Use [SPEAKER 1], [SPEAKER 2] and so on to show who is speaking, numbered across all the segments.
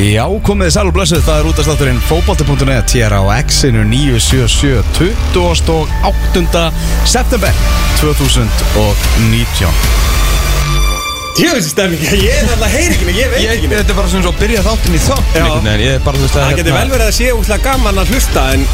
[SPEAKER 1] Já, komið þið sæl og blessuð, það er útastátturinn fókbalti.net hér á X-inu 977 28. september 2019
[SPEAKER 2] Tjóðis stemming, ég er alltaf heyri ekki mig, ég veit
[SPEAKER 3] Ég,
[SPEAKER 2] ekki mig
[SPEAKER 3] þetta er bara svona svo að byrja þáttin í þáttin
[SPEAKER 2] Já.
[SPEAKER 3] einhvern veginn, ég er bara þú veist að hérna-
[SPEAKER 2] Það getur vel verið að sé útla gaman að hlusta en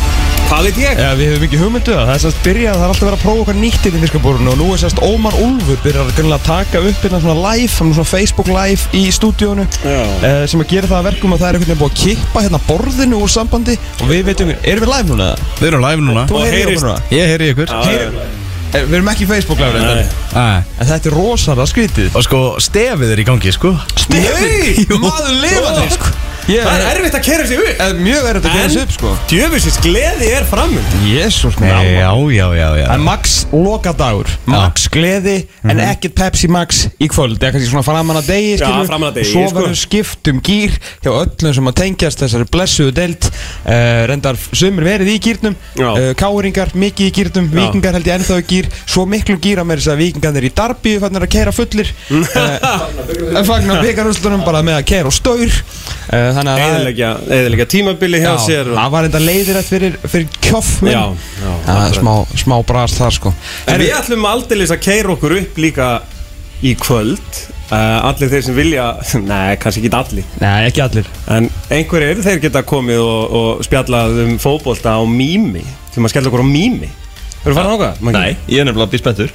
[SPEAKER 2] hvað veit ég?
[SPEAKER 3] Já, við hefum ekki hugmyndu um það, það er sérst byrjað, það er alltaf verið að prófa okkar nýtt inn í fiskabúrunu og nú er sérst Ómar Úlfur byrjar grunlega að taka upp innan svona live, hann er svona Facebook live í stúdíónu
[SPEAKER 2] Já.
[SPEAKER 3] uh, sem að gera það að verkum að það er einhvern veginn búið að kippa hérna borðinu úr sambandi og við veitum, erum við live núna eða?
[SPEAKER 1] Við erum live núna
[SPEAKER 3] Þú
[SPEAKER 2] Og
[SPEAKER 3] heyrir í
[SPEAKER 2] heyrist-
[SPEAKER 3] okkur núna?
[SPEAKER 1] Ég heyri ykkur
[SPEAKER 2] Heyri-
[SPEAKER 3] Eh, Við erum ekki í Facebook live reyndar.
[SPEAKER 2] Nei.
[SPEAKER 1] Æ.
[SPEAKER 3] En þetta er rosalega skrítið
[SPEAKER 1] Og sko, stefið er í gangi, sko
[SPEAKER 2] Nei,
[SPEAKER 3] Stefið, maður lifandi sko. Ég-
[SPEAKER 2] Það er erfitt að kera sig upp
[SPEAKER 3] eh, Mjög erfitt að gera þessu upp sko
[SPEAKER 2] Tjóðisins gleði er framönd
[SPEAKER 3] Jésús
[SPEAKER 1] Já, já, já, já
[SPEAKER 3] En Max lokadagur Max gleði En
[SPEAKER 2] Mhm.
[SPEAKER 3] ekkert Pepsi Max í kvöld Það er kannski svona framan að degi skilur við.
[SPEAKER 2] framan að degi,
[SPEAKER 3] Svo
[SPEAKER 2] sko.
[SPEAKER 3] verður skipt um gýr Hjá öllum sem að tengjast Þessari blessuðu deild uh, Rendar sömur verið í gýrnum
[SPEAKER 2] Já.
[SPEAKER 3] uh, Káringar mikið í gýrnum Víkingar held ég ennþá í gýr Svo miklu gýr að mér þess að vikingarnir í Darby Fannir að keira fullir uh, Fagnar byggarústunum bara með að keira og staur uh, Þannig að það er-
[SPEAKER 2] Eðilega tímabili hjá
[SPEAKER 3] Já,
[SPEAKER 2] sér og-
[SPEAKER 3] það var enda leiðirætt fyrir, fyrir kjöf minn
[SPEAKER 2] Já, já,
[SPEAKER 3] Það er smá, smá brast þar sko
[SPEAKER 2] En
[SPEAKER 3] Herri,
[SPEAKER 2] við ætlum aldeilis að keira okkur upp líka í kvöld uh, Allir þeir sem vilja, nei, kannski ekki allir
[SPEAKER 3] Nei, ekki allir
[SPEAKER 2] En einhverjir þeir geta komið og, og spjallað um fótbolta á mými Þegar maður skella okkur á mými Erum við farað þákað?
[SPEAKER 4] Nei, ég er nefnilega að bli spenntur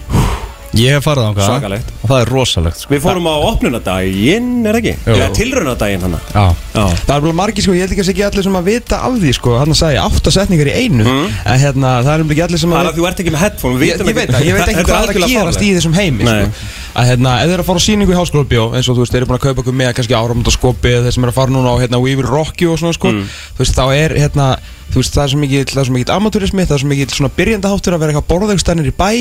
[SPEAKER 1] Ég hef farið á hvað
[SPEAKER 2] Svakalegt.
[SPEAKER 1] Og það er rosalegt, sko
[SPEAKER 2] Við fórum á opnunadaginn, er ekki?
[SPEAKER 1] Jú.
[SPEAKER 2] Já, tilraunadaginn hann
[SPEAKER 1] Já
[SPEAKER 2] Já,
[SPEAKER 3] Það er bara margir sko, ég held ekki að sé ekki allir sem að vita af því sko Hann að sagði átta setningar í einu
[SPEAKER 1] Mm.
[SPEAKER 3] En hérna, það er um ekki allir sem
[SPEAKER 2] það
[SPEAKER 3] að
[SPEAKER 2] er að þú ert ekki með headphone við
[SPEAKER 3] Ég,
[SPEAKER 2] vitum
[SPEAKER 3] ég veit það, ég veit ekki
[SPEAKER 2] Þetta
[SPEAKER 3] hvað er að
[SPEAKER 2] algjörlega
[SPEAKER 3] gerast í
[SPEAKER 2] fáránlegt.
[SPEAKER 3] þessum heimi
[SPEAKER 2] Nei.
[SPEAKER 3] sko. að, hérna, Ef þeir eru að fara á síningu í háskólabjó eins og þú veist, þeir eru búin að kaupa ykkur með kannski áramöndaskopi eða þeir sem eru að fara núna á hérna, We Will Rock You og svona
[SPEAKER 2] Mm.
[SPEAKER 3] sko. þú veist, þá er hérna þú veist, það er svo mikill, það er svo mikill amatúrismi það er svo mikill svona byrjandaháttur að vera eitthvað borðaugstænir í bæ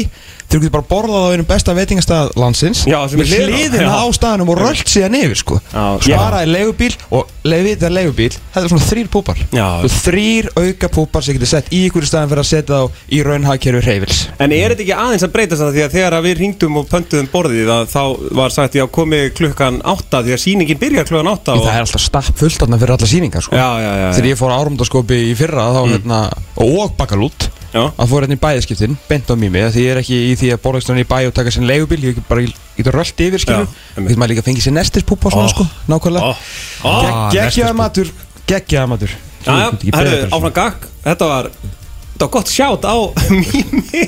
[SPEAKER 3] þeir getur bara borðað á einum besta veitingastað landsins
[SPEAKER 2] Já, sem er
[SPEAKER 3] með
[SPEAKER 2] hliðina.
[SPEAKER 3] hliðina
[SPEAKER 2] Já.
[SPEAKER 3] á staðanum og rölt síðan yfir sko.
[SPEAKER 2] Já, já.
[SPEAKER 3] svaraði leigubíl og leiði þetta leigubíl þetta er svona þrýr púpar
[SPEAKER 2] Já.
[SPEAKER 3] Þú- þrír auka púpar sem getur sett í ykkur staðan fyrir að setja þá í raunhagkerfi reyfils
[SPEAKER 2] En er þetta ekki aðeins að breytast það því að þegar að við ringdum og pöntuðum borðið að þá var sagt ég að komi klukkan 8 því að sýningin byrjar klukkan 8
[SPEAKER 3] Það
[SPEAKER 2] og...
[SPEAKER 3] er alltaf stapp fullt þarna fyrir alla síningar sko.
[SPEAKER 2] Já, já, já,
[SPEAKER 3] Þegar
[SPEAKER 2] já. Mm.
[SPEAKER 3] ég fór á árumdaskopi í fyrra þá, hérna, og bakalút
[SPEAKER 2] Já.
[SPEAKER 3] að fór hérna í bæðiskiptin, bent á mými því ég er ekki í því að borðakstunni í bæ og taka sinn leigubíl ég get bara getur rölt yfir
[SPEAKER 2] Já,
[SPEAKER 3] skilur
[SPEAKER 2] einmitt.
[SPEAKER 3] við maður líka að fengi sér nestispúpa og
[SPEAKER 2] Ó.
[SPEAKER 3] svona sko, nákvæmlega
[SPEAKER 2] Ó. Ó.
[SPEAKER 3] Gegg- Geggjaður matur, geggjaður sko. matur
[SPEAKER 2] Já, já,
[SPEAKER 3] Ég get ekki beðið
[SPEAKER 2] herru,
[SPEAKER 3] eftir þessu.
[SPEAKER 2] áfram gakk Þetta var, þetta var gott sjátt á mými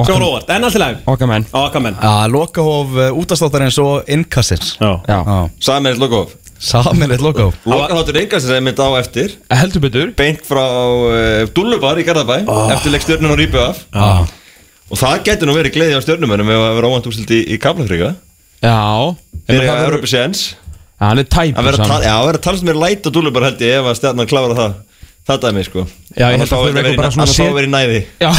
[SPEAKER 2] Sjóra óvart, en alltaf læg
[SPEAKER 3] Okkar menn.
[SPEAKER 2] Okkar menn
[SPEAKER 1] Já, lokahof útastáttarins og innkassins
[SPEAKER 2] Já
[SPEAKER 3] Já.
[SPEAKER 1] Já
[SPEAKER 4] Samir Lokov
[SPEAKER 1] Saminleitt lokahof
[SPEAKER 4] Lokaháttur einhvers er mynd á eftir
[SPEAKER 3] Heldur betur
[SPEAKER 4] Beint frá uh, Dullubar í Garðabæ
[SPEAKER 3] Ah.
[SPEAKER 4] Eftir leik stjörnun og rýpu af
[SPEAKER 1] Já
[SPEAKER 4] Og það getur nú verið gleði á stjörnumönum Ef að vera óvænt úrslit í, í Kaplafrika
[SPEAKER 3] Já Hérna,
[SPEAKER 4] Þeir eru
[SPEAKER 3] Það
[SPEAKER 4] að
[SPEAKER 3] verður-
[SPEAKER 4] Európa séns
[SPEAKER 3] Já, hann er tæpur
[SPEAKER 4] Að vera
[SPEAKER 3] samt.
[SPEAKER 4] að tala- já, að vera að tala sem er læt á Dullubar held ég Ef að stjörnan klára það Það dæmi sko
[SPEAKER 3] Já, ég held að
[SPEAKER 4] Annars þá
[SPEAKER 3] þau
[SPEAKER 4] er
[SPEAKER 3] verður
[SPEAKER 4] verið-
[SPEAKER 3] bara svona
[SPEAKER 4] annars þá
[SPEAKER 3] sér-
[SPEAKER 4] er verið næði
[SPEAKER 3] Já,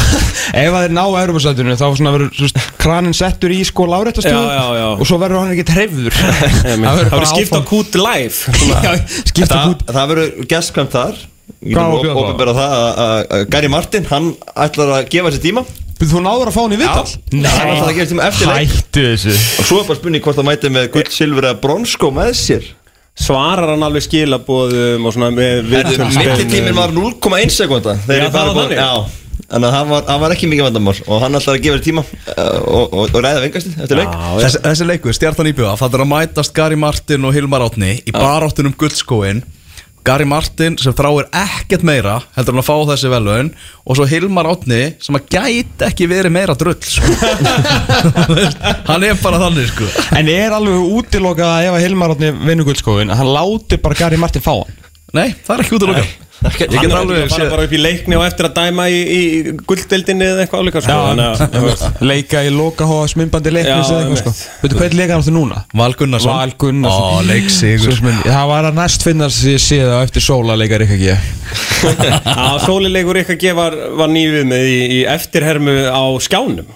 [SPEAKER 3] ef að þeir ná Európa-sætunum þá svona verður þú veist, kranin settur í sko láréttastöðu
[SPEAKER 2] Já, já, já.
[SPEAKER 3] og svo verður hann ekki trefður
[SPEAKER 2] Það verður skipt á kút live
[SPEAKER 3] skipta
[SPEAKER 4] Það,
[SPEAKER 3] kút
[SPEAKER 4] það verður gestkvæmt þar Við
[SPEAKER 3] Hvað á að bjóða
[SPEAKER 4] getum
[SPEAKER 3] þá?
[SPEAKER 4] opinberað það að- að- að Gary Martin, hann ætlar að gefa sér tíma
[SPEAKER 3] Þú náður að fá hann í viðtal?
[SPEAKER 4] Hann ætlar að gefa
[SPEAKER 3] um
[SPEAKER 4] sér tíma eftir leik
[SPEAKER 3] hættu þessu
[SPEAKER 4] Og svo er bara spurning hvort það mæti með gull, silfur eða bronskó með sér
[SPEAKER 2] Svarar hann alveg skilabóðum og svona með
[SPEAKER 4] Mikið tíminn var 0,1 sekunda
[SPEAKER 2] Já, það var þannig.
[SPEAKER 4] Já Þannig að hann var, hann var ekki mikið vandamál Og hann ætlar að gefa þér tíma uh, og, og, og ræða vengastið eftir leik
[SPEAKER 1] Þessi, þessi leikur, Stjartan Íbjöða, það er að mætast Gary Martin og Hilmar Átni í baráttunum guldskóin Gary Martin sem þráir ekkert meira heldur hann að fá þessi velun og svo Hilmar Átni sem að gæti ekki verið meira drull sko. Þú veist, hann er bara þannig sko.
[SPEAKER 3] En er alveg útilokað að ef að Hilmar Átni vinnu guldskófin að hann láti bara Gary Martin fá hann
[SPEAKER 1] Nei, það er ekki út að lóka Ég
[SPEAKER 2] Hann
[SPEAKER 1] get
[SPEAKER 2] er
[SPEAKER 1] alveg
[SPEAKER 2] alveg að fara
[SPEAKER 1] séð
[SPEAKER 2] bara upp í leikni og eftir að dæma í, í gulddeldinni eða eitthvað álíka sko. Þannig að-
[SPEAKER 3] Þú veist, Leika í lokahóa smimbandi
[SPEAKER 2] Já,
[SPEAKER 3] leiknis eða eitthvað sko
[SPEAKER 2] einmitt.
[SPEAKER 3] Veitu hvað er leikan áttu núna?
[SPEAKER 1] Val Gunnarsson
[SPEAKER 3] Val
[SPEAKER 1] Ó,
[SPEAKER 3] Gunnarsson. Svo
[SPEAKER 1] leiksigur
[SPEAKER 3] sem- Það var að næst finna sér síða eftir sóla leikar ekki
[SPEAKER 2] Já, sólilegur ykkar gefar var nýfið með í, í eftirhermu á skjánum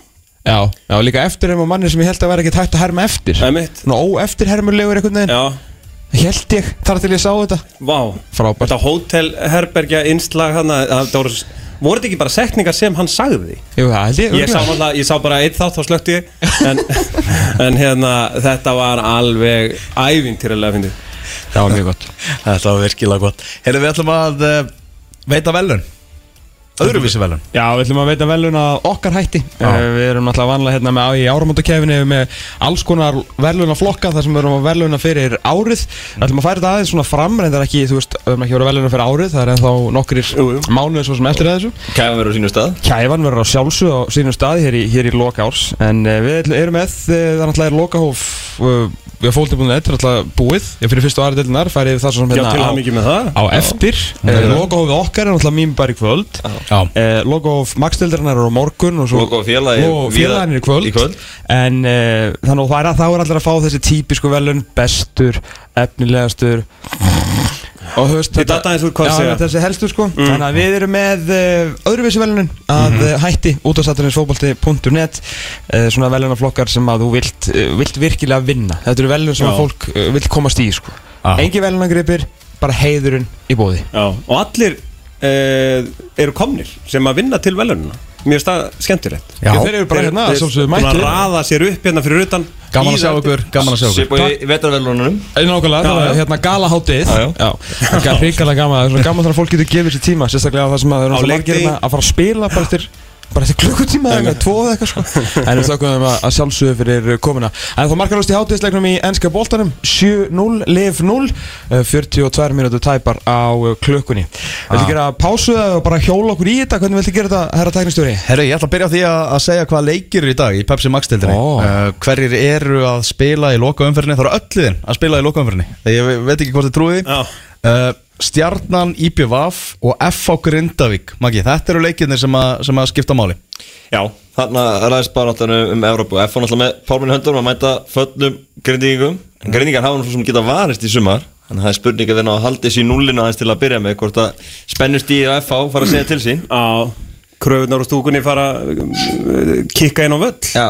[SPEAKER 3] Já, já, líka eftirherm og manni sem ég held að vera ekki tætt að herma eftir
[SPEAKER 2] Einmitt.
[SPEAKER 3] Ná, óeftirhermulegur einhvern veginn
[SPEAKER 2] Já,
[SPEAKER 3] Held ég, þar til ég sá þetta
[SPEAKER 2] vá
[SPEAKER 3] Frábært.
[SPEAKER 2] Þetta hótelherbergja innslag hann voru þetta ekki bara setningar sem hann sagði
[SPEAKER 3] Jú, það held ég
[SPEAKER 2] Ég sá, alltaf, ég sá bara eitt þátt, þá slökti ég en, en hérna, þetta var alveg ævintýrlega fyndið
[SPEAKER 3] það var mjög gott
[SPEAKER 1] Þetta var virkilega gott Heyrðu, við ætlum að uh, veita velun Öðruvísi velun
[SPEAKER 3] Já, við ætlum að veita velun að okkar hætti uh, Við erum náttúrulega vanlega hérna með í áramótakefinu með alls konar veluna flokka þar sem við erum að veluna fyrir árið Við ætlum að færa þetta aðeins svona fram reyndar ekki, þú veist, við erum ekki að vera veluna fyrir árið það er ennþá nokkrir mánuðir svo sem eftir að þessu
[SPEAKER 4] Kæfa mér á sínum stað
[SPEAKER 3] Kæfan verður á sjálfsög á sínum staði hér í, hér í loka árs En uh, við ætlum- erum með, uh, það er náttúrulega er lokahóf uh, Við fólktum búin þetta er náttúrulega búið Ég fyrir fyrstu aðri deildinar færið það svo sem
[SPEAKER 2] Já, til
[SPEAKER 3] á-
[SPEAKER 2] að mikið með það
[SPEAKER 3] á eftir uh, Lokahófið okkar er náttúrulega mým bara í kvöld
[SPEAKER 1] Já.
[SPEAKER 3] uh, Lokahóf magstildarinnar er á morgun og svo-
[SPEAKER 4] Lokahóf félaga er
[SPEAKER 3] Lokahóf félaganir í kvöld,
[SPEAKER 4] í kvöld.
[SPEAKER 3] En uh, þannig að það er, að- þá er allir að fá þessi típisku velun Bestur, efnilegastur Og þú veist
[SPEAKER 2] Ég datt aðeins úr hvað
[SPEAKER 3] Já,
[SPEAKER 2] að segja. Mm.
[SPEAKER 3] þetta- þessi helstu sko Þannig að við erum með uh, öðruvísi velunin að
[SPEAKER 2] Mhm.
[SPEAKER 3] mm hætti út á saturinsfóbalti.net uh, svona velunaflokkar sem að þú vilt, uh, vilt virkilega vinna Þetta eru velun sem að fólk uh, vill komast í sko.
[SPEAKER 1] Já.
[SPEAKER 3] Engi velunangripir, bara heiðurinn í bóði
[SPEAKER 2] Já, og allir uh, eru komnir sem að vinna til velununa Mér finnst það skemmtilegt
[SPEAKER 1] Já.
[SPEAKER 3] Þeir eru bara
[SPEAKER 2] Þeir-
[SPEAKER 3] hérna,
[SPEAKER 2] þeir-
[SPEAKER 3] sjálfsögðu
[SPEAKER 2] búin
[SPEAKER 3] mættir.
[SPEAKER 2] að raða sér upp hérna fyrir utan
[SPEAKER 1] Gaman að sjá
[SPEAKER 2] Bíða eftir-
[SPEAKER 1] ykkur, gaman að sjá ykkur
[SPEAKER 4] Sipo í vetarvelunum
[SPEAKER 3] Einu okkarlega, það
[SPEAKER 2] já.
[SPEAKER 3] var hérna galaháttið
[SPEAKER 4] Já, já.
[SPEAKER 3] Já, það er hrikalega gaman Það er svona gaman þannig að fólk getur gefið sér tíma Sérstaklega það sem að það eru
[SPEAKER 2] Á
[SPEAKER 3] svo
[SPEAKER 2] leikdegi.
[SPEAKER 3] margir hérna að fara að spila bara eftir bara eftir klukkutíma eða eitthvað, tvo eða eitthvað sko en við þakkum þeim að, að sjálfsögðu fyrir uh, komuna en þá markarlust í hátíðisleiknum í ennska boltanum 7-0, liv 0 uh, 42 minútu tæpar á uh, klukkunni Viltu gera pásu eða bara hjóla okkur í þetta hvernig viltu gera þetta, herra tæknistjóri?
[SPEAKER 1] Herru, ég ætla að byrja á því að, að segja hvað leikir eru í dag í Pepsi Max-tildinni
[SPEAKER 3] Ó.
[SPEAKER 1] uh, Hverjir eru að spila í lokaumferðinni, það eru ölluðin að spila í lokaumferðinni Þegar ég veit ekki hvort þið trúið
[SPEAKER 2] Já.
[SPEAKER 1] því uh, Stjarnan, IPVAF og FH Grindavík Maggi, þetta eru leikirnir sem að, sem að skipta máli
[SPEAKER 4] Já Þarna ræðist bara náttúrulega um Evrópu F náttúrulega með pálminn höndunum að mæta föllum grindingum Grindingar hafa nú svo sem geta varist í sumar Þannig að það er spurning að þeir ná að haldi sér í núllinu aðeins til að byrja með Hvort að spennust í og FH fara að segja til sín
[SPEAKER 2] á kröfunar og stúkunni fara uh, kikka inn á völl
[SPEAKER 4] Já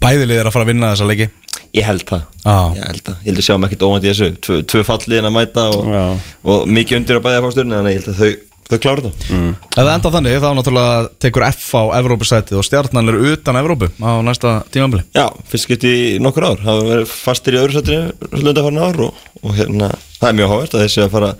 [SPEAKER 1] Bæðilið er að fara að vinna þessa leiki
[SPEAKER 4] Ég held það
[SPEAKER 1] Já.
[SPEAKER 4] Ég held það Ég held að sjá mig ekkert óvænt í þessu Tvö, tvö fallliðin að mæta og,
[SPEAKER 2] Já.
[SPEAKER 4] og mikið undir að bæða að fá stjórnir Þannig að ég held að þau, þau klára það
[SPEAKER 1] Ef það enda þannig, þá náttúrulega tekur FH Evrópusætið og Stjarnan eru utan Evrópu á næsta tímambili
[SPEAKER 4] Já, fyrst skipti í nokkur ár hafa verið fastir í öðru sættinu lundafarn ár og, og hérna, það er mjög hávært að þessi að fara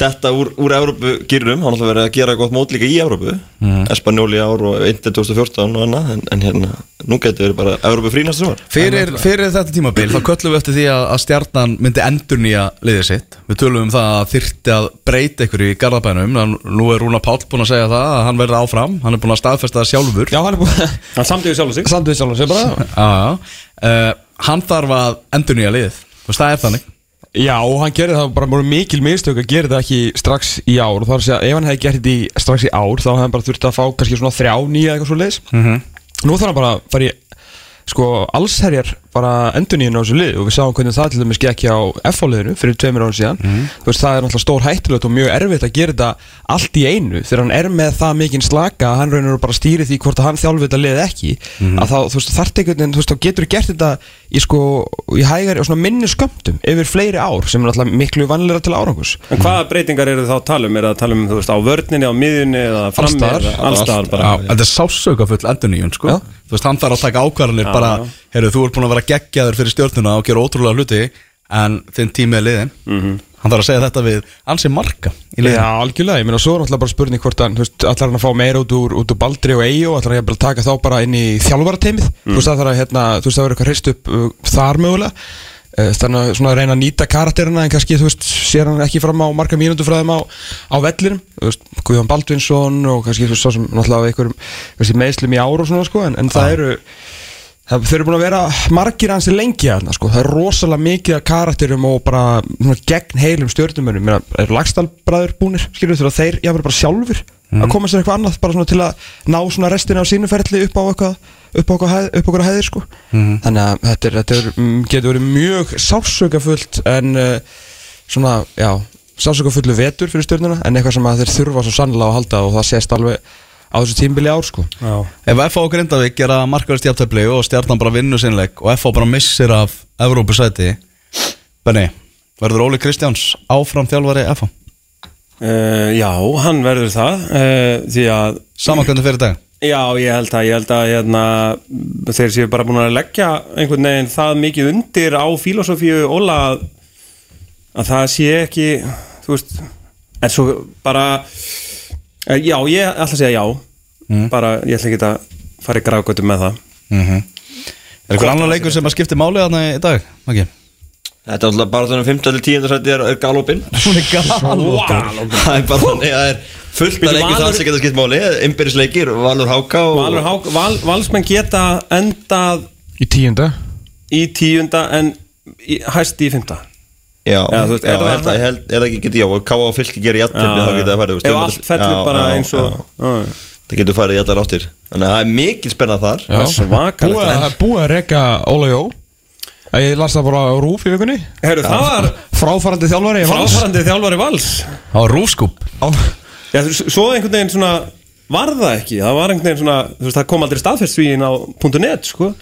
[SPEAKER 4] detta úr, úr Evrópu gýrum, hann ætla verið að gera gott mót líka í Evrópu, mm. Espanjóli ár og Inter 2014 og annað, en, en hérna nú getur verið bara Evrópu frínast sem var
[SPEAKER 1] Fyrir, fyrir þetta tímabil þá köllum við eftir því að, að stjarnan myndi endur nýja liðið sitt Við tölum um það að þyrfti að breyta ykkur í garðabænum en Nú er Rúna Páll búinn að segja það að hann verði áfram Hann er búinn að staðfesta það sjálfur
[SPEAKER 3] Já, hann er búin
[SPEAKER 2] Hann samtíðu sjálf sig
[SPEAKER 3] Samt við sjálfum sér bara
[SPEAKER 1] uh, Hann þarf að endur nýja liðið Þú veist, Það er þannig
[SPEAKER 3] Já, og hann gerði það bara mjög mikil mistök að gera það ekki strax í ár og þá er að segja ef hann hefði gert þetta í- strax í ár þá hefði hann bara þurft að fá kannski svona þrjá nýja eitthvað svo leiðis Nú þarf hann bara að fara í sko allsherjar bara endurníðin á þessu lið og við sáum hvernig það til dæmis gekk á F-fóliðinu fyrir tveimur árum síðan þú veist það er náttúrulega stór hættulegt og mjög erfitt að gera þetta allt í einu þegar hann er með það mikinn slaka að hann raunir bara stýri því hvort að hann þjálfi þetta lið ekki að þá þú veist þarft einhvern veginn þú veist þá getur þú gert þetta í sko í hægari og svona minni skömmtum yfir fleiri ár sem er náttúrulega miklu vanlega til árangus
[SPEAKER 2] En hvaða breytingar eru þá að tala um? Er það að tala um, þú veist, á vörninni, á miðjunni eða frammi?
[SPEAKER 3] staðar.
[SPEAKER 2] eða Allstaðar bara
[SPEAKER 1] Já, Þetta er sásauka full endur nýjun sko.
[SPEAKER 3] Já.
[SPEAKER 1] Þú veist, Hann þarf að taka ákvarðanir bara heyrðu, Þú ert búinn að vera geggjaður fyrir stjórnuna og gera ótrúlega hluti En þinn tími er liðin
[SPEAKER 3] Mhm.
[SPEAKER 1] Hann þarf að segja þetta við ansi marga í liðinu.
[SPEAKER 3] Já, algjörlega, ég meina svo er náttúrulega bara spurning hvort hann, þú veist, allar hann að fá meira út úr, út úr Baldri og Eyjó, allar hann að taka þá bara inn í þjálfarateymið, þú veist það þarf að hérna, þú veist það verður eitthvað hreist upp uh, þar mögulega, uh, þannig að svona reyna að nýta karakterina en kannski, þú veist, sér hann ekki fram á marga mínútu frá þeim á, á vellinum, þú veist, Guðjón Baldvinsson og kannski, þú veist, svo sem náttúrulega af einhverjum, þú veist, í meðslum í ár og svona, sko, en, en það eru, Það þau eru búin að vera margir hansi lengi þarna sko. Það er rosalega mikið af karakterum og bara svona, gegn heilum stjórnumönum Það eru lagstallbræður búnir skilur þegar þeir jáfnir bara sjálfur að koma sér eitthvað annað bara svona til að ná svona restina á sínu ferli upp á eitthvað upp á okkur, hæð, upp á okkur hæðir sko. Þannig að þetta, er, þetta er, mm, getur verið mjög sásökafullt en uh, svona, já, sásökafullu vetur fyrir stjórnuna en eitthvað sem að þeir þurfa svo sannlega að halda og það sést alveg á þessu tímbili ár sko.
[SPEAKER 2] Já.
[SPEAKER 1] Ef FH og Grindavík gera markaðist jafntöfli og stjarnan bara vinnu sinnleik og FH bara missir af Evrópusæti Benni, verður Óli Kristjáns áfram þjálfari FH?
[SPEAKER 2] Uh, já, hann verður það uh, Því að
[SPEAKER 1] Saman hvernig fyrir dag?
[SPEAKER 2] Já, ég held að, ég held að hérna, þeir séu bara búin að leggja einhvern veginn það mikið undir á filosófíu Óla að- að það sé ekki þú veist, en svo bara eh, já, ég ætla að segja já
[SPEAKER 4] Mm.
[SPEAKER 2] bara ég ætla ekki að fara í gráðgötum með það
[SPEAKER 1] Mhm. Er eitthvað annar leikur sem að skipti máli þarna í dag? Maggi?
[SPEAKER 4] Þetta er alltaf bara þannig 15. til 10. sæti er, er galopin
[SPEAKER 1] Hún er galopin
[SPEAKER 4] Það er bara þannig að það er fullt
[SPEAKER 2] Býtu,
[SPEAKER 4] að leikir
[SPEAKER 2] Valur-
[SPEAKER 4] það sem geta skipt máli Ymbirisleikir, Valur Háka og
[SPEAKER 2] Valur, Hák- val, Valsmenn geta endað
[SPEAKER 3] Í tíunda
[SPEAKER 2] í tíunda en í, hæst í fymta
[SPEAKER 4] Já,
[SPEAKER 2] Já,
[SPEAKER 4] já,
[SPEAKER 2] þú veist,
[SPEAKER 4] já
[SPEAKER 2] er það-
[SPEAKER 4] er það, ég held, er það ekki getið já og K.A. og fylki gerir jafntefni þá getur það farið þú veist,
[SPEAKER 2] ef
[SPEAKER 4] um-
[SPEAKER 2] allt fellur
[SPEAKER 4] já,
[SPEAKER 2] bara
[SPEAKER 4] já,
[SPEAKER 2] eins og
[SPEAKER 4] já.
[SPEAKER 2] já.
[SPEAKER 4] Það getur farið í allar áttir Þannig að það er mikil spenna þar
[SPEAKER 3] Já.
[SPEAKER 2] svakalegt.
[SPEAKER 3] Búið að- Búið að reyka Óla Jó Ég las það bara á rúf í vikunni
[SPEAKER 2] Heyrðu, það var
[SPEAKER 3] Fráfarandi þjálfari í Vals.
[SPEAKER 2] fráfarandi þjálfari vals
[SPEAKER 1] Það var rúfskúp
[SPEAKER 2] Já, þú- svo einhvern veginn svona var það ekki, það var einhvern veginn svona þú veist, það kom aldrei staðfestsvíin á .net sko.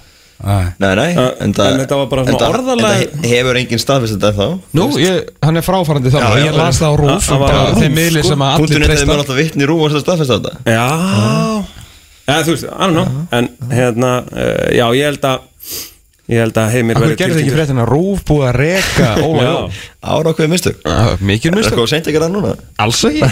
[SPEAKER 4] Nei, nei,
[SPEAKER 2] Já, en þetta var bara svona
[SPEAKER 4] enda-
[SPEAKER 2] orðalag-
[SPEAKER 4] enda hefur enginn staðfist þetta þá
[SPEAKER 3] Nú, ég, hann er fráfarandi þjálfari
[SPEAKER 4] Já, já,
[SPEAKER 3] Ég las það á rúf
[SPEAKER 2] það var
[SPEAKER 3] bara
[SPEAKER 2] á RÚV,
[SPEAKER 3] Þeim miðli
[SPEAKER 2] sko.
[SPEAKER 3] sem að
[SPEAKER 4] Punturinn
[SPEAKER 3] allir
[SPEAKER 4] þetta er
[SPEAKER 3] treysta
[SPEAKER 4] mér alltaf vitni rúm og þess að staðfist þetta
[SPEAKER 2] Já Já, þú veist, I don't know En hérna, uh, já, ég held að Ég held að heimir
[SPEAKER 3] Akkur gerði ekki
[SPEAKER 2] tilkynntur.
[SPEAKER 3] fréttin að rúf búið að reyka Óla
[SPEAKER 2] Já,
[SPEAKER 3] Jó
[SPEAKER 4] Ára okkur mistök
[SPEAKER 3] Mikið
[SPEAKER 4] Er það
[SPEAKER 3] mistök
[SPEAKER 4] eitthvað seint ekki það núna?
[SPEAKER 3] Alls ekki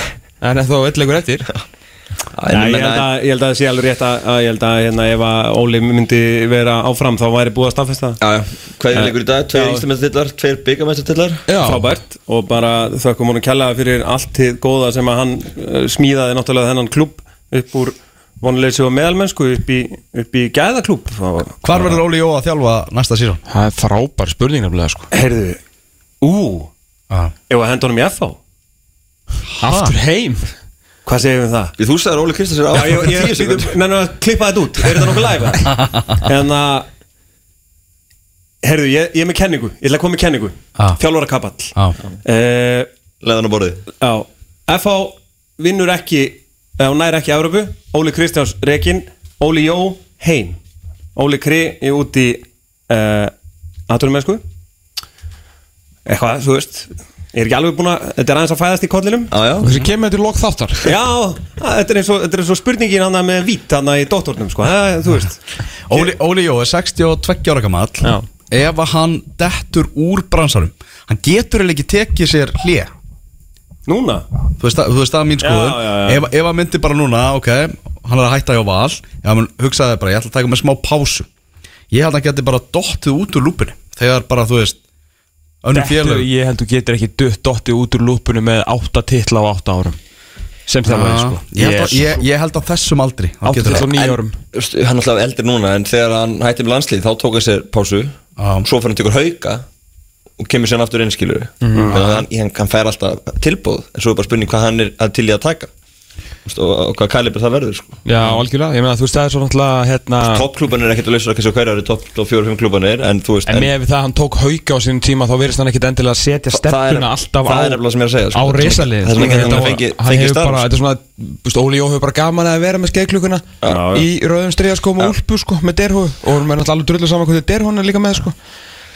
[SPEAKER 3] En þá eitthvað eftir
[SPEAKER 2] já ég, held að, ég held að það sé alveg rétt að, að Ég held að hérna, ef að Óli myndi vera áfram Þá væri búið að staðfesta það
[SPEAKER 4] Já, já. Hvað er leikur í dag? Tveir
[SPEAKER 2] Já.
[SPEAKER 4] íslumestartillar, tveir byggamestartillar
[SPEAKER 3] Já
[SPEAKER 2] Frábært og bara þökkum honum kjallaða fyrir allt hið góða sem að hann uh, smíðaði náttúrulega þennan klubb upp úr vonuleysi og meðalmennsku upp í, upp í gæðaklúbb
[SPEAKER 1] Hvar verður Óli Jó að þjálfa næsta síðan?
[SPEAKER 3] Það er frábær spurning nefnilega sko
[SPEAKER 2] Heyrðu, ú, ef að henda honum í FH
[SPEAKER 3] Aftur heim
[SPEAKER 2] Hvað segir við um það?
[SPEAKER 4] Því Þú sagðir að Óli Kristins er
[SPEAKER 2] Já, ég,
[SPEAKER 4] áfram í
[SPEAKER 2] ég,
[SPEAKER 4] tíu sekund
[SPEAKER 2] ég menn að klippa þetta út, er þetta nokkuð live? En að Herðu, ég, ég er með kenningu, ég ætla að koma með kenningu
[SPEAKER 1] Ah.
[SPEAKER 2] Þjálfara kapall
[SPEAKER 1] Ah.
[SPEAKER 2] Eh,
[SPEAKER 4] Leðan á borðið
[SPEAKER 2] Já, FH vinnur ekki eða hún nær ekki Evropu Óli Kristjáns Rekin, Óli Jó heim Óli Kri er út í uh, aðturumennsku eitthvað, þú veist ég er ekki alveg búin að, þetta er aðeins að fæðast í kollinum
[SPEAKER 4] Já, já
[SPEAKER 3] Þessi kemur þetta í lok þáttar
[SPEAKER 2] Já, þetta er eins og, þetta er eins og spurningin hann með vít hann í dóttornum sko, það, þú veist
[SPEAKER 1] Óli, Óli Jó er 62 ára gamall
[SPEAKER 2] Já.
[SPEAKER 1] Ef að hann dettur úr bransarum Hann getur eiginlega ekki tekið sér hlje
[SPEAKER 2] Núna,
[SPEAKER 1] Þú veist, það- þú veist það er mín skoðun
[SPEAKER 2] já, já.
[SPEAKER 1] ef, ef hann myndi bara núna, ok Hann er að hætta hjá val Ef hann hugsaði bara, ég ætla að taka með smá pásu Ég held að hann geti bara dottið út úr lúpinni Þegar bara, þú veist Önnum
[SPEAKER 3] Dettur,
[SPEAKER 1] félög
[SPEAKER 3] ég held þú getur ekki dutt dotti út úr lúpunum með átta titla á átta árum sem það var sko
[SPEAKER 1] ég, held að- ég, ég held að þessum aldri hann
[SPEAKER 3] átta
[SPEAKER 1] getur
[SPEAKER 3] titla á
[SPEAKER 1] það.
[SPEAKER 3] nýja
[SPEAKER 4] En,
[SPEAKER 3] árum
[SPEAKER 4] þú veist, Hann er alltaf eldri núna En þegar hann hætti með landslið Þá tók hann sér pásu
[SPEAKER 1] Já.
[SPEAKER 4] Svo fyrir hann tekur hauka Og kemur sér aftur inn skilur Þannig að hann, hann, hann fær alltaf tilbúð En svo er bara spurning hvað hann er að til í að taka Þú veist, og, og hvað kalibur það verður sko.
[SPEAKER 3] Já, algjörlega, ég meina þú veist það er svo náttúrulega hérna
[SPEAKER 4] Toppklúban er ekkert að lausa Hversu hverjar er topp top 4-5 klúban er En þú veist
[SPEAKER 3] En með það hann tók hauka á sínum tíma þá verðist hann ekkit endilega að setja stefnuna alltaf
[SPEAKER 4] það er
[SPEAKER 3] á,
[SPEAKER 4] nefnilega sem ég er að segja sko.
[SPEAKER 3] á risalið
[SPEAKER 4] Það sem ekki
[SPEAKER 3] Þetta
[SPEAKER 4] hann
[SPEAKER 3] var-
[SPEAKER 4] fengi,
[SPEAKER 3] hann
[SPEAKER 4] fengi
[SPEAKER 3] hefur
[SPEAKER 4] starf
[SPEAKER 3] bara, þetta er svona, þú veist, Óli Jó hefur bara gaman að vera með skeiklukuna
[SPEAKER 2] Já, já.
[SPEAKER 3] í rauðum stríðaskóm og úlpu sko, með derhú og hann er náttúrulega alveg drullu saman hvað þetta derhún er líka með sko.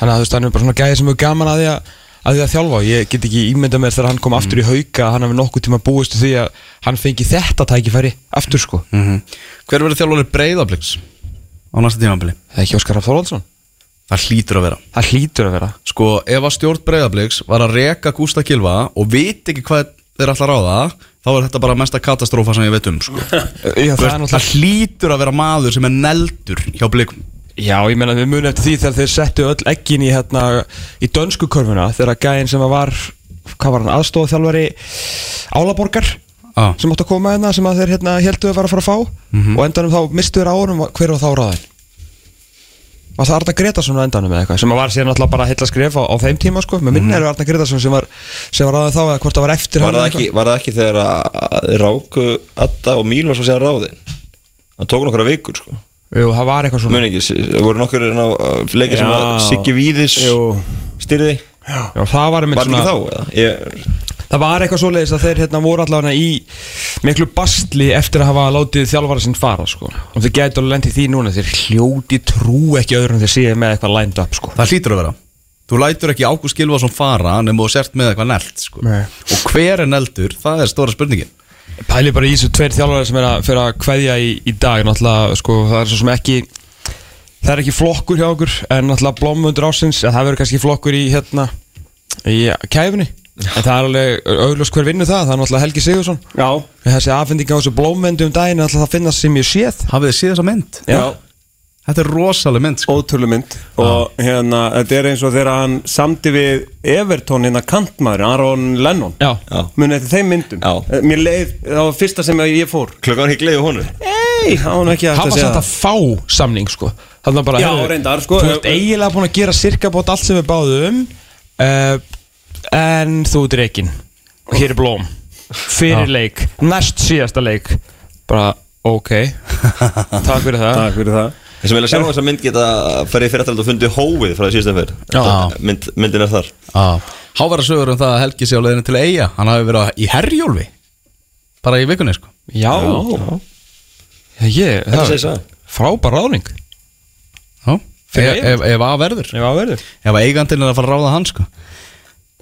[SPEAKER 3] þannig að þú veist, hann er bara svona gæði sem hefur gaman að því að, að, því að þjálfa og ég get ekki ímynda með þegar hann kom aftur
[SPEAKER 4] Mm.
[SPEAKER 3] í hauka að hann hefur nokkuð tíma búist við því að hann fengi þetta tækifæri aftur sko,
[SPEAKER 1] Mhm. Hver verður þjálfari breyðabliks á næsta tímanbili?
[SPEAKER 3] það er ekki Óskar Rafn Þorvaldsson
[SPEAKER 1] Það hlýtur að vera
[SPEAKER 3] það hlýtur að vera
[SPEAKER 1] Sko, ef að stjórn breyðabliks var að reka Gústa Kilva og veit ekki hvað þeir ætla að ráða þá er þetta bara mesta katastrófa sem ég veit um sko.
[SPEAKER 3] Já, það er
[SPEAKER 1] það,
[SPEAKER 3] náttúrulega
[SPEAKER 1] hlýtur að vera maður sem er neldur hjá blikum
[SPEAKER 3] Já, ég meina við munum eftir því þegar þeir settu öll ekkin í hérna í dönsku körfuna þegar gæinn sem var hvað var hann, aðstofa þjálfari Álaborgar
[SPEAKER 1] ah.
[SPEAKER 3] sem átti að koma hérna sem að þeir hérna heldu að vera að fara að fá
[SPEAKER 4] Mhm.
[SPEAKER 3] og endanum þá mistu þeir á honum hver var þá ráðin var það Arna Gretarsson á endanum eða eitthvað sem að var síðan alltaf bara heilla skref á, á þeim tíma sko, með minna eru Arna Gretarsson sem var, sem var ráðin þá eða hvort það var eftir
[SPEAKER 4] Mhm. var
[SPEAKER 3] hann
[SPEAKER 4] það,
[SPEAKER 3] eða
[SPEAKER 4] ekki, var það ekki þegar að að þeir ráku Adda og Míl var svo séðan ráðin það tók nokkra vikur sko
[SPEAKER 3] eitthvað. Jú, það var eitthvað svona
[SPEAKER 4] muni ekki, s- voru nokkur hérna leikir sem að
[SPEAKER 2] Já.
[SPEAKER 4] Siggi Víðis
[SPEAKER 2] Jú.
[SPEAKER 4] styrði
[SPEAKER 3] Já, það var einmitt
[SPEAKER 4] var
[SPEAKER 3] svona-
[SPEAKER 4] ekki þá eða? Ég,
[SPEAKER 3] Það var eitthvað svoleiðis að þeir hérna voru allavega í miklu bastli eftir að hafa látið þjálfara sinn fara sko. og þeir gætu alveg lent í því núna þeir hljóti trú ekki öðrum þeir séu með eitthvað lined up sko.
[SPEAKER 1] Það hlýtur að vera Þú lætur ekki Ágúst Kilvason fara nema þú sért með eitthvað neld sko.
[SPEAKER 3] Nei.
[SPEAKER 1] og hver er neldur, það er stóra spurningin
[SPEAKER 3] Pæli bara í þessu tveir þjálfara sem er að fyrir að kveðja í, í dag náttúrulega sko, það er svo sem ekki það er ekki flokkur hjá okkur en náttúrulega blómundur ásins en það verður kannski flokkur í hérna Já, kæfni En það er alveg auglust hver vinnur það Það er náttúrulega Helgi Sigursson
[SPEAKER 2] Já,
[SPEAKER 3] Þessi afhending á þessu blómvendu um daginn er alltaf að finna sem ég séð
[SPEAKER 1] Hafið þið séð þessa mynd?
[SPEAKER 2] já,
[SPEAKER 1] Þetta er rosaleg mynd sko.
[SPEAKER 2] ótrúlega mynd Og hérna, þetta er eins og þegar hann samdi við Everton hérna kantmaður Aron Lennon
[SPEAKER 3] Já
[SPEAKER 4] Já.
[SPEAKER 2] Munið eftir þeim myndum
[SPEAKER 4] Já.
[SPEAKER 2] Eh, Mér leið, það var fyrsta sem ég fór
[SPEAKER 4] Klukkan ekki gleðið honum
[SPEAKER 2] Nei, það var nú ekki hægt
[SPEAKER 3] Hann var samt að fá samning sko Þannig að bara
[SPEAKER 2] Já,
[SPEAKER 3] heyrðu,
[SPEAKER 2] reyndar, sko.
[SPEAKER 3] Þú ert eiginlega búin að gera sirka bótt allt sem við báðum uh, En þú ert reikin Og hér er blóm Fyrir leik, næst síðasta leik Bara, ok Takk fyrir það
[SPEAKER 2] Takk fyrir það
[SPEAKER 4] Þeir sem vilja sjá þess að mynd geta farið fyrir aftur og fundið hóið frá því síðustan fyrir mynd, myndin er þar
[SPEAKER 1] Háværa sögur um það að Helgi sé á leiðinu til eiga Hann hafi verið í herjólfi Bara í vikunni sko
[SPEAKER 3] Já, já. Ég,
[SPEAKER 4] Þetta
[SPEAKER 3] það
[SPEAKER 4] segir sagan.
[SPEAKER 3] Frábær ráðning
[SPEAKER 1] Já.
[SPEAKER 3] Fyrir
[SPEAKER 1] Ef- Ef ef að verður
[SPEAKER 3] Ef að verður
[SPEAKER 1] Ef að eigandinn er að fara að ráða hann sko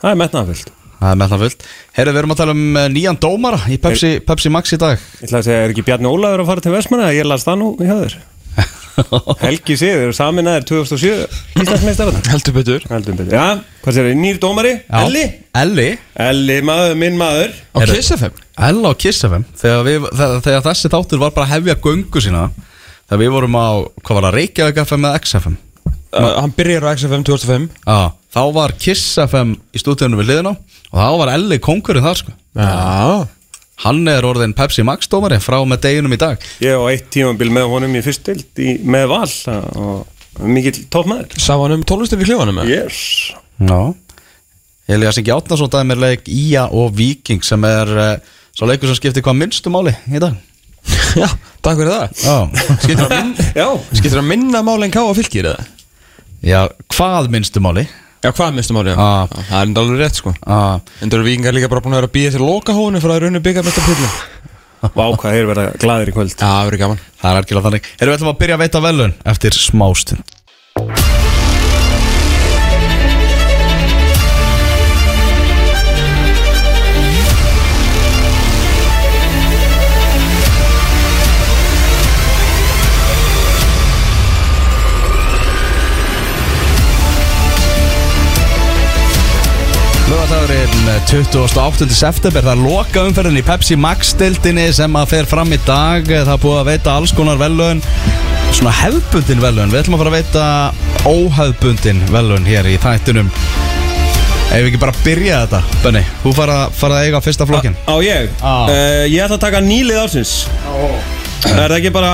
[SPEAKER 2] Það er metnaðafullt
[SPEAKER 1] Það er meðan fullt Herru, við erum að tala um eh, nýjan dómara í Pepsi, Pepsi Max í dag
[SPEAKER 2] Ég ætla að segja, er ekki Bjarni Ólaður að fara til Vestmanna? Ég las það nú í höður Helgi Sigur, saminæður 2007 Íslandsmeistarinn
[SPEAKER 3] Heldur betur
[SPEAKER 2] Heldum betur Já, hvað sér, nýr dómari?
[SPEAKER 1] Já.
[SPEAKER 2] Elli?
[SPEAKER 1] Elli
[SPEAKER 2] Elli maður, minn maður
[SPEAKER 3] Á
[SPEAKER 1] Heyrðu.
[SPEAKER 3] Kiss FM
[SPEAKER 1] Ella á Kiss FM þegar, við, þegar, þegar þessi þáttur var bara að hefja göngu sína Þegar við vorum á, hvað var það, Reykjavík FM eða XFM
[SPEAKER 3] uh, Hann byrjar á XFM 2005
[SPEAKER 1] Já, þá var Kiss FM í stúdíunum við liðina Og þá var Elli konkurinn þar sko
[SPEAKER 3] Já
[SPEAKER 1] Hann er orðin Pepsi Max dómari frá og með deginum í dag
[SPEAKER 2] Ég á eitt tímambil með honum í fyrst deild í, með val og mikill toppmaður
[SPEAKER 3] Sá hann um tólestinni klífanum eða?
[SPEAKER 2] Yes
[SPEAKER 1] Já Elias Ingi Átnarsson dæmir leik Ía og Víking sem er uh, svo leikur sem skiptir hvað minnstu máli í dag
[SPEAKER 3] Já, takk fyrir það
[SPEAKER 1] Já, skiptir að minn
[SPEAKER 2] Já,
[SPEAKER 3] Skiltur að minna máli en ká á fylgir eða?
[SPEAKER 1] Já, hvað minnstu máli?
[SPEAKER 3] Já, hvað mistum árið?
[SPEAKER 1] Ah.
[SPEAKER 3] Það er enda alveg rétt sko
[SPEAKER 1] Ah,
[SPEAKER 3] En það eru vikingar líka bara búin að vera að býja til loka hónu fyrir að raunni byggja mesta pullu Já,
[SPEAKER 2] vá hvað þeir verða glaðir í kvöld
[SPEAKER 3] það verður gaman
[SPEAKER 1] það er algjörlega þannig Erum við ætlum að byrja að veita velun eftir smástund Lögatagurinn 28. september, það er loka umferðin í Pepsi Max-dildinni sem að fer fram í dag Það er búið að veita alls konar velun, svona hefbundin velun Við ætlum að fara að veita óhefbundin velun hér í þættunum Ef við ekki bara byrja þetta, Benni, þú fara, fara að eiga fyrsta flokkin
[SPEAKER 2] Á ég,
[SPEAKER 1] Á.
[SPEAKER 2] Eh, ég ætla að taka nýlið ásins Er það ekki bara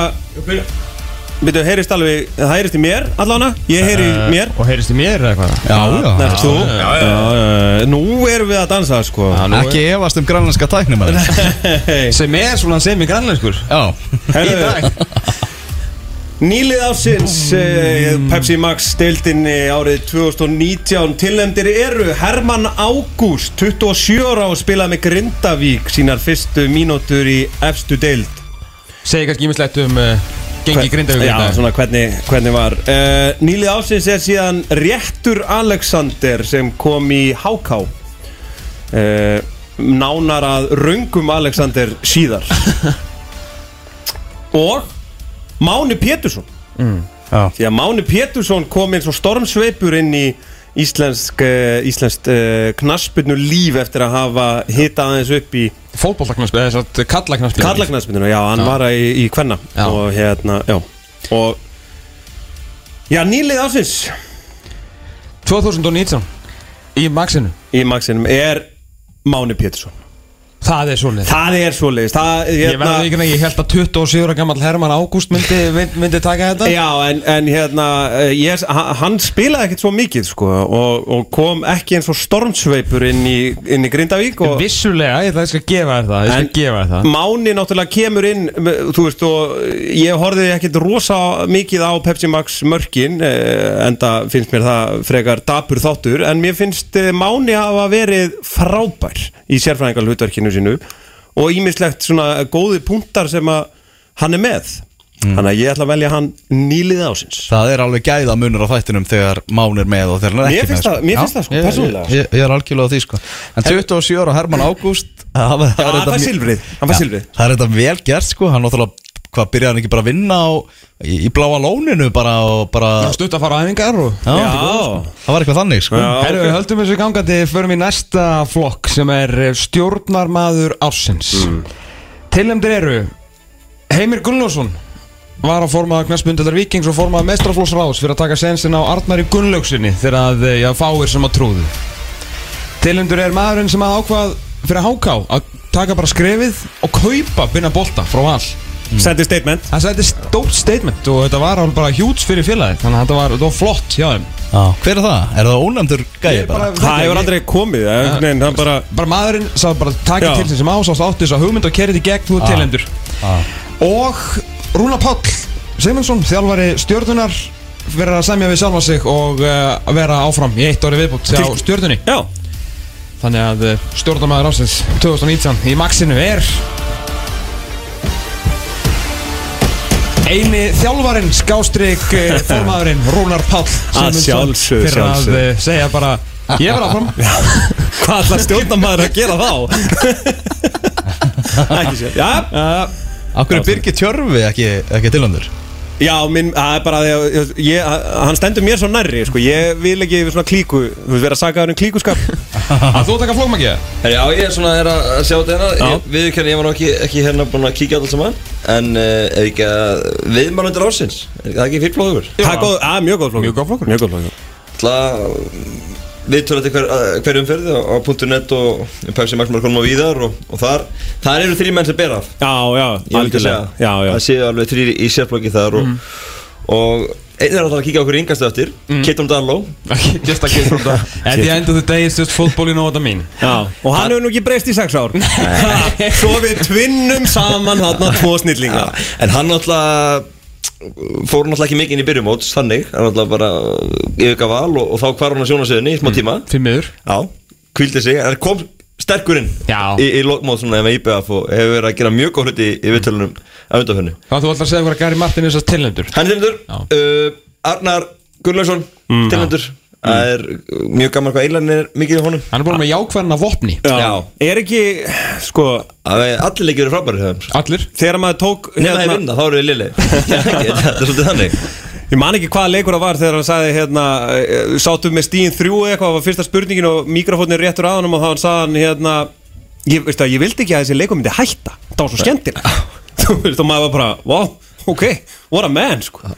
[SPEAKER 2] Býtu, heyrist alveg, það heyrist í mér allána Ég heyri í mér
[SPEAKER 3] Og heyrist þið mér eða hvað?
[SPEAKER 1] Já, já,
[SPEAKER 2] Nert þú já, já, já. Nú erum við að dansa sko
[SPEAKER 1] ekki efast um grænlandska tæknum
[SPEAKER 3] Sem er svona sem í grannleinskur
[SPEAKER 1] Já,
[SPEAKER 2] Herðu, Nýlið ásins eh, Pepsi Max deildinni árið 2019 tilnefndir eru Herman Ágúst 27 ára og spilaði með Grindavík sínar fyrstu mínútur í efstu deild
[SPEAKER 3] Segir kannski ímislegt um uh, gengi hérna? grindavík í
[SPEAKER 2] Já,
[SPEAKER 3] dag.
[SPEAKER 2] svona hvernig, hvernig var uh, Nýlið ásins er síðan Réttur Alexander sem kom í Háká uh, Nánar að Röngum Alexander síðar Og Máni Pétursson
[SPEAKER 1] já
[SPEAKER 2] Því að Máni Pétursson kom eins og stormsveipur inn í Íslensk, uh, íslensk uh, knaspinu líf eftir að hafa hitað aðeins upp í
[SPEAKER 3] Fótboltaknarspi, eða satt kallaknarspi
[SPEAKER 2] Kallaknarsmyndinu, já, hann
[SPEAKER 3] Já.
[SPEAKER 2] var að í, í kvenna
[SPEAKER 3] Já.
[SPEAKER 2] og hérna, já og já, nýlið ásins
[SPEAKER 3] 2019 Í Maxinu
[SPEAKER 2] í Maxinum er Máni Pétursson
[SPEAKER 3] Það er svolítið
[SPEAKER 2] það er svoleiðis, það
[SPEAKER 3] Ég
[SPEAKER 2] hérna,
[SPEAKER 3] verði ekki að ég held að 27 ára gammal Herman Ágúst myndi, mynd- myndi taka þetta
[SPEAKER 2] já, en, en hérna eh, ég, ha- hann spilaði ekkert svo mikið sko, og, og kom ekki eins og stormsveipur inn í, inn í Grindavík og
[SPEAKER 3] Vissulega, ég ætla að ég skal gefa þér það Ég skal gefa þér það
[SPEAKER 2] Máni náttúrulega kemur inn m- Þú veist og ég horfði ekkit rosa mikið á Pepsi Max mörkin eh, Enda finnst mér það frekar dapur þáttur En mér finnst eh, Máni hafa verið frábær Í sérfræðingal hlutverkinu sínu Og ímislegt svona góði punktar sem að hann er með
[SPEAKER 3] Mm.
[SPEAKER 2] Þannig að ég ætla að velja hann nýlið ásins
[SPEAKER 1] Það er alveg gæða munur á þættinum þegar Mán er með og þegar hann er
[SPEAKER 2] Mér
[SPEAKER 1] ekki
[SPEAKER 2] finnst
[SPEAKER 1] með
[SPEAKER 2] það- mér
[SPEAKER 1] Já,
[SPEAKER 2] finnst það, sko,
[SPEAKER 1] ég-
[SPEAKER 2] persónulega.
[SPEAKER 1] ég, ég, ég er algjörlega á því sko En 27 ára Herman Ágúst Það var- það er
[SPEAKER 2] hann
[SPEAKER 1] þetta
[SPEAKER 2] fær
[SPEAKER 1] mjög-
[SPEAKER 2] silfrið, hann fær
[SPEAKER 1] Já,
[SPEAKER 2] silfrið.
[SPEAKER 1] Það er þetta vel gert sko Hann náttúrulega hvað byrjaði hann ekki bara að vinna á, í, í bláa lóninu bara, og bara
[SPEAKER 3] Það er stutt að fara á æfingar og
[SPEAKER 1] Já, það var eitthvað þannig sko.
[SPEAKER 2] Já,
[SPEAKER 3] Herru,
[SPEAKER 2] ok.
[SPEAKER 3] Mm. við höldum þessu gangandi, förum í næsta flokk sem er eh, stjórnarmaður ársins mm. Tilnæmdir eru Heimir Gunnlósson var að formaða knastbundildar Víkings og formaða mestraflós ráðs fyrir að taka sensin á Arnari Gunnlaugsinni þegar að eh, já, fáir sem að trúðu Tilnæmdur er maðurinn sem að ákvað fyrir háká að taka bara skrefið og kaupa binna bolta frá all
[SPEAKER 2] Sendi statement
[SPEAKER 3] Það sætti stórt statement og þetta var alveg bara hjúts fyrir félagið þannig að þetta var, þetta var flott hjá þeim
[SPEAKER 1] Já. Hver er það? Er það ónæmdur gæði bara?
[SPEAKER 2] Það hefur aldrei komið einhvern veginn, það bara
[SPEAKER 3] bara maðurinn sá bara takið
[SPEAKER 2] Já.
[SPEAKER 3] til sem á sást átti þess að hugmynd og kerið í gegn þú ah. tilendur og Rúna Páll Simonsson þjálfari stjörnunar verið að semja við sjálfa sig og uh, vera áfram í eitt orði viðbútt á
[SPEAKER 2] Til-
[SPEAKER 3] stjörnunni
[SPEAKER 2] Já,
[SPEAKER 3] þannig að uh, stjórnamaður ásins 2019 í maxinu er eini þjálfarin skástrík eh, formaðurinn Rúnar Páll
[SPEAKER 2] Að
[SPEAKER 3] Sæmundsson,
[SPEAKER 2] sjálfsögðu,
[SPEAKER 3] fyrir að
[SPEAKER 2] sjálfsögðu.
[SPEAKER 3] uh, segja bara ég verð áfram
[SPEAKER 2] hvað ætlar stjórnamaður að gera þá? Ekki sér Já,
[SPEAKER 1] Akkur er Birgir Tjörfi ekki, ekki tilöndur?
[SPEAKER 2] já minn, það er bara því að ég- ég, hann stendur mér svo nærri sko. Ég vil ekki yfir svona klíku Þú veist vera að sagaður um klíkuskap
[SPEAKER 3] að þú taka flókmakið
[SPEAKER 4] Herri, Já, ég er svona er að að sjá þetta hérna Ég- Viðurkenni, ég var nú ekki, ekki hérna búin að kíkja á þetta saman En uh, ef ekki að viðmannundur ársins Er það ekki fyrrblóður?
[SPEAKER 2] Það er góð, að, mjög góð flokkur
[SPEAKER 3] Mjög góð flokkur.
[SPEAKER 2] Mjög góð flokkur
[SPEAKER 4] Það við tölum þetta hver, að- hver umferð á, á .net og Pepsi Max Markonum og víðar og, og þar, þar eru þrý menn sem ber af
[SPEAKER 2] Já, já,
[SPEAKER 4] Ég vil ekki segja
[SPEAKER 2] Já, já
[SPEAKER 4] Það séu alveg þrýri í sérflokki þar og, og einn er alltaf að kíkja á okkur yngast eftir mm. Keitun Darló
[SPEAKER 3] Just að kemur þetta At the end of the day it's just football you know what I mean
[SPEAKER 2] Já, og hann hefur nú ekki breyst í sex ár Svo við tvinnum saman þarna tvo snillinga
[SPEAKER 4] En hann náttúrulega fór náttúrulega ekki mikið inn í byrjumóts þannig, hann náttúrulega bara yfirgaf val og, og þá hvar hann að sjónasöðinni í smá tíma
[SPEAKER 3] Fyrir miður
[SPEAKER 4] Já, kvildi sig, hann kom sterkurinn
[SPEAKER 3] Já.
[SPEAKER 4] í, í lokmót svona með IBF og hefur verið að gera mjög góð hluti í viðtölunum af undanfennu
[SPEAKER 3] Hvað þú ætlar að segja hvað Gary Martin er þess að tilnendur
[SPEAKER 4] Hann tilhendur,
[SPEAKER 3] Já.
[SPEAKER 4] uh, Arnar Gunnlaugsson mm. tilhendur Það er uh, mjög gaman hvað eilan er mikið í honum
[SPEAKER 3] Hann er búin með jákvæðan af vopni
[SPEAKER 4] Já.
[SPEAKER 2] Er ekki, sko,
[SPEAKER 4] Það er- Allir leikir eru frábæri þeim sko.
[SPEAKER 3] Allir
[SPEAKER 2] þegar maður tók hérna-
[SPEAKER 4] Nefna það er vinna, þá eru við lili Þetta er svolítið þannig
[SPEAKER 2] Ég man ekki hvaða leikur það var þegar hann sagði hérna eh, Sátum með stíðin þrjú eða eitthvað Það var fyrsta spurningin og mikrofónin er réttur að honum Og þá hann sagði hann hérna Ég, veistu, að ég vildi ekki að þessi leikur myndi hætta Það var svo skemmtilega Þú veist og maður var bara, wow, ok, what a man sko.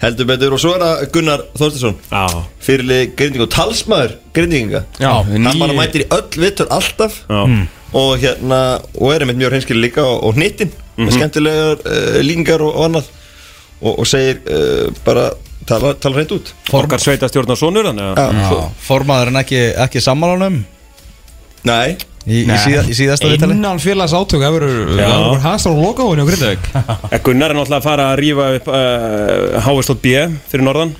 [SPEAKER 4] Heldur betur og svo er það Gunnar Þorstinsson
[SPEAKER 2] Já,
[SPEAKER 4] fyrirlið grinding og talsmaður grindinga
[SPEAKER 3] Já,
[SPEAKER 4] hann
[SPEAKER 3] nýi-
[SPEAKER 4] bara mætir í öll vittur alltaf
[SPEAKER 2] Já. Mm.
[SPEAKER 4] og hérna og er einmitt mjög hreinskili líka og, og hnittin með skemmtilegar uh, líkingar og, og annað og, og segir uh, bara tala, tala hreint út
[SPEAKER 2] okkar sveitastjórnar sonur þannig að
[SPEAKER 4] ja. svo,
[SPEAKER 1] Formaðurinn ekki, ekki sammálunum
[SPEAKER 4] nei
[SPEAKER 1] í, í, síða, í síðasta viðtali?
[SPEAKER 3] Innan félags átök Það verður hasar og lokaóinu á Grindavík
[SPEAKER 2] En Gunnar er náttúrulega að fara að rífa upp uh, HSLB fyrir norðan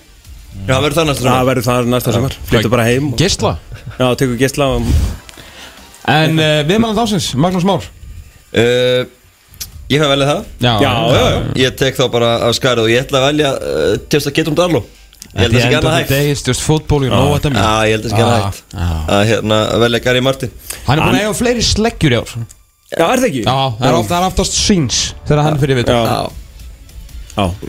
[SPEAKER 4] Já, það verður það næsta
[SPEAKER 2] Það
[SPEAKER 4] sumar.
[SPEAKER 2] verður það næsta sumar Flyttu bara heim og,
[SPEAKER 3] Gistla
[SPEAKER 2] Já, tekur gistla og,
[SPEAKER 3] En uh, viðmannan dásins Magnús Már
[SPEAKER 4] uh, ég hef velið það
[SPEAKER 2] Já, já, já
[SPEAKER 4] ég tek þá bara af skarið og ég ætla að velja uh, tjóðst að geta um Darlo ég held að það sé ekki annað hægt
[SPEAKER 3] It's just football you know what I mean
[SPEAKER 4] Já, ég held að það sé ekki annað
[SPEAKER 3] Ah,
[SPEAKER 4] hægt að hérna, velja Gary Martin
[SPEAKER 3] Hann er búin að eiga fleiri sleggjur í ár
[SPEAKER 2] Já, er það ekki?
[SPEAKER 3] Já, það er oft- það er aftast síns Þegar hann fyrir við
[SPEAKER 2] Já,
[SPEAKER 4] Já.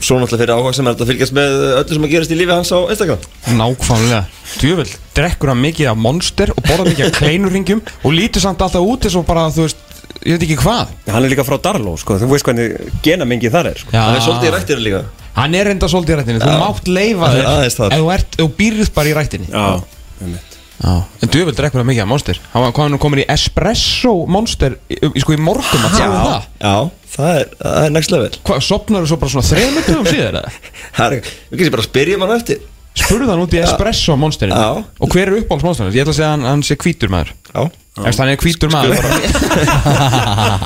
[SPEAKER 4] Svo náttúrulega fyrir áhuga sem er þetta að fylgjast með eh, öllu sem að gerast í lífi hans á Instagram
[SPEAKER 3] Nákvæmlega Djövel, drekkur hann mikið af monster og borðar mikið af kleinurringjum og lítur samt alltaf út eins og bara, þú veist, ég veit ekki hvað
[SPEAKER 2] Hann er líka frá Darló, sko, þú veist hvernig genamengi þar er, sko
[SPEAKER 4] Það er svolítið í rættir líka
[SPEAKER 3] Hann er enda svolítið í rættinni, þú mátt leifa
[SPEAKER 4] Það er
[SPEAKER 3] þér
[SPEAKER 4] aðeins þar.
[SPEAKER 3] ef þú, ert, ef þú býrð bara í rættinni
[SPEAKER 2] Já,
[SPEAKER 3] Já. En djöfvel drekkur það mikið af monster Hann var komin og komin í espresso monster í, í- sko í morgun að segja það
[SPEAKER 4] Já, það er, það er next level
[SPEAKER 3] Hvað, sopnar þú svo bara svona þreymur dögum síðar eða?
[SPEAKER 4] Það er, Við kannski bara að spyrja mann eftir
[SPEAKER 3] Spurðu hann út í espresso monsterinu
[SPEAKER 4] Já.
[SPEAKER 3] Og hver er uppáhalds monsterinu? Ég ætla að segja að hann, hann sé hvítur maður
[SPEAKER 4] Já
[SPEAKER 3] Ef hann er hvítur maður bara-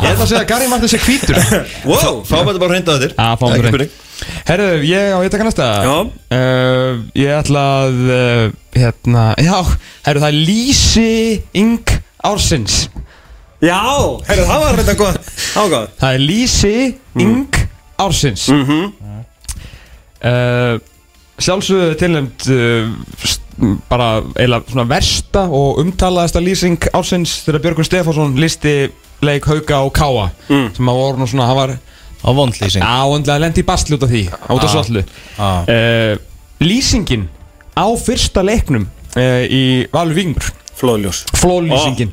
[SPEAKER 3] Ég ætla að segja að Gary Martin sé hvítur
[SPEAKER 4] Wow, fá maður bara reynda eftir
[SPEAKER 3] Já, fáum
[SPEAKER 4] Ekki
[SPEAKER 3] við
[SPEAKER 4] spurning.
[SPEAKER 3] reynd Herðu, ég á eitthvað næsta
[SPEAKER 2] Já.
[SPEAKER 3] uh, Ég ætla að uh, Hérna, já Herðu, það er lýsing ársins
[SPEAKER 2] já heyrðu, það var reynda góð Það var góð
[SPEAKER 3] Það er lýsing ársins mm -hmm. uh, Sjálfsögðu tilnæmt uh, st- bara eila svona versta og umtalaðasta lýsing ársins þegar Björgun Stefánsson listi leik Hauka og Káa sem að voru nú svona, hann var
[SPEAKER 1] á vondlýsing
[SPEAKER 3] Já, andlega lendi í basli út af því Út af svollu
[SPEAKER 1] Já.
[SPEAKER 3] uh, Lýsingin á fyrsta leiknum uh, í Valur Vingur
[SPEAKER 2] Flóðljós
[SPEAKER 3] Flólýsingin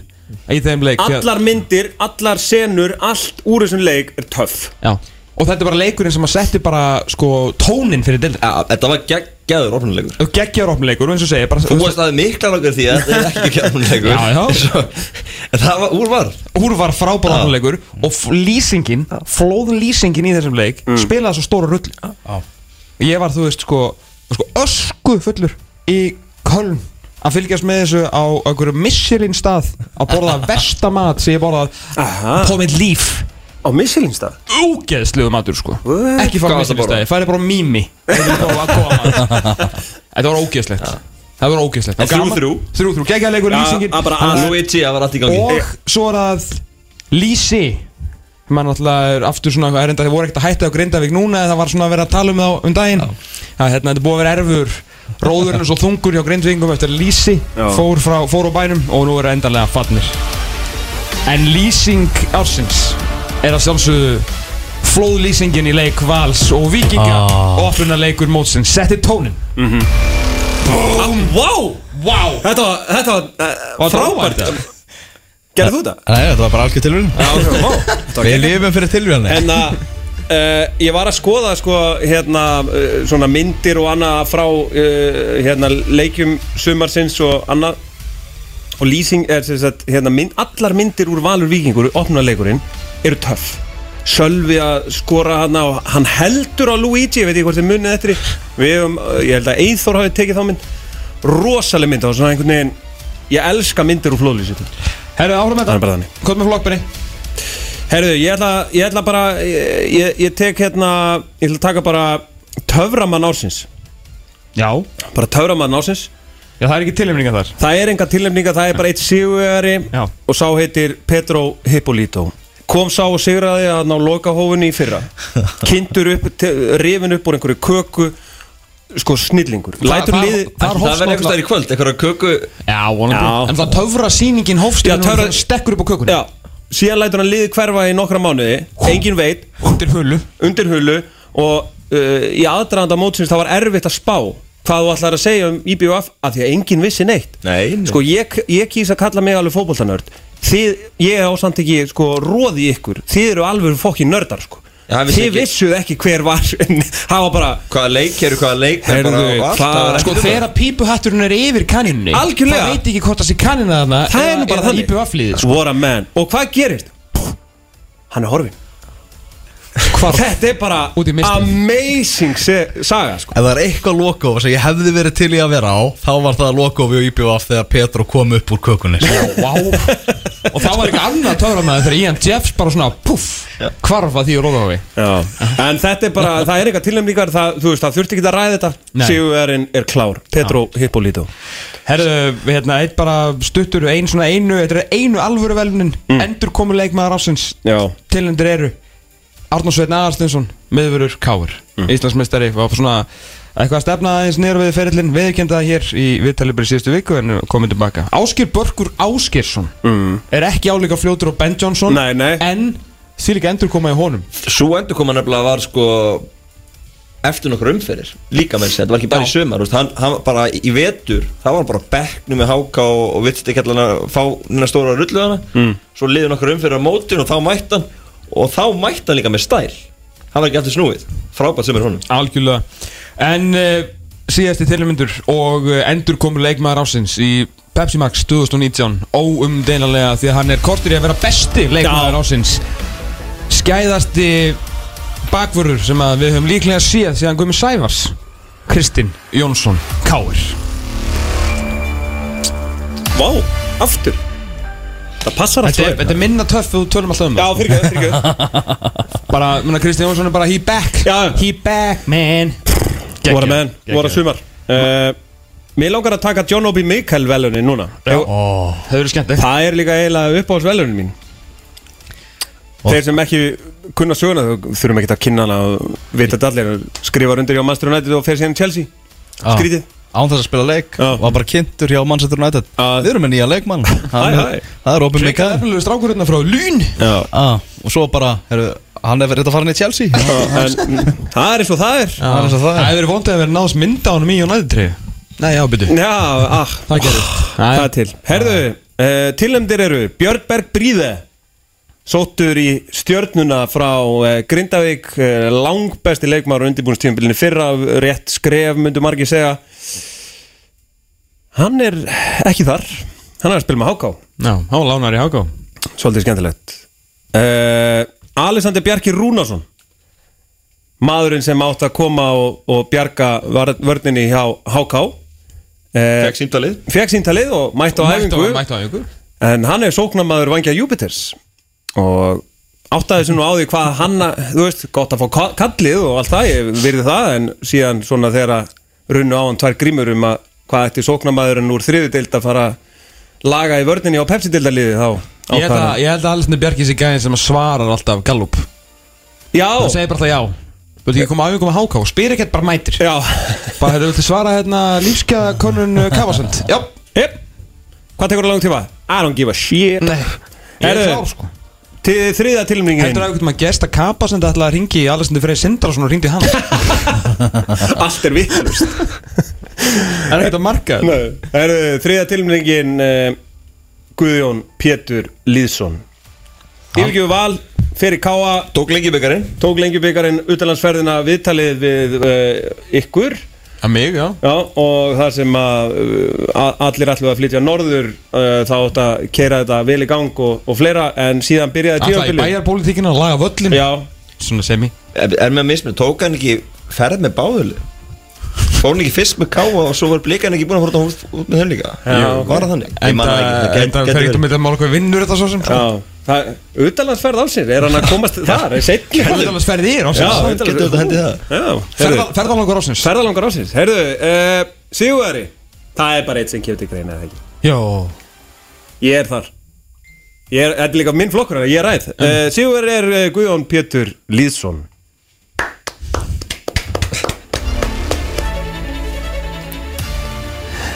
[SPEAKER 3] í þeim leik þegar-
[SPEAKER 2] Allar myndir, allar senur, allt úr þessum leik er töff
[SPEAKER 3] Já Og þetta er bara leikurinn sem að setti bara sko tónin fyrir dildin
[SPEAKER 4] Ja, Þetta var geggjaður opnulegur
[SPEAKER 3] Og geggjaður opnuleikur og eins og segja bara,
[SPEAKER 4] Þú varst aðeins mikla langar því að þetta er ekki geggjaður opnuleikur
[SPEAKER 3] Já, já.
[SPEAKER 4] En það var úr var
[SPEAKER 3] Úr var frábæra opnuleikur Og f- lýsingin, flóðun lýsingin í þessum leik Spilaði svo stóra rull Ég var þú veist sko, sko ösku fullur í Köln að fylgjast með þessu á einhverju Michelin stað að borða vestamat sem ég borðað
[SPEAKER 2] Aha.
[SPEAKER 3] komið líf
[SPEAKER 2] Á Michelinstað
[SPEAKER 3] ógeðslegu matur sko
[SPEAKER 2] What?
[SPEAKER 3] ekki fara
[SPEAKER 4] Hvað varstu að
[SPEAKER 3] Michelin staði, færi bara á mými þetta var ógeðslegt það var ógeðslegt
[SPEAKER 4] En
[SPEAKER 3] Það var gaman.
[SPEAKER 4] þrjú-þrjú.
[SPEAKER 3] þrjú þrjú geggjaður leikur
[SPEAKER 2] Ja,
[SPEAKER 3] lýsingin
[SPEAKER 2] að bara
[SPEAKER 3] Hann-
[SPEAKER 2] að-
[SPEAKER 4] Luigi, það var allt í gangi
[SPEAKER 3] og svo er að Lísi mann alltaf er aftur svona eitthvað erinda þeir voru ekkert að hætta á Grindavík núna en það var svona að vera að tala um það um daginn að hérna þetta er búið að vera erfur róðurinn er svo þungur hjá Grindvíkingum eftir að Lísi
[SPEAKER 2] Já.
[SPEAKER 3] fór, frá, fór á bænum og nú eru endanlega fannir en Lýsing ársins er að sjálfsögðu flóðlýsingin í leik Vals og Víkinga ah. og opnuna leikur mótsins setti tónin
[SPEAKER 2] Wow,
[SPEAKER 3] Vá!
[SPEAKER 2] Ah, þetta var, þetta var, uh,
[SPEAKER 3] Var þetta
[SPEAKER 2] frábært
[SPEAKER 3] óvænt,
[SPEAKER 2] Gerðu þú þetta?
[SPEAKER 1] Nei, þetta var bara algjör tilvíðin
[SPEAKER 2] Já, wow
[SPEAKER 1] Við lifum fyrir tilvíðinni
[SPEAKER 2] En að Uh, ég var að skoða sko, hérna, uh, svona myndir og annað frá uh, hérna, leikjum sumarsins og annað og lýsing er sem sagt hérna, mynd, allar myndir úr Valur Víkingur opna leikurinn eru töff Sölvi að skora hana og hann heldur á Luigi, ég veit ekki hvort þið munið eftir því. við hefum, uh, ég held að Eithor hafi tekið þá mynd, rosaleg mynd og svona einhvern veginn, ég elska myndir úr flóðlýsingum
[SPEAKER 3] Herru áfram með
[SPEAKER 2] Það er
[SPEAKER 3] þetta
[SPEAKER 2] bara þannig.
[SPEAKER 3] Hvað með flokkbenni?
[SPEAKER 2] Herðu, ég ætla, ég ætla bara ég, ég, ég tek hérna ég ætla að taka bara töframann ársins
[SPEAKER 3] Já
[SPEAKER 2] bara töframann ársins
[SPEAKER 3] Já það er ekki tilhemninga þar
[SPEAKER 2] það er enga tilnefninga, það er bara eitt sigurvegari
[SPEAKER 3] Já.
[SPEAKER 2] og sá heitir Pedro Hippolito kom sá og sigraði að ná lokahófunni í fyrra kindur upp, te- rifin upp úr einhverju köku sko snillingur lætur
[SPEAKER 3] það-
[SPEAKER 2] liði
[SPEAKER 3] það-
[SPEAKER 4] Það verður eitthvað stær í kvöld, eitthvað köku
[SPEAKER 3] Já, vonandi
[SPEAKER 2] Já.
[SPEAKER 3] En það töfra sýningin hófst
[SPEAKER 2] Já,
[SPEAKER 3] Já, töfra
[SPEAKER 2] töfra-
[SPEAKER 3] Stekkur upp á
[SPEAKER 2] já,
[SPEAKER 3] kökunni
[SPEAKER 2] síðan lætur hann liði hverfa í nokkra mánuði engin veit,
[SPEAKER 3] Undir hulu
[SPEAKER 2] undir hulu og uh, í aðdraðanda mótsins það var erfitt að spá hvað þú ætlar að segja um IBF af því að enginn vissi neitt
[SPEAKER 4] Nei, nei.
[SPEAKER 2] sko ég, ég kýs að kalla mig alveg fótboltanörd þið, ég á samt ekki sko róði ykkur, þið eru alveg fokkin nördar sko,
[SPEAKER 4] Já, hann vissi
[SPEAKER 2] þið
[SPEAKER 4] ekki.
[SPEAKER 2] vissuð ekki hver var það var bara
[SPEAKER 4] Hvaða leik eru, hvaða leik er bara
[SPEAKER 2] Heyrðu,
[SPEAKER 4] og allt,
[SPEAKER 2] hvað-
[SPEAKER 4] það var
[SPEAKER 3] Sko
[SPEAKER 4] ekkert um
[SPEAKER 3] þegar pípuhatturinn er yfir kanínunni
[SPEAKER 2] Algjörlega.
[SPEAKER 3] Það veit ekki hvort það sé kanina þarna
[SPEAKER 2] það er nú bara
[SPEAKER 3] Eða sko. íbjöfafliði
[SPEAKER 2] what a man, og hvað gerist Pff, hann er horfin
[SPEAKER 3] Hvar
[SPEAKER 2] þetta er bara
[SPEAKER 3] Út í mistið.
[SPEAKER 2] amazing se- saga sko
[SPEAKER 1] Ef það er eitthvað lokof sem ég hefði verið til í að vera á þá var það lokof í IPVF þegar Petro kom upp úr kökunni
[SPEAKER 3] Vá Og það var ekki annað töfra með Þegar Ian Jeffs bara svona Puff Hvarfa því og róða á því
[SPEAKER 2] Já. En þetta er bara, það er eitthvað tilnæmningar það, Þú veist, það þurfti ekki að ræða þetta
[SPEAKER 3] Nei.
[SPEAKER 2] Sigurverðin er klár, Petro Hippolito
[SPEAKER 3] Herðu, við hérna, eitt bara stuttur Ein svona einu, þetta er einu alvöru velmnin Endur komu leikmaður ásins
[SPEAKER 2] Já,
[SPEAKER 3] tilendur eru Arnór Sveitn Aðarstinsson, miðvörur Káur
[SPEAKER 2] Mm.
[SPEAKER 3] Íslandsmeistari, var svona eitthvað að stefna aðeins niður við ferillin viðurkendaða hér í viðtalið bara í síðustu viku en komið tilbaka. Áskir Börkur Áskirsson er ekki álíka fljótur og Ben Johnson
[SPEAKER 2] Mm. Nei, nei.
[SPEAKER 3] en því líka endur koma í honum
[SPEAKER 4] Svo endur koma nefnilega var sko eftir nokkra umferðir líka með þessi, þetta var ekki bara í sömar þú veist, hann, hann var bara í vetur, það var bara á bekknum með háka og, og vitt ekki allan að fá nýna stóra rulluðana mm. svo liður nokkra umferðir á mótin og þá mætti hann og þá mætti hann líka með stæl hann var ekki aftur snúið, frábært sömur honum
[SPEAKER 3] Algjörlega En uh, síðasti tilmyndur og uh, endur komur leikmaður ásins í Pepsi Max 2019 Óumdeinanlega því að hann er kortur í að vera besti leikmaður
[SPEAKER 2] Já.
[SPEAKER 3] ásins Skæðasti bakvörður sem að við höfum líklega séð síðan Guðmi Sævars Kristinn Jónsson Káir
[SPEAKER 2] vá, aftur Það passar
[SPEAKER 3] Þetta
[SPEAKER 2] alltaf
[SPEAKER 3] er, þetta er minna töff og tölum alltaf um
[SPEAKER 2] Já,
[SPEAKER 3] það
[SPEAKER 2] fyrir ekki, fyrir ekki
[SPEAKER 3] Bara, menna Kristinn Jónsson er bara he back
[SPEAKER 2] Já.
[SPEAKER 3] He back man
[SPEAKER 2] Vora menn, vora sumar uh, Mér langar að taka John Obi Mikkel velunin núna
[SPEAKER 3] Það verður skemmt
[SPEAKER 2] Það er líka eiginlega uppáhalds velunin mín Þeir sem ekki kunna söguna þau þurfum
[SPEAKER 3] Ah.
[SPEAKER 2] ekki að kynna hana og vita þetta allir skrifar undir hjá Master United og fer síðan í Chelsea Skrítið
[SPEAKER 1] án þess að spila leik
[SPEAKER 2] Já.
[SPEAKER 1] var bara kynntur hjá Manchester United
[SPEAKER 2] Já.
[SPEAKER 1] við erum með nýja leikmann Hann-
[SPEAKER 2] Hæ, hæ.
[SPEAKER 1] það er opið
[SPEAKER 3] Rikka
[SPEAKER 1] mikað
[SPEAKER 3] efnilegu strákur hérna frá Lún
[SPEAKER 2] Já,
[SPEAKER 1] og svo bara, heru, hann er verið að fara inn í Chelsea
[SPEAKER 2] já, en mm, það er eins og það er
[SPEAKER 1] Það er eins og það er.
[SPEAKER 3] Það hefur verið vondið að vera náðs mynda á honum í United-tri Nei, já, byrju
[SPEAKER 2] Já, ah,
[SPEAKER 3] Það gerist
[SPEAKER 2] það er til Herðu, uh, tilnæmdir eru Björnberg Bríða Sóttur í stjörnuna frá uh, Grindavík uh, Langbesti leikmaður á undirbúinstíðanbílinni Fyrra rétt skref, myndu margir segja Hann er ekki þar Hann er að spila með háká
[SPEAKER 3] Já, hann var lánar í Háká
[SPEAKER 2] Svolítið skemmtilegt uh, Alexander Bjarki Rúnarsson Maðurinn sem átt að koma og, og bjarga var- vörninni hjá HK
[SPEAKER 4] Fekk
[SPEAKER 2] uh,
[SPEAKER 4] símtalið
[SPEAKER 2] Fekk síntalið og mætti á æfingu
[SPEAKER 3] Mættu á æfingu
[SPEAKER 2] En hann er sóknamaður vangja Júpiters Og áttaði sem nú á því hvað hann Þú veist, gott að fá ka- kallið og allt það Ég virði það en síðan svona þegar að Runnu á hann tvær grímur um að Hvað ætti sóknamaðurinn úr þriðu deild að fara að Laga í vörninni á Pepsi-deildaliði Þá
[SPEAKER 3] Ég held
[SPEAKER 2] ákvað
[SPEAKER 3] að,
[SPEAKER 2] hann-
[SPEAKER 3] ég held að Alessandr Bjarki sé gæðin sem að svarar alltaf Gallup
[SPEAKER 2] Já,
[SPEAKER 3] Það segir bara alltaf já Þú veit ekki koma á æfingu með Háká Spyr ekkert bara mætir
[SPEAKER 2] já
[SPEAKER 3] Bara hefur viltu svara hérna uh, lífskeiðakönnun Kavasund Já
[SPEAKER 2] yep. Hvað tekur það langt tíma? I don't give a shit
[SPEAKER 3] Nei Ég er
[SPEAKER 2] Herðu.
[SPEAKER 3] klár sko
[SPEAKER 2] Til þriða tilmningin
[SPEAKER 3] Heldur að einhvern veginn að gesta Kavasund ætlaði að ringi Alessandr Freyr Sindrason og ringdi hann
[SPEAKER 2] Allt er vittlust
[SPEAKER 3] Það er ekkert að marka þetta.
[SPEAKER 2] Það eru þriða tilmningin uh, Guðjón Pétur Lýðsson Yfirgjöf val fyrir K.A.
[SPEAKER 4] Tók lengi byggarinn
[SPEAKER 2] Tók lengjubikarinn utanlandsferðina viðtalið við uh, ykkur
[SPEAKER 3] Að mig, já
[SPEAKER 2] Já, og þar sem að uh, a- allir ætlu að flytja norður uh, þá átt að keira þetta vel í gang og, og fleira en síðan byrjaði
[SPEAKER 3] Alltaf í
[SPEAKER 2] tíðanbili
[SPEAKER 3] bæjarpólitíkinu að laga völlin
[SPEAKER 2] Já,
[SPEAKER 3] Svona semi
[SPEAKER 4] Er, er með að mismið, tók hann ekki ferð með báðuli Fór hann ekki fyrst með káa og svo var blikan ekki búin að horta út, út með þeim líka Já, Var það þannig? Ég
[SPEAKER 3] En
[SPEAKER 4] man það ekki, það
[SPEAKER 3] það
[SPEAKER 4] gæti-
[SPEAKER 3] fer
[SPEAKER 4] gæti
[SPEAKER 3] ekkert
[SPEAKER 4] verið.
[SPEAKER 3] um þetta mál hvað vinnur þetta svo sem sko.
[SPEAKER 2] Já, það, utanlandsferð álsins, er hann að komast þar, er setni
[SPEAKER 3] Ferðalans ferði
[SPEAKER 2] Já,
[SPEAKER 3] ég ásins
[SPEAKER 4] Getur þetta hendið það?
[SPEAKER 2] Já,
[SPEAKER 3] Ferðal- Ferðalangur ásins
[SPEAKER 2] ferðalangar álsins, heyrðu, uh, Sigurðari, það er bara eitt sem kemur til greina, eða ekki,
[SPEAKER 3] Já
[SPEAKER 2] ég er þar, ég er, þetta er líka minn flokkur, ég er ræð, uh, Sigurðari er uh, Guðjón Pétur Lýðsson,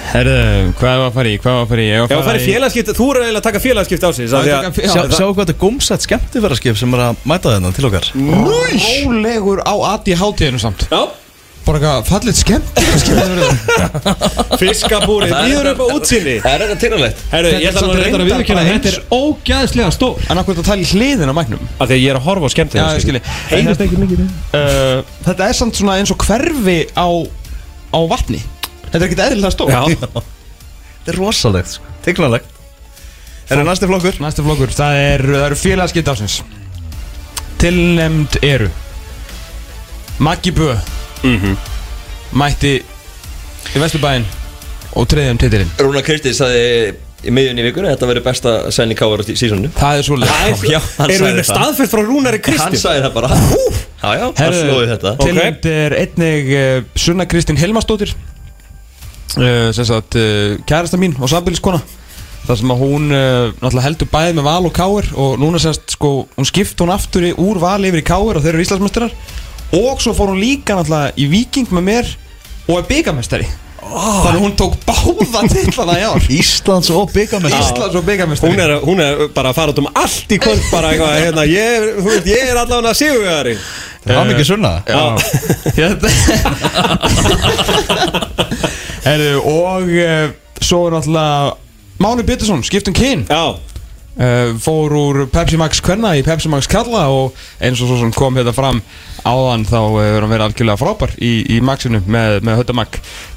[SPEAKER 3] Herðu, hvað var að fara í, hvað var að fara í Ég
[SPEAKER 2] já, það er félagskipt, þú eru eiginlega að taka félagskipt álsins, af því að,
[SPEAKER 1] Sjá, sjáu hvað þetta er gómsætt skemmtifæraskip sem er að mæta þennan til okkar
[SPEAKER 3] Rólegur á aði hátíðinu samt
[SPEAKER 2] já,
[SPEAKER 3] Bara eitthvað fallit skemmt
[SPEAKER 2] fiskabúrið, býður upp á útsinni,
[SPEAKER 4] Það er eitthvað tilnægt
[SPEAKER 2] heyrðu, ég ætla nú reyndar að viðkynna
[SPEAKER 5] Þetta er
[SPEAKER 2] eins,
[SPEAKER 5] ógæðslega stór
[SPEAKER 3] En akkur þetta tali hliðin á mæknum
[SPEAKER 2] af því að ég er að horfa á skemmt
[SPEAKER 3] Já, ég skilji
[SPEAKER 5] Einast ekki mikið
[SPEAKER 3] uh, Þetta er samt svona eins og hverfi á, á vatni Þetta er ekkert eðlilega stór
[SPEAKER 2] Já,
[SPEAKER 1] þetta er rosalegt, sko. tignalegt Það er næsti flokkur
[SPEAKER 3] Næsta flokkur, það, er, það eru félagskipt ásins Tilnemd eru Maggi Bö Mhm. Mætti í Vesturbæinn og treyðum titilinn
[SPEAKER 4] Rúna Kristins sagði í miðjunni í vikunni að Þetta verið besta sæni káar á sísónu
[SPEAKER 3] Það er svolítið
[SPEAKER 4] Já, hann
[SPEAKER 2] erum við
[SPEAKER 4] sagði
[SPEAKER 2] með
[SPEAKER 4] það
[SPEAKER 2] staðfyrst frá Rúnari
[SPEAKER 4] Hann
[SPEAKER 2] Kristi
[SPEAKER 4] sagði það bara Já, já, hann slóði þetta
[SPEAKER 3] Tilnefnd er einnig uh, Sunna Kristín Helmarsdóttir uh, sem sagt uh, kærasta mín og sambiliskona þar sem að hún uh, náttúrulega heldur bæði með val og káir og núna semst sko hún skipt hún aftur í, úr val yfir í káir og þeir eru Íslandsmestrar og svo fór hún líka náttúrulega í viking með mér og er byggamestari þannig að hún tók báða titlana í ár
[SPEAKER 1] Íslands og byggamest
[SPEAKER 3] Íslands og byggamestari
[SPEAKER 2] Hún er, hún er bara að fara út um allt í kvöld bara eitthvað, hérna, ég, er- þú veit, ég er allavega sigurvegari
[SPEAKER 1] Það er mikið sunna
[SPEAKER 3] Já Hérna Herru, og uh, svo er náttúrulega Máni Bittersson, skiptum kyn
[SPEAKER 2] Já,
[SPEAKER 3] uh, Fór úr Pepsi Max kvenna í Pepsi Max kalla Og eins og svo sem kom þetta fram áðan Þá eh, hefur hann verið algjörlega frábær í, í Maxinu með, með Höttamag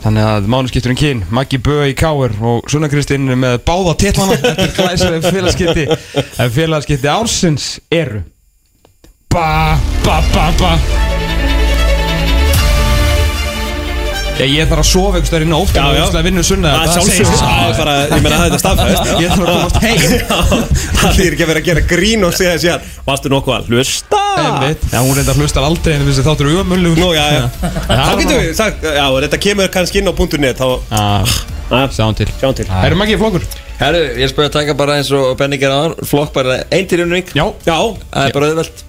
[SPEAKER 3] Þannig að Máni skiptur um kyn Maggi Bö í Káir og Sunna Kristinn með báða titlana Þetta glæsir félagskipti En félagskipti ársins eru Ba, ba, ba, ba Ég, ég þarf að sofa einhvers staðar inn á óttan
[SPEAKER 2] Já,
[SPEAKER 3] og
[SPEAKER 2] já.
[SPEAKER 3] óttan að vinna sunna
[SPEAKER 2] það er sjálfsögur Það er bara, ég meina það er staðfæst
[SPEAKER 3] Ég þarf að komast heim
[SPEAKER 2] Það þýr ekki að vera að gera grín og segja sér Varstu nokkuð að hlusta?
[SPEAKER 3] Einmitt. Já, hún reyndar hlustar aldrei en þessi þáttur er umullugur
[SPEAKER 2] Nú, já, já Þá getum við sagt, já, þetta kemur kannski inn á punktunni Þá,
[SPEAKER 3] Já, sjáum til
[SPEAKER 2] sjáum til
[SPEAKER 3] Erum maður ekki í flokkur?
[SPEAKER 4] Herru, ég spöði að taka bara eins og Benning er aðan Flokk bara ein tilrunning
[SPEAKER 3] Já
[SPEAKER 2] Já,
[SPEAKER 4] Það er bara auðvelt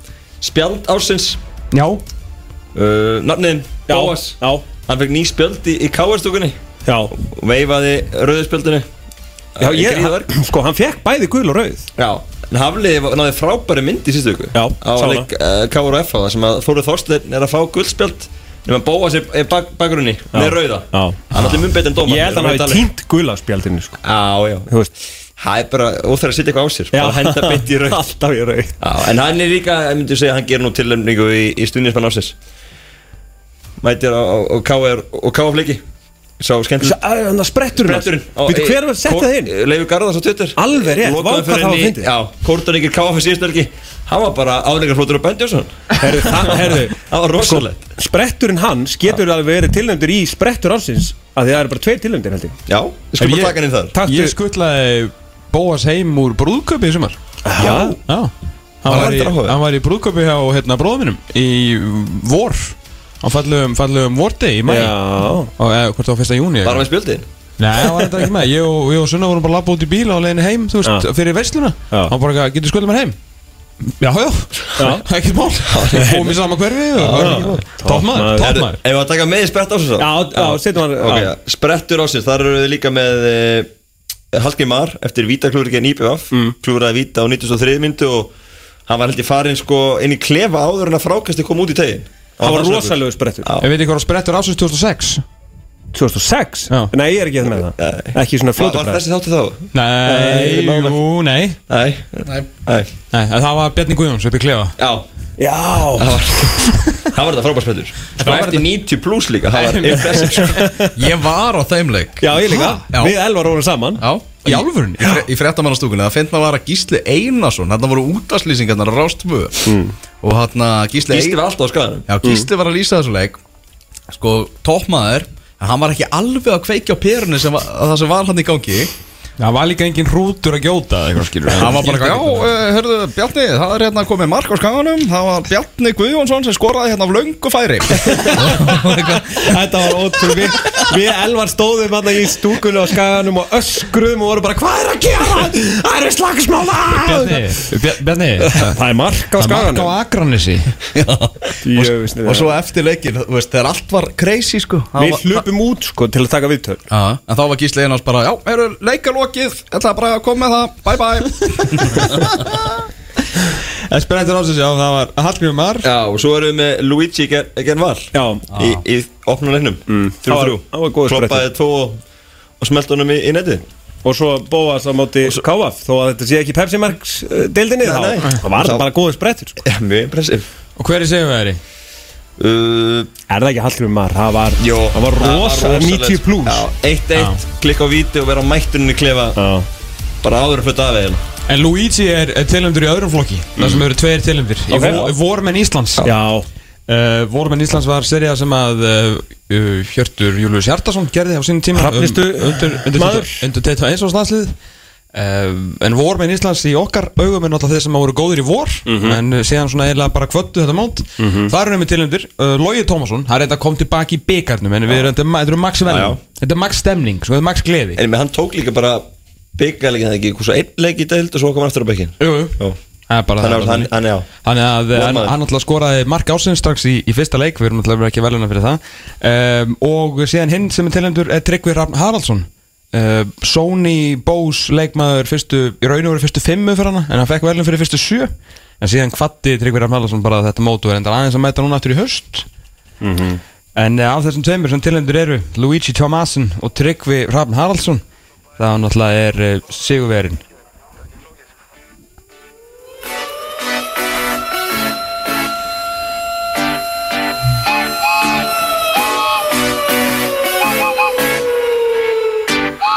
[SPEAKER 4] Spjald ársins
[SPEAKER 3] Já
[SPEAKER 4] uh, Nafniðin,
[SPEAKER 2] já,
[SPEAKER 4] Bóas
[SPEAKER 2] já
[SPEAKER 4] Hann fekk ný spjald í, í káarstúkunni
[SPEAKER 2] Já,
[SPEAKER 4] og veifaði rauðspjöldinu
[SPEAKER 2] já ég, hann, sko, hann fekk bæði gul og rauð
[SPEAKER 4] Já, en Hafliði var- náði frábæri mynd í síðustu viku
[SPEAKER 2] Já,
[SPEAKER 4] á
[SPEAKER 2] sá
[SPEAKER 4] leik uh, KRF það sem að Þóru Þorstein er að fá guldspjöld nema bóa sér í bak, bakgrunni með rauða
[SPEAKER 2] Já.
[SPEAKER 4] Hann allir mun betur en dómar
[SPEAKER 2] Ég held að hann hafi týnt gula spjaldinu sko.
[SPEAKER 4] um. Já, já
[SPEAKER 2] Þú veist
[SPEAKER 4] Það er bara óþæra að sitja eitthvað á sér og henda beint í rauð
[SPEAKER 2] Alltaf í rauð
[SPEAKER 4] Já, en hann er líka, ég myndi segja, hann gerir nú tilnefningu í, í stundismann ásins Mætir á, á, á KR og KF leiki Sá skemmtileg
[SPEAKER 2] Þannig að spretturinn eh,
[SPEAKER 4] Bretturinn
[SPEAKER 2] Býtu hver var að setja það inn?
[SPEAKER 4] Leifur Garðars á Twitter
[SPEAKER 2] Alveg rétt, vá, hvað það var fyndið.
[SPEAKER 4] Já, Kortaníkir KF síðust helgi Hann var bara áleikarflótur á Bendjónsson
[SPEAKER 2] Herðu, það- herðu,
[SPEAKER 4] Það var rosalegt
[SPEAKER 2] Spretturinn hans getur alveg verið tilnæmdur í sprettur ársins af Því að það eru bara tveir tilnæmdir held Sko- ég
[SPEAKER 4] Já, við skulum bara taka hann inn þar
[SPEAKER 2] Taktu,
[SPEAKER 3] Ég skuttlaði Bóas heim úr brúðköpi í sumar
[SPEAKER 2] já,
[SPEAKER 3] Já Hann
[SPEAKER 4] Það
[SPEAKER 3] var,
[SPEAKER 4] er
[SPEAKER 3] í,
[SPEAKER 4] reyndar áhugavert.
[SPEAKER 3] hann var í brúðköpi hjá hérna bróðminum í vor á fallegum, fallegum vorti í mæ
[SPEAKER 2] já,
[SPEAKER 3] og eða hvort það var fyrsta júni
[SPEAKER 4] Var hann með spjöldin?
[SPEAKER 3] Nei, það var þetta ekki með Ég og, ég og Sunna vorum bara að labba út í bíl á leiðinu heim Þú veist, fyrir veisluna
[SPEAKER 2] Já.
[SPEAKER 3] Hann bara, eitthvað, getur skuldið mér heim? Já, já, ekkert mál Fórum í sama hverfi og- Toppmaður,
[SPEAKER 2] Topp
[SPEAKER 4] Herðu,
[SPEAKER 3] toppmaður
[SPEAKER 4] Ef við að taka með í sprett ásins
[SPEAKER 2] já, já, setjum hann
[SPEAKER 4] Ok,
[SPEAKER 2] já.
[SPEAKER 4] sprettur ásins, þar eru við líka með uh, Hallgeir Mar eftir vítaklúri genn IPVF mm. klúraði víta á 93 myndu og hann var held ég farin sko inn í klefa áður en að frákasti kom út í tegin
[SPEAKER 2] Það var rosalegu sprettur
[SPEAKER 4] Já.
[SPEAKER 3] Ég veit ekki hvað sprettur ásins 2006
[SPEAKER 2] 2006?
[SPEAKER 3] Já.
[SPEAKER 2] Nei, ég er ekki að með það Ekki svona
[SPEAKER 4] Var, var
[SPEAKER 2] fljótabrett
[SPEAKER 4] þessi þáttu þá?
[SPEAKER 3] Nei,
[SPEAKER 4] Nei,
[SPEAKER 3] jú, nei
[SPEAKER 4] Nei,
[SPEAKER 1] Nei.
[SPEAKER 4] Nei.
[SPEAKER 3] Nei, en það var Bjarni Guðjóns upp í klefa
[SPEAKER 4] Já,
[SPEAKER 2] Já,
[SPEAKER 4] það var Það var þetta frábær sprettur Það var eftir 90 pluss líka Það var impressive sko
[SPEAKER 1] Ég var á þeim leik
[SPEAKER 2] já, ég líka
[SPEAKER 1] Já.
[SPEAKER 2] Við elvar vorum saman
[SPEAKER 1] Já
[SPEAKER 3] Í alvörunni?
[SPEAKER 1] Í, fre- í fréttamannastúkunni, það finnst maður var að Gísli Einarsson Þarna voru útastlýsingarnar rástfu mm. Og hann Gísli, Hmm.
[SPEAKER 4] Gísti var alltaf á skaganum
[SPEAKER 1] Já, Gísli var að lýsa þessu leik Sko, toppmaður En hann var ekki alveg að kveikja á perunni sem var, að Það sem var hann í gangi
[SPEAKER 3] Það var líka engin hrútur að gjóta eða eitthvað skilur
[SPEAKER 1] Hann var bara eitthvað, já, eh, hörðu, Bjarni Það er hérna komið mark á skaganum Það var Bjarni Guðjónsson sem skoraði hérna af löngu færi
[SPEAKER 2] Þetta var ótrúlega við, við elvar stóðum hann í stúkunni á skaganum og öskrum og vorum bara Hvað er að gera? Það eru slagsmála
[SPEAKER 3] Bjarni, Bjar- Bjarni
[SPEAKER 2] Það er mark á
[SPEAKER 3] Það er mark á
[SPEAKER 2] skaganum
[SPEAKER 3] Akranesi
[SPEAKER 2] Jöfisni,
[SPEAKER 1] Og svo eftir leikin, þú veist, þegar allt var crazy, sko Það
[SPEAKER 2] Við
[SPEAKER 1] var-
[SPEAKER 2] hlupum út sko til að taka viðtöl
[SPEAKER 1] Já, en þá var Gísli Einars bara, já, eru leikalokið, ætla bara að koma með það, bye bye
[SPEAKER 3] En sprettur ásins, já, það var Hallgrímur Mar
[SPEAKER 4] Já, og svo erum við með Luigi Gen- Genval
[SPEAKER 2] Já.
[SPEAKER 4] Í, í opnulegnum mm.
[SPEAKER 2] Það var- það var góður
[SPEAKER 4] Kloppaði tvo og, og smelt honum í, í netið
[SPEAKER 2] Og svo bóas á móti KF Þó að þetta sé ekki Pepsi Marks uh, deildinni
[SPEAKER 4] Nei,
[SPEAKER 2] þá
[SPEAKER 4] nei.
[SPEAKER 2] Það var
[SPEAKER 4] Sá-
[SPEAKER 2] bara góður sprettur sko.
[SPEAKER 4] Já, Mjög impressiv
[SPEAKER 3] Og hver er segjum við þeirri?
[SPEAKER 4] uh,
[SPEAKER 2] Er það ekki Hallgrim Mar? Það var,
[SPEAKER 4] Jó,
[SPEAKER 2] það var rosa 90 plus
[SPEAKER 4] sko. Já, 1-1, klikka á víti og vera á mættunni klefa
[SPEAKER 2] Já.
[SPEAKER 4] Bara áður að flutta af eða
[SPEAKER 3] En Luigi er tilhendur í öðrum flokki Það sem eru tveir tilhendur
[SPEAKER 2] Ok.
[SPEAKER 3] okay. Vormenn Íslands uh,
[SPEAKER 2] Já,
[SPEAKER 3] Vormenn Íslands var seria sem að uh, uh, Hjörtur Július Hjartarsson gerði á sínum tíma um-
[SPEAKER 2] Hrafnistu
[SPEAKER 3] Undir, undir,
[SPEAKER 2] maður.
[SPEAKER 3] undir, undir 21 árs landslið Uh, en vormenn Íslands í okkar augum er náttúrulega þeir sem að voru góðir í vor en uh, síðan svona eiginlega bara kvöttu þetta mót það eru nefnir tilhendur, uh, Logi Tómasson hann er þetta kom tilbaki í byggarnum en við erum, þetta er ma- þetta eru max
[SPEAKER 4] Já, já.
[SPEAKER 3] velum, þetta er max stemning sko, þetta er max gleði
[SPEAKER 4] En með hann tók líka bara byggalegin það ekki Hversu einn leik í deild og svo kom hann aftur á bekkin
[SPEAKER 3] jú, jú.
[SPEAKER 4] Já.
[SPEAKER 3] Það er bara það
[SPEAKER 4] Þannig að hann, hann, já
[SPEAKER 3] Þannig að eh, hann,
[SPEAKER 4] Vormaður.
[SPEAKER 3] hann alltaf skoraði mark ásins strax í, í fyrsta leik, við erum alltaf ekki veluna fyrir það um, og síðan hinn sem er tilhendur er Tryggvi Rafn Haraldsson uh, Sony Bose leikmaður fyrstu, í raun og veru fyrstu fimmu fyrir hana en hann fekk velun fyrir fyrstu sjö en síðan kvatti Tryggvi Rafn Haraldsson bara að þetta mótu er enda aðeins að mæta núna aftur í höst
[SPEAKER 4] Mhm.
[SPEAKER 3] En uh, af þessum tveimur sem tilendur eru Luigi Tomasin og Tryggvi Rafn Haraldsson það náttúrulega er uh, sigurverin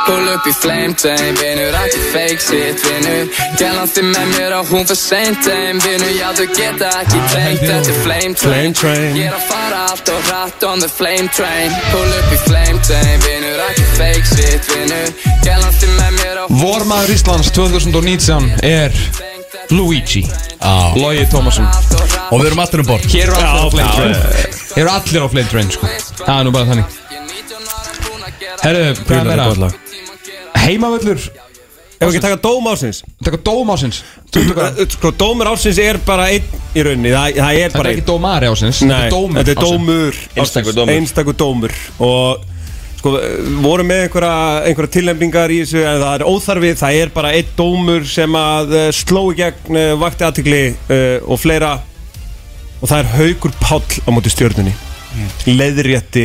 [SPEAKER 6] Pull upp i flametime, vinur allt er fake shit vinur Delandi með mér og hún for same time vinur Já þú geta ekki tengt þetta er flame train
[SPEAKER 2] Flame train.
[SPEAKER 6] Ég er að fara allt og rætt on the flame train Pull upp í flametime, vinur allt er fake shit vinur Delandi með mér og hún
[SPEAKER 3] Vormaður Íslands 2019 er Luigi ah. Logi Tómasson
[SPEAKER 1] Og við erum allir um borð
[SPEAKER 3] Hér eru allir á flame train Hér eru allir á flame train sko Það er nú bara þannig Herru, hvað er
[SPEAKER 1] um
[SPEAKER 3] meira? Heimavöllur
[SPEAKER 2] ef við ekki taka dóm ásins
[SPEAKER 3] Takk að dóm ásins Þú tók að
[SPEAKER 2] Sko, dómur ásins er bara einn í rauninni Það, það er
[SPEAKER 3] Þetta er
[SPEAKER 2] bara
[SPEAKER 3] ekki
[SPEAKER 2] einn
[SPEAKER 3] dómari ásins
[SPEAKER 2] Nei,
[SPEAKER 3] Þetta er dómur
[SPEAKER 2] þetta er dómur
[SPEAKER 4] Einstakur dómur.
[SPEAKER 2] Einstakur dómur Og sko, voru með einhverja, einhverja tilnefningar í þessu en það er óþarfi, það er bara einn dómur sem að eh, sló í gegn eh, vakti aðtikli og fleira og það er Haugur Páll á móti stjörnunni
[SPEAKER 3] Mm.
[SPEAKER 2] leðrétti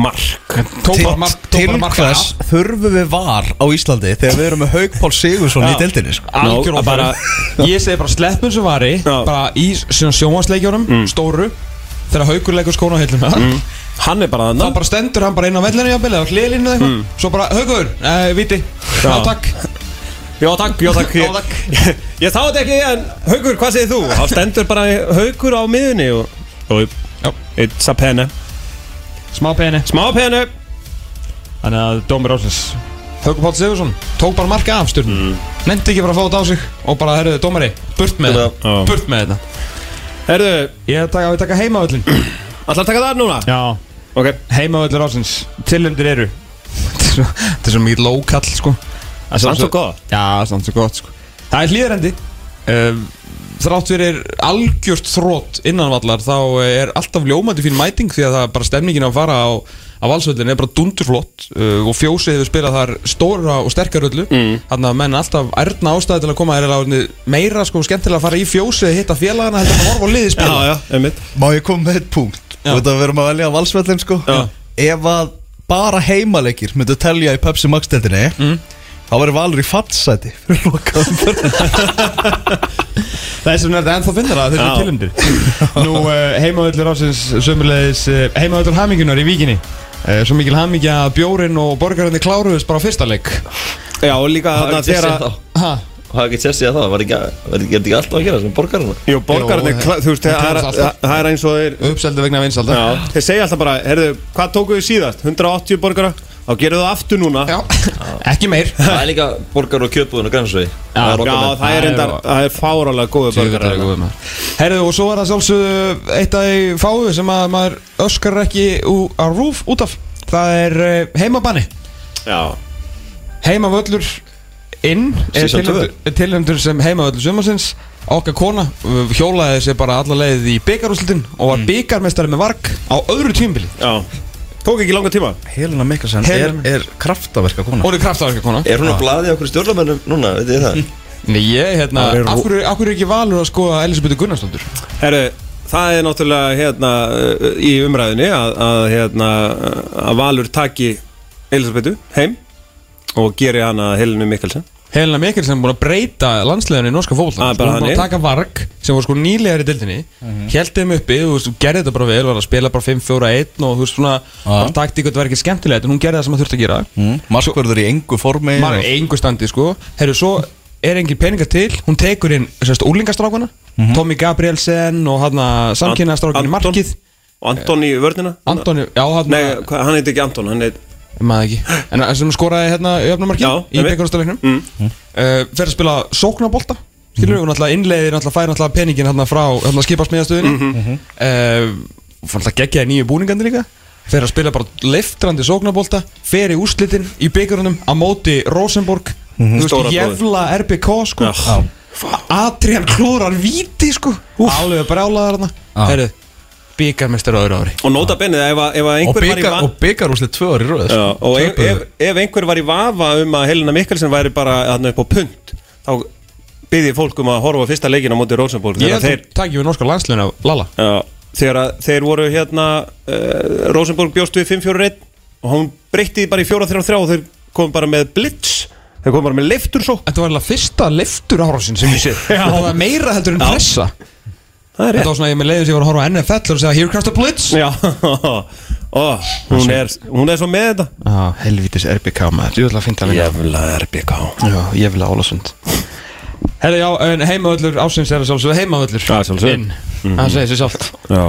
[SPEAKER 2] mark
[SPEAKER 3] Tók bara
[SPEAKER 1] Til,
[SPEAKER 3] mark- tók
[SPEAKER 1] til
[SPEAKER 3] bara mark-
[SPEAKER 1] hvers þurfum við var á Íslandi þegar við erum með Haug Pál Sigursson í
[SPEAKER 2] Já.
[SPEAKER 1] deildinni sko.
[SPEAKER 3] Algjör
[SPEAKER 2] Nó,
[SPEAKER 3] no, bara, Ég segi bara sleppum sem vari
[SPEAKER 2] Já.
[SPEAKER 3] Bara í sjónvarsleikjónum,
[SPEAKER 1] Mm.
[SPEAKER 3] stóru Þegar haukur leikur skóna á hilluna
[SPEAKER 2] hann er bara
[SPEAKER 3] Þá
[SPEAKER 2] þannig
[SPEAKER 3] bara stendur hann bara inn á vellinu jafnvel Eða hliðlinu eða
[SPEAKER 1] Mm.
[SPEAKER 3] eitthvað Svo bara haukur, uh, viti Já,
[SPEAKER 2] Já.
[SPEAKER 3] takk
[SPEAKER 2] já takk, já takk
[SPEAKER 3] Já,
[SPEAKER 2] ég,
[SPEAKER 3] takk.
[SPEAKER 2] ég, ég þáði ekki en Haugur, hvað segir þú? þá stendur bara Haugur á miðunni og, og
[SPEAKER 3] Já.
[SPEAKER 2] it's a penne
[SPEAKER 3] Smá peni
[SPEAKER 2] smá penne
[SPEAKER 3] Þannig að dómur ásins Haukur Páll Sigursson Tók bara marka af stjórn mm. Nendi ekki bara að fá þetta á sig Og bara, herruðu, dómari Burt með
[SPEAKER 4] Þetta-
[SPEAKER 3] þetta
[SPEAKER 2] Já.
[SPEAKER 3] Burt með þetta
[SPEAKER 2] herðu,
[SPEAKER 3] Ég taka, við taka heimavöllin
[SPEAKER 2] ætlar að taka það núna?
[SPEAKER 3] Já
[SPEAKER 2] ok
[SPEAKER 3] Heimavöllur ásins Tillendir eru Þetta er svo- þetta er svo mikið lókall, sko Það
[SPEAKER 2] Samt svo gott.
[SPEAKER 3] Já, samt svo gott, sko Það er hlýðarendi um, Þrátt fyrir algjört þrótt innanvallar Þá eh, er alltaf ljómandi fín mæting Því að það er bara stemningin að fara á á valsvöldin er bara dundurflott uh, og fjósið hefur spilað þar stóra og sterkar öllu mm. þannig að menn alltaf erna ástæði til að koma er meira sko skemmtilega að fara í fjósið að hitta félagana heldur en að horfa á liði spila
[SPEAKER 2] já, einmitt
[SPEAKER 1] Má ég koma með eitt punkt
[SPEAKER 3] Já.
[SPEAKER 1] Þú veit að við erum að velja valsvellin sko
[SPEAKER 2] Já.
[SPEAKER 1] Ef að bara heimaleikir myndu telja í Pepsi Max deildinni þá verður valur í fattsæti fyrir lokaðum
[SPEAKER 3] Það er sem er þetta ennþá finnir að
[SPEAKER 2] Já.
[SPEAKER 3] þetta er tilindir Nú uh, heimavöldur ásins sömulegis uh, heimavöldur hamingunar í víkinni uh, Svo mikil hamingja að bjórin og borgarinni kláruðust bara á fyrsta leik
[SPEAKER 2] Já, og líka
[SPEAKER 4] Það
[SPEAKER 2] þarna
[SPEAKER 4] er
[SPEAKER 2] þegar
[SPEAKER 4] sér
[SPEAKER 2] að
[SPEAKER 4] þá
[SPEAKER 3] Ha?
[SPEAKER 4] Það er ekki sér síðan það, var ekki, var ekki, er ekki alltaf að gera sem borgarna
[SPEAKER 2] Jú, borgarnir,
[SPEAKER 3] Jú,
[SPEAKER 2] kla- þú veist,
[SPEAKER 3] það
[SPEAKER 2] það er,
[SPEAKER 3] gerist alltaf.
[SPEAKER 2] það er eins og þeir
[SPEAKER 3] Uppseldu vegna vinsalda
[SPEAKER 2] Já, þeir segja alltaf bara, heyrðu, hvað tókuðu þið síðast? 180 borgara? Þá gerðu það aftur núna
[SPEAKER 3] Já. Ekki meir
[SPEAKER 4] Það er líka borgar og kjöpbúðin og grænsvegi Það er
[SPEAKER 2] Já,
[SPEAKER 4] okkar með
[SPEAKER 2] það er reyndar, það er fárálega góðu borgara þarna.
[SPEAKER 3] hérna. Herðu og svo er það sjálfsögðu eitt af því fáu sem að maður öskar ekki ú- á rúf út af Það er uh, heimabanni
[SPEAKER 2] Já,
[SPEAKER 3] Heimavöllur inn er
[SPEAKER 4] Season
[SPEAKER 3] tilnefndur- er tilnefndur sem heimavöllur sumarsins okkar kona uh, hjólaði sér bara alla leið í byggarúslutin og var mm. byggarmestari með varg á öðru tímbili
[SPEAKER 2] já Tók ekki langa tíma
[SPEAKER 1] Helena Mikkelsen er,
[SPEAKER 3] Helena-
[SPEAKER 1] er kraftaverka kona
[SPEAKER 3] og hún er kraftaverka kona
[SPEAKER 4] Er hún að blaði okkur stjórnarmennum núna, veit ég það?
[SPEAKER 3] Nei, ég, hérna,
[SPEAKER 2] Það er rú-
[SPEAKER 3] af hverju, af hverju er ekki valur að skoða Elisabethu Gunnarsdóttur
[SPEAKER 2] Herru, það er náttúrulega, hérna, uh, í umræðinni að, að hérna, að Valur taki Elisabethu heim og geri hana Helinu Mikkelsen
[SPEAKER 3] Helena Mikkelsen er búin að breyta landsleginu í norska fólk
[SPEAKER 2] Ah,
[SPEAKER 3] hún er
[SPEAKER 2] bara
[SPEAKER 3] búin að
[SPEAKER 2] þannig. Mhm.
[SPEAKER 3] taka varg sem var sko nýlegar í dildinni mm -hmm. held þeim uppi, þú veist, hún gerði þetta bara vel var að spila bara 5-4-1 og þú veist svona ah. taktíkut var ekki skemmtilegt en hún gerði það sem hún þurfti að gera
[SPEAKER 1] mm. Markverður í engu formi
[SPEAKER 3] maður er engu standi sko herru svo er engin peningar til hún tekur inn sérst úlingastrákana Tommy Gabrielsen og hann að samkynastrákan í
[SPEAKER 2] Mhm. Anton-
[SPEAKER 3] markið
[SPEAKER 2] Og Anton í vörnina
[SPEAKER 3] Antoni, já hérna- hann
[SPEAKER 2] Nei, hvað- hann heit ekki Anton, hann heit
[SPEAKER 3] maður ekki en að- sem skoraði hérna í öfnumarkið
[SPEAKER 2] Já,
[SPEAKER 3] í
[SPEAKER 2] einmitt.
[SPEAKER 3] byggarústaleiknum mm. uh, fer að spila sóknabolta
[SPEAKER 2] Mhm.
[SPEAKER 3] skilur við, hún alltaf innleiðir alltaf fær alltaf peningin hérna frá hérna skipasmiðastöðinni
[SPEAKER 2] Mhm.
[SPEAKER 3] mm -hmm. uh, fann alltaf geggjaði nýju búningandi líka fer að spila bara leftrandi sóknabolta fer í úrslitin í byggarunum á móti Rosenborg þú
[SPEAKER 2] Mhm. Stóra
[SPEAKER 3] veist,
[SPEAKER 2] bróðir.
[SPEAKER 3] jævla RBK sko
[SPEAKER 2] Já.
[SPEAKER 3] Adrian klúðrar víti sko alveg brjálaðar hérna herru, byggarmestur á öðru ári
[SPEAKER 2] Og nota benið, ef, að- ef að
[SPEAKER 1] Og
[SPEAKER 2] einhver var í
[SPEAKER 1] byggar-
[SPEAKER 2] vafa
[SPEAKER 1] og byggarúslið tvö ári röð
[SPEAKER 2] Já, og e- ef,
[SPEAKER 1] Töpuðu.
[SPEAKER 2] ef, ef einhver var í vafa um að Helena Mikkelsen væri bara hann upp á punt þá byggði fólk um að horfa á fyrsta leikin á móti Rosenborg
[SPEAKER 3] ég
[SPEAKER 2] þegar,
[SPEAKER 3] held
[SPEAKER 2] þeir,
[SPEAKER 3] að takk ég við norska landsliðin af Lala
[SPEAKER 2] já, þegar að, þeir voru hérna uh, Rosenborg bjóst við 5-4-1 og hún breytti því bara í 4-3-3 og þeir kom bara með blitz þeir kom bara með leiftur svo
[SPEAKER 3] Þetta var alveg fyrsta liftur árásin sem ég sé
[SPEAKER 2] Já.
[SPEAKER 3] Það var meira heldur en pressa
[SPEAKER 2] það er
[SPEAKER 3] Þetta
[SPEAKER 2] rétt
[SPEAKER 3] var svona að ég með leiðis ég var að horfa á NFL og segja Here comes the blitz
[SPEAKER 2] já, ó, hún, er, hún er svo með þetta
[SPEAKER 3] Já, helvitis RBK maður Ég vil að finna leina
[SPEAKER 2] Jævla RBK
[SPEAKER 3] Já, ég vil að Ólasund Herra já, en heimavöllur ásins er að sjálfsögðu heimavöllur
[SPEAKER 2] Já, sjálfsögðu.
[SPEAKER 3] Inn, það segir sér sjálft
[SPEAKER 2] já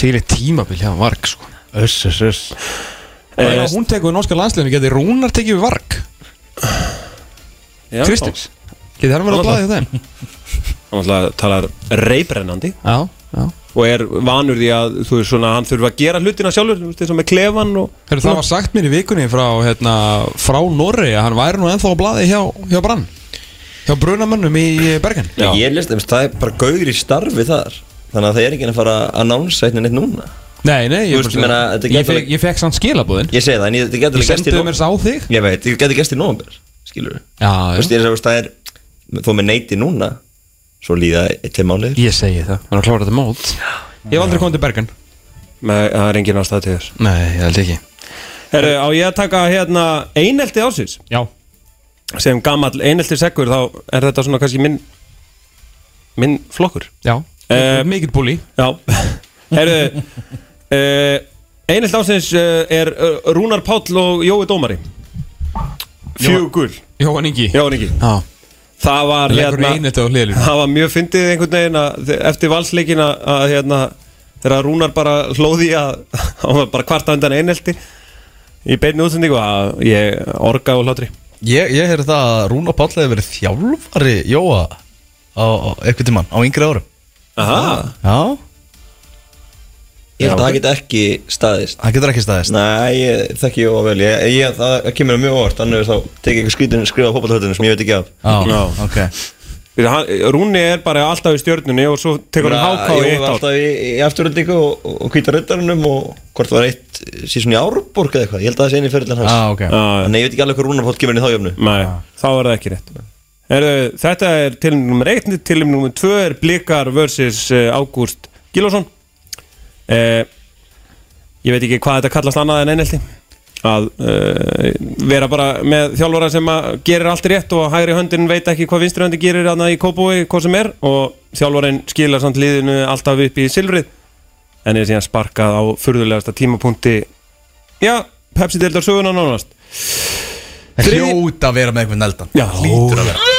[SPEAKER 3] Sýri tímabil hjá Varg sko Eh,
[SPEAKER 1] Öss, öss, öss
[SPEAKER 3] Og ef hún tekur við norska landsliðinu geti Rúnar tekið við Varg
[SPEAKER 2] Já,
[SPEAKER 3] Kristins Geti hann verið að blaði þetta
[SPEAKER 2] Hann náttúrulega talar reybrennandi
[SPEAKER 3] Já, já
[SPEAKER 2] og er vanur því að þú veist svona hann þurfa að gera hlutina sjálfur þú veist eins og með klefan og
[SPEAKER 3] Herra, það var sagt mér í vikunni frá, hérna, frá Norri að hann væri nú ennþá á blaði hjá, hjá Brann hjá brunamönnum í Bergen
[SPEAKER 4] Ég lest, það er bara gauður í starfi þar Þannig að það er ekki að fara að nánsa einnig neitt núna
[SPEAKER 3] Nei, nei,
[SPEAKER 4] Þú
[SPEAKER 3] ég,
[SPEAKER 4] veist,
[SPEAKER 3] bara-
[SPEAKER 4] ég meina,
[SPEAKER 3] ég,
[SPEAKER 4] þetta getur
[SPEAKER 3] fekk,
[SPEAKER 4] alveg-
[SPEAKER 3] ég fekk samt skilabúðin
[SPEAKER 4] Ég segi það, en ég, þetta getur
[SPEAKER 3] Ég
[SPEAKER 4] alveg gerst í
[SPEAKER 3] sendiði
[SPEAKER 4] nóg-
[SPEAKER 3] mér sá þig
[SPEAKER 4] Ég veit, þetta getur gæst í nóvember Skilur við
[SPEAKER 3] Já, já.
[SPEAKER 4] Þú veist, ég er að það er Þó með neyti núna Svo líða til mánuðir
[SPEAKER 3] Ég segi það, hann er að klára þetta mót Ég hef aldrei komið til Bergen
[SPEAKER 2] Nei, það er engin ástæð til þess
[SPEAKER 3] Nei, ég held ekki
[SPEAKER 2] Herru, á ég að taka hérna einelti ásins
[SPEAKER 3] Já,
[SPEAKER 2] sem gamall einelti sekkur þá er þetta svona kannski minn minn flokkur
[SPEAKER 3] já,
[SPEAKER 2] Eh,
[SPEAKER 3] mikill búli
[SPEAKER 2] Já, herru uh, Einelt ásins uh, er uh, Rúnar Páll og Jói Dómari Fjögur
[SPEAKER 3] Jóhann Ingi
[SPEAKER 2] Já, Ringi
[SPEAKER 3] Já,
[SPEAKER 2] Það var
[SPEAKER 3] leggur
[SPEAKER 2] hérna
[SPEAKER 3] einið þetta á hliðlínu
[SPEAKER 2] Það var mjög fyndið einhvern veginn að, þe- eftir valsleikin að, að hérna, þegar Rúnar bara hlóði í að hann var bara kvarta undan einelti í beinni útsendingu að ég orga og hlátri
[SPEAKER 1] Ég, ég heyrði það að Rúna Páll hefði verið þjálfari Jóa á, á eitthvað tímann, á yngri árum
[SPEAKER 2] Aha.
[SPEAKER 1] Já,
[SPEAKER 4] Ég held að það get ekki staðist
[SPEAKER 1] það getur ekki staðist
[SPEAKER 4] Nei, ég þekki ég vel ég, ég, Það kemur mér mjög óvart Þannig að þá tekið eitthvað skrítin skrifa á fótballhöldinu sem ég veit ekki af
[SPEAKER 1] Já,
[SPEAKER 2] Já.
[SPEAKER 1] ok
[SPEAKER 2] Fyrir hann- Rúni er bara alltaf í stjörnunni og svo tekur hann háká í
[SPEAKER 4] Ég var
[SPEAKER 2] eitt ár
[SPEAKER 4] alltaf í, í afturöldingu og, og, og hvíta riddarunum og hvort var eitt síðan í Árborg eða eitthvað Ég held að það sé einu fyrirlega hans
[SPEAKER 1] Já, Ah, ok
[SPEAKER 2] Já,
[SPEAKER 4] Þannig að ég veit ekki alveg hvað Rúnar Páll kemur inn í þá jöfnu
[SPEAKER 2] Nei, þá er það ekki rétt Heru, Þetta er tilum nummer 1 tilum nummer 2 er Blikar vs. eh, Ágúst Gílásson eh, Ég veit ekki hvað þetta kallast annað en einhelti að eh, vera bara með þjálfara sem að gerir allt rétt og hægri höndin veit ekki hvað vinstri höndin gerir annað í Kópói, hvað sem er og þjálfarin skilar samt liðinu alltaf upp í silfrið en er síðan sparkað á furðulegasta tímapunkti já, Pepsi-deildar söguna nánast
[SPEAKER 1] Það
[SPEAKER 2] Þriðji-
[SPEAKER 1] hljóta að vera með einhvern eldan
[SPEAKER 2] Já, lítur að vera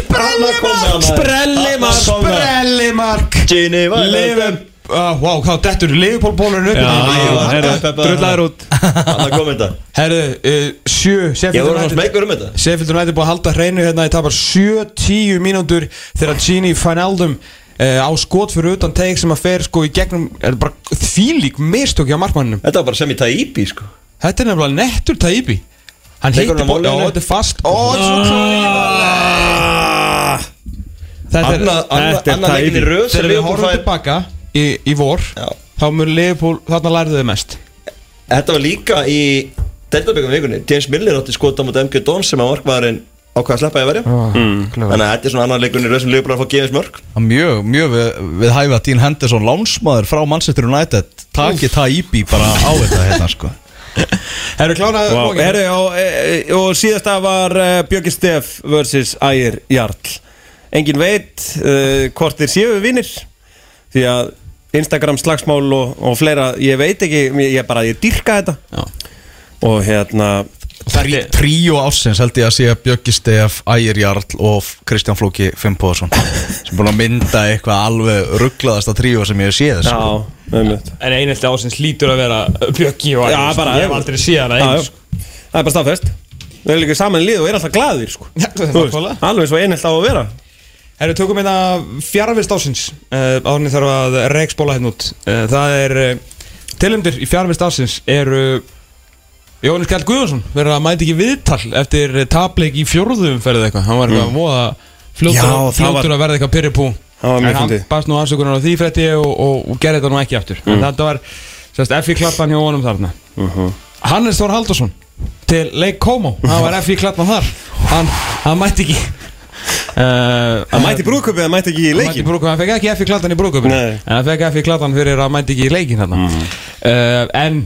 [SPEAKER 4] Sprellimark
[SPEAKER 2] Sprellimark
[SPEAKER 3] Sprellimark
[SPEAKER 4] Gini
[SPEAKER 2] Lifum
[SPEAKER 3] Ah, Vá, hvað dettur Leifupólbólurinn upp
[SPEAKER 2] Drullar út
[SPEAKER 4] Það kom þetta
[SPEAKER 3] Herðu, uh, sjö
[SPEAKER 4] Ég
[SPEAKER 3] Sheffield
[SPEAKER 4] voru svona
[SPEAKER 3] United
[SPEAKER 4] smegur um þetta
[SPEAKER 3] Sheffield United búið að halda hreinu hérna Ég tapar sjö, tíu mínútur Þegar Gini Fænaldum uh, á skot fyrir utan teik sem að fer sko í gegnum Er bara þvílík mistök hjá markmanninum
[SPEAKER 4] Þetta var bara sem í Taibi sko
[SPEAKER 3] Þetta er nefnilega nettur Taibi Hann
[SPEAKER 4] Tekur hann
[SPEAKER 3] heitir
[SPEAKER 4] á
[SPEAKER 3] ból, já,
[SPEAKER 4] málinu?
[SPEAKER 3] þetta er fast Ó, þetta er svo klárlega. Þetta er
[SPEAKER 4] Annað
[SPEAKER 2] þetta er
[SPEAKER 4] anna, anna leikin í
[SPEAKER 2] Taibbi.
[SPEAKER 4] röð sem
[SPEAKER 3] Þegar við
[SPEAKER 4] Liverpool
[SPEAKER 3] horfum
[SPEAKER 4] fær
[SPEAKER 3] tilbaka í, í vor
[SPEAKER 4] Já.
[SPEAKER 3] Þá mun Leifupól, þarna lærðu þau mest
[SPEAKER 4] Þetta var líka í Deltabyggum vikunni James Miller átti skota mot MG Dons sem að markmaðurinn ákvað að sleppa í verja Þannig að þetta er svona annar leikunni röð sem Liverpool er að fá gefins mörg
[SPEAKER 1] Það er Mjög, mjög við, við hæfi að Dean Henderson lánsmaður frá Manchester United taki Taibi bara á þetta hérna sko
[SPEAKER 3] Herru klárað
[SPEAKER 2] wow.
[SPEAKER 3] bókin?
[SPEAKER 2] Herri, og, e, e, og síðasta var uh, Björki Steff vs. Ægir Jarl Engin veit uh, hvort þeir séu vinnir Því að Instagram slagsmál og, og fleira Ég veit ekki, ég, ég bara, ég dyrka þetta
[SPEAKER 3] Já.
[SPEAKER 2] Og hérna
[SPEAKER 1] Trí, Tríó ársins held ég að sé Bjöggi Stef, Ægir Jarl og Kristján Flóki Fimboðarsson sem búin að mynda eitthvað alveg rugglaðasta tríó sem ég hef séð
[SPEAKER 2] Já,
[SPEAKER 1] sko.
[SPEAKER 2] einmitt
[SPEAKER 3] En einhelti ásins lítur að vera Bjöggi og sko.
[SPEAKER 2] Já, bara
[SPEAKER 3] Ég hef aldrei séð hana
[SPEAKER 2] Já,
[SPEAKER 3] sko. eins
[SPEAKER 2] já. Það er bara staðfest Við erum líka saman í lið og erum alltaf glaðir sko.
[SPEAKER 3] Já, það er
[SPEAKER 2] Þú veist,
[SPEAKER 3] nákvæmlega.
[SPEAKER 2] Alveg svo einhelt á að vera
[SPEAKER 3] Herru, tökum hérna fjárvist ásins uh, Árni þarf að reiksbóla hérna út uh, Það er uh, Tilumdir í fjárvist ásins eru uh, Jónis Kjall Guðjónsson verður að mæta ekki í viðtal eftir eh, tapleik í fjórðum ferðið eitthvað Hann var eitthvað mm. voða
[SPEAKER 2] Já,
[SPEAKER 3] fljótur,
[SPEAKER 2] það
[SPEAKER 3] fljótur
[SPEAKER 2] var-
[SPEAKER 3] að verða eitthvað pyrripú
[SPEAKER 2] Það var mjög
[SPEAKER 3] En hann
[SPEAKER 2] fyndið. Mm.
[SPEAKER 3] baðst nú afsökunar á því frétti og, og, og gerði þetta nú ekki aftur En þetta var sérst, F.I. klappan hjá honum þarna Hannes Þór Haldursson til Leik Komo Hann var F.I. klappan þar Hann, hann mætti ekki Uh,
[SPEAKER 2] Að mæti brúðköpið, að mæti ekki í
[SPEAKER 3] Hann mætti í
[SPEAKER 2] leikin
[SPEAKER 3] brúðkaup, hann fekk ekki F í klatan í brúðköpun
[SPEAKER 2] Nei.
[SPEAKER 3] En hann fekk F í klatan fyrir að hann mætti ekki í leikin þarna uh, En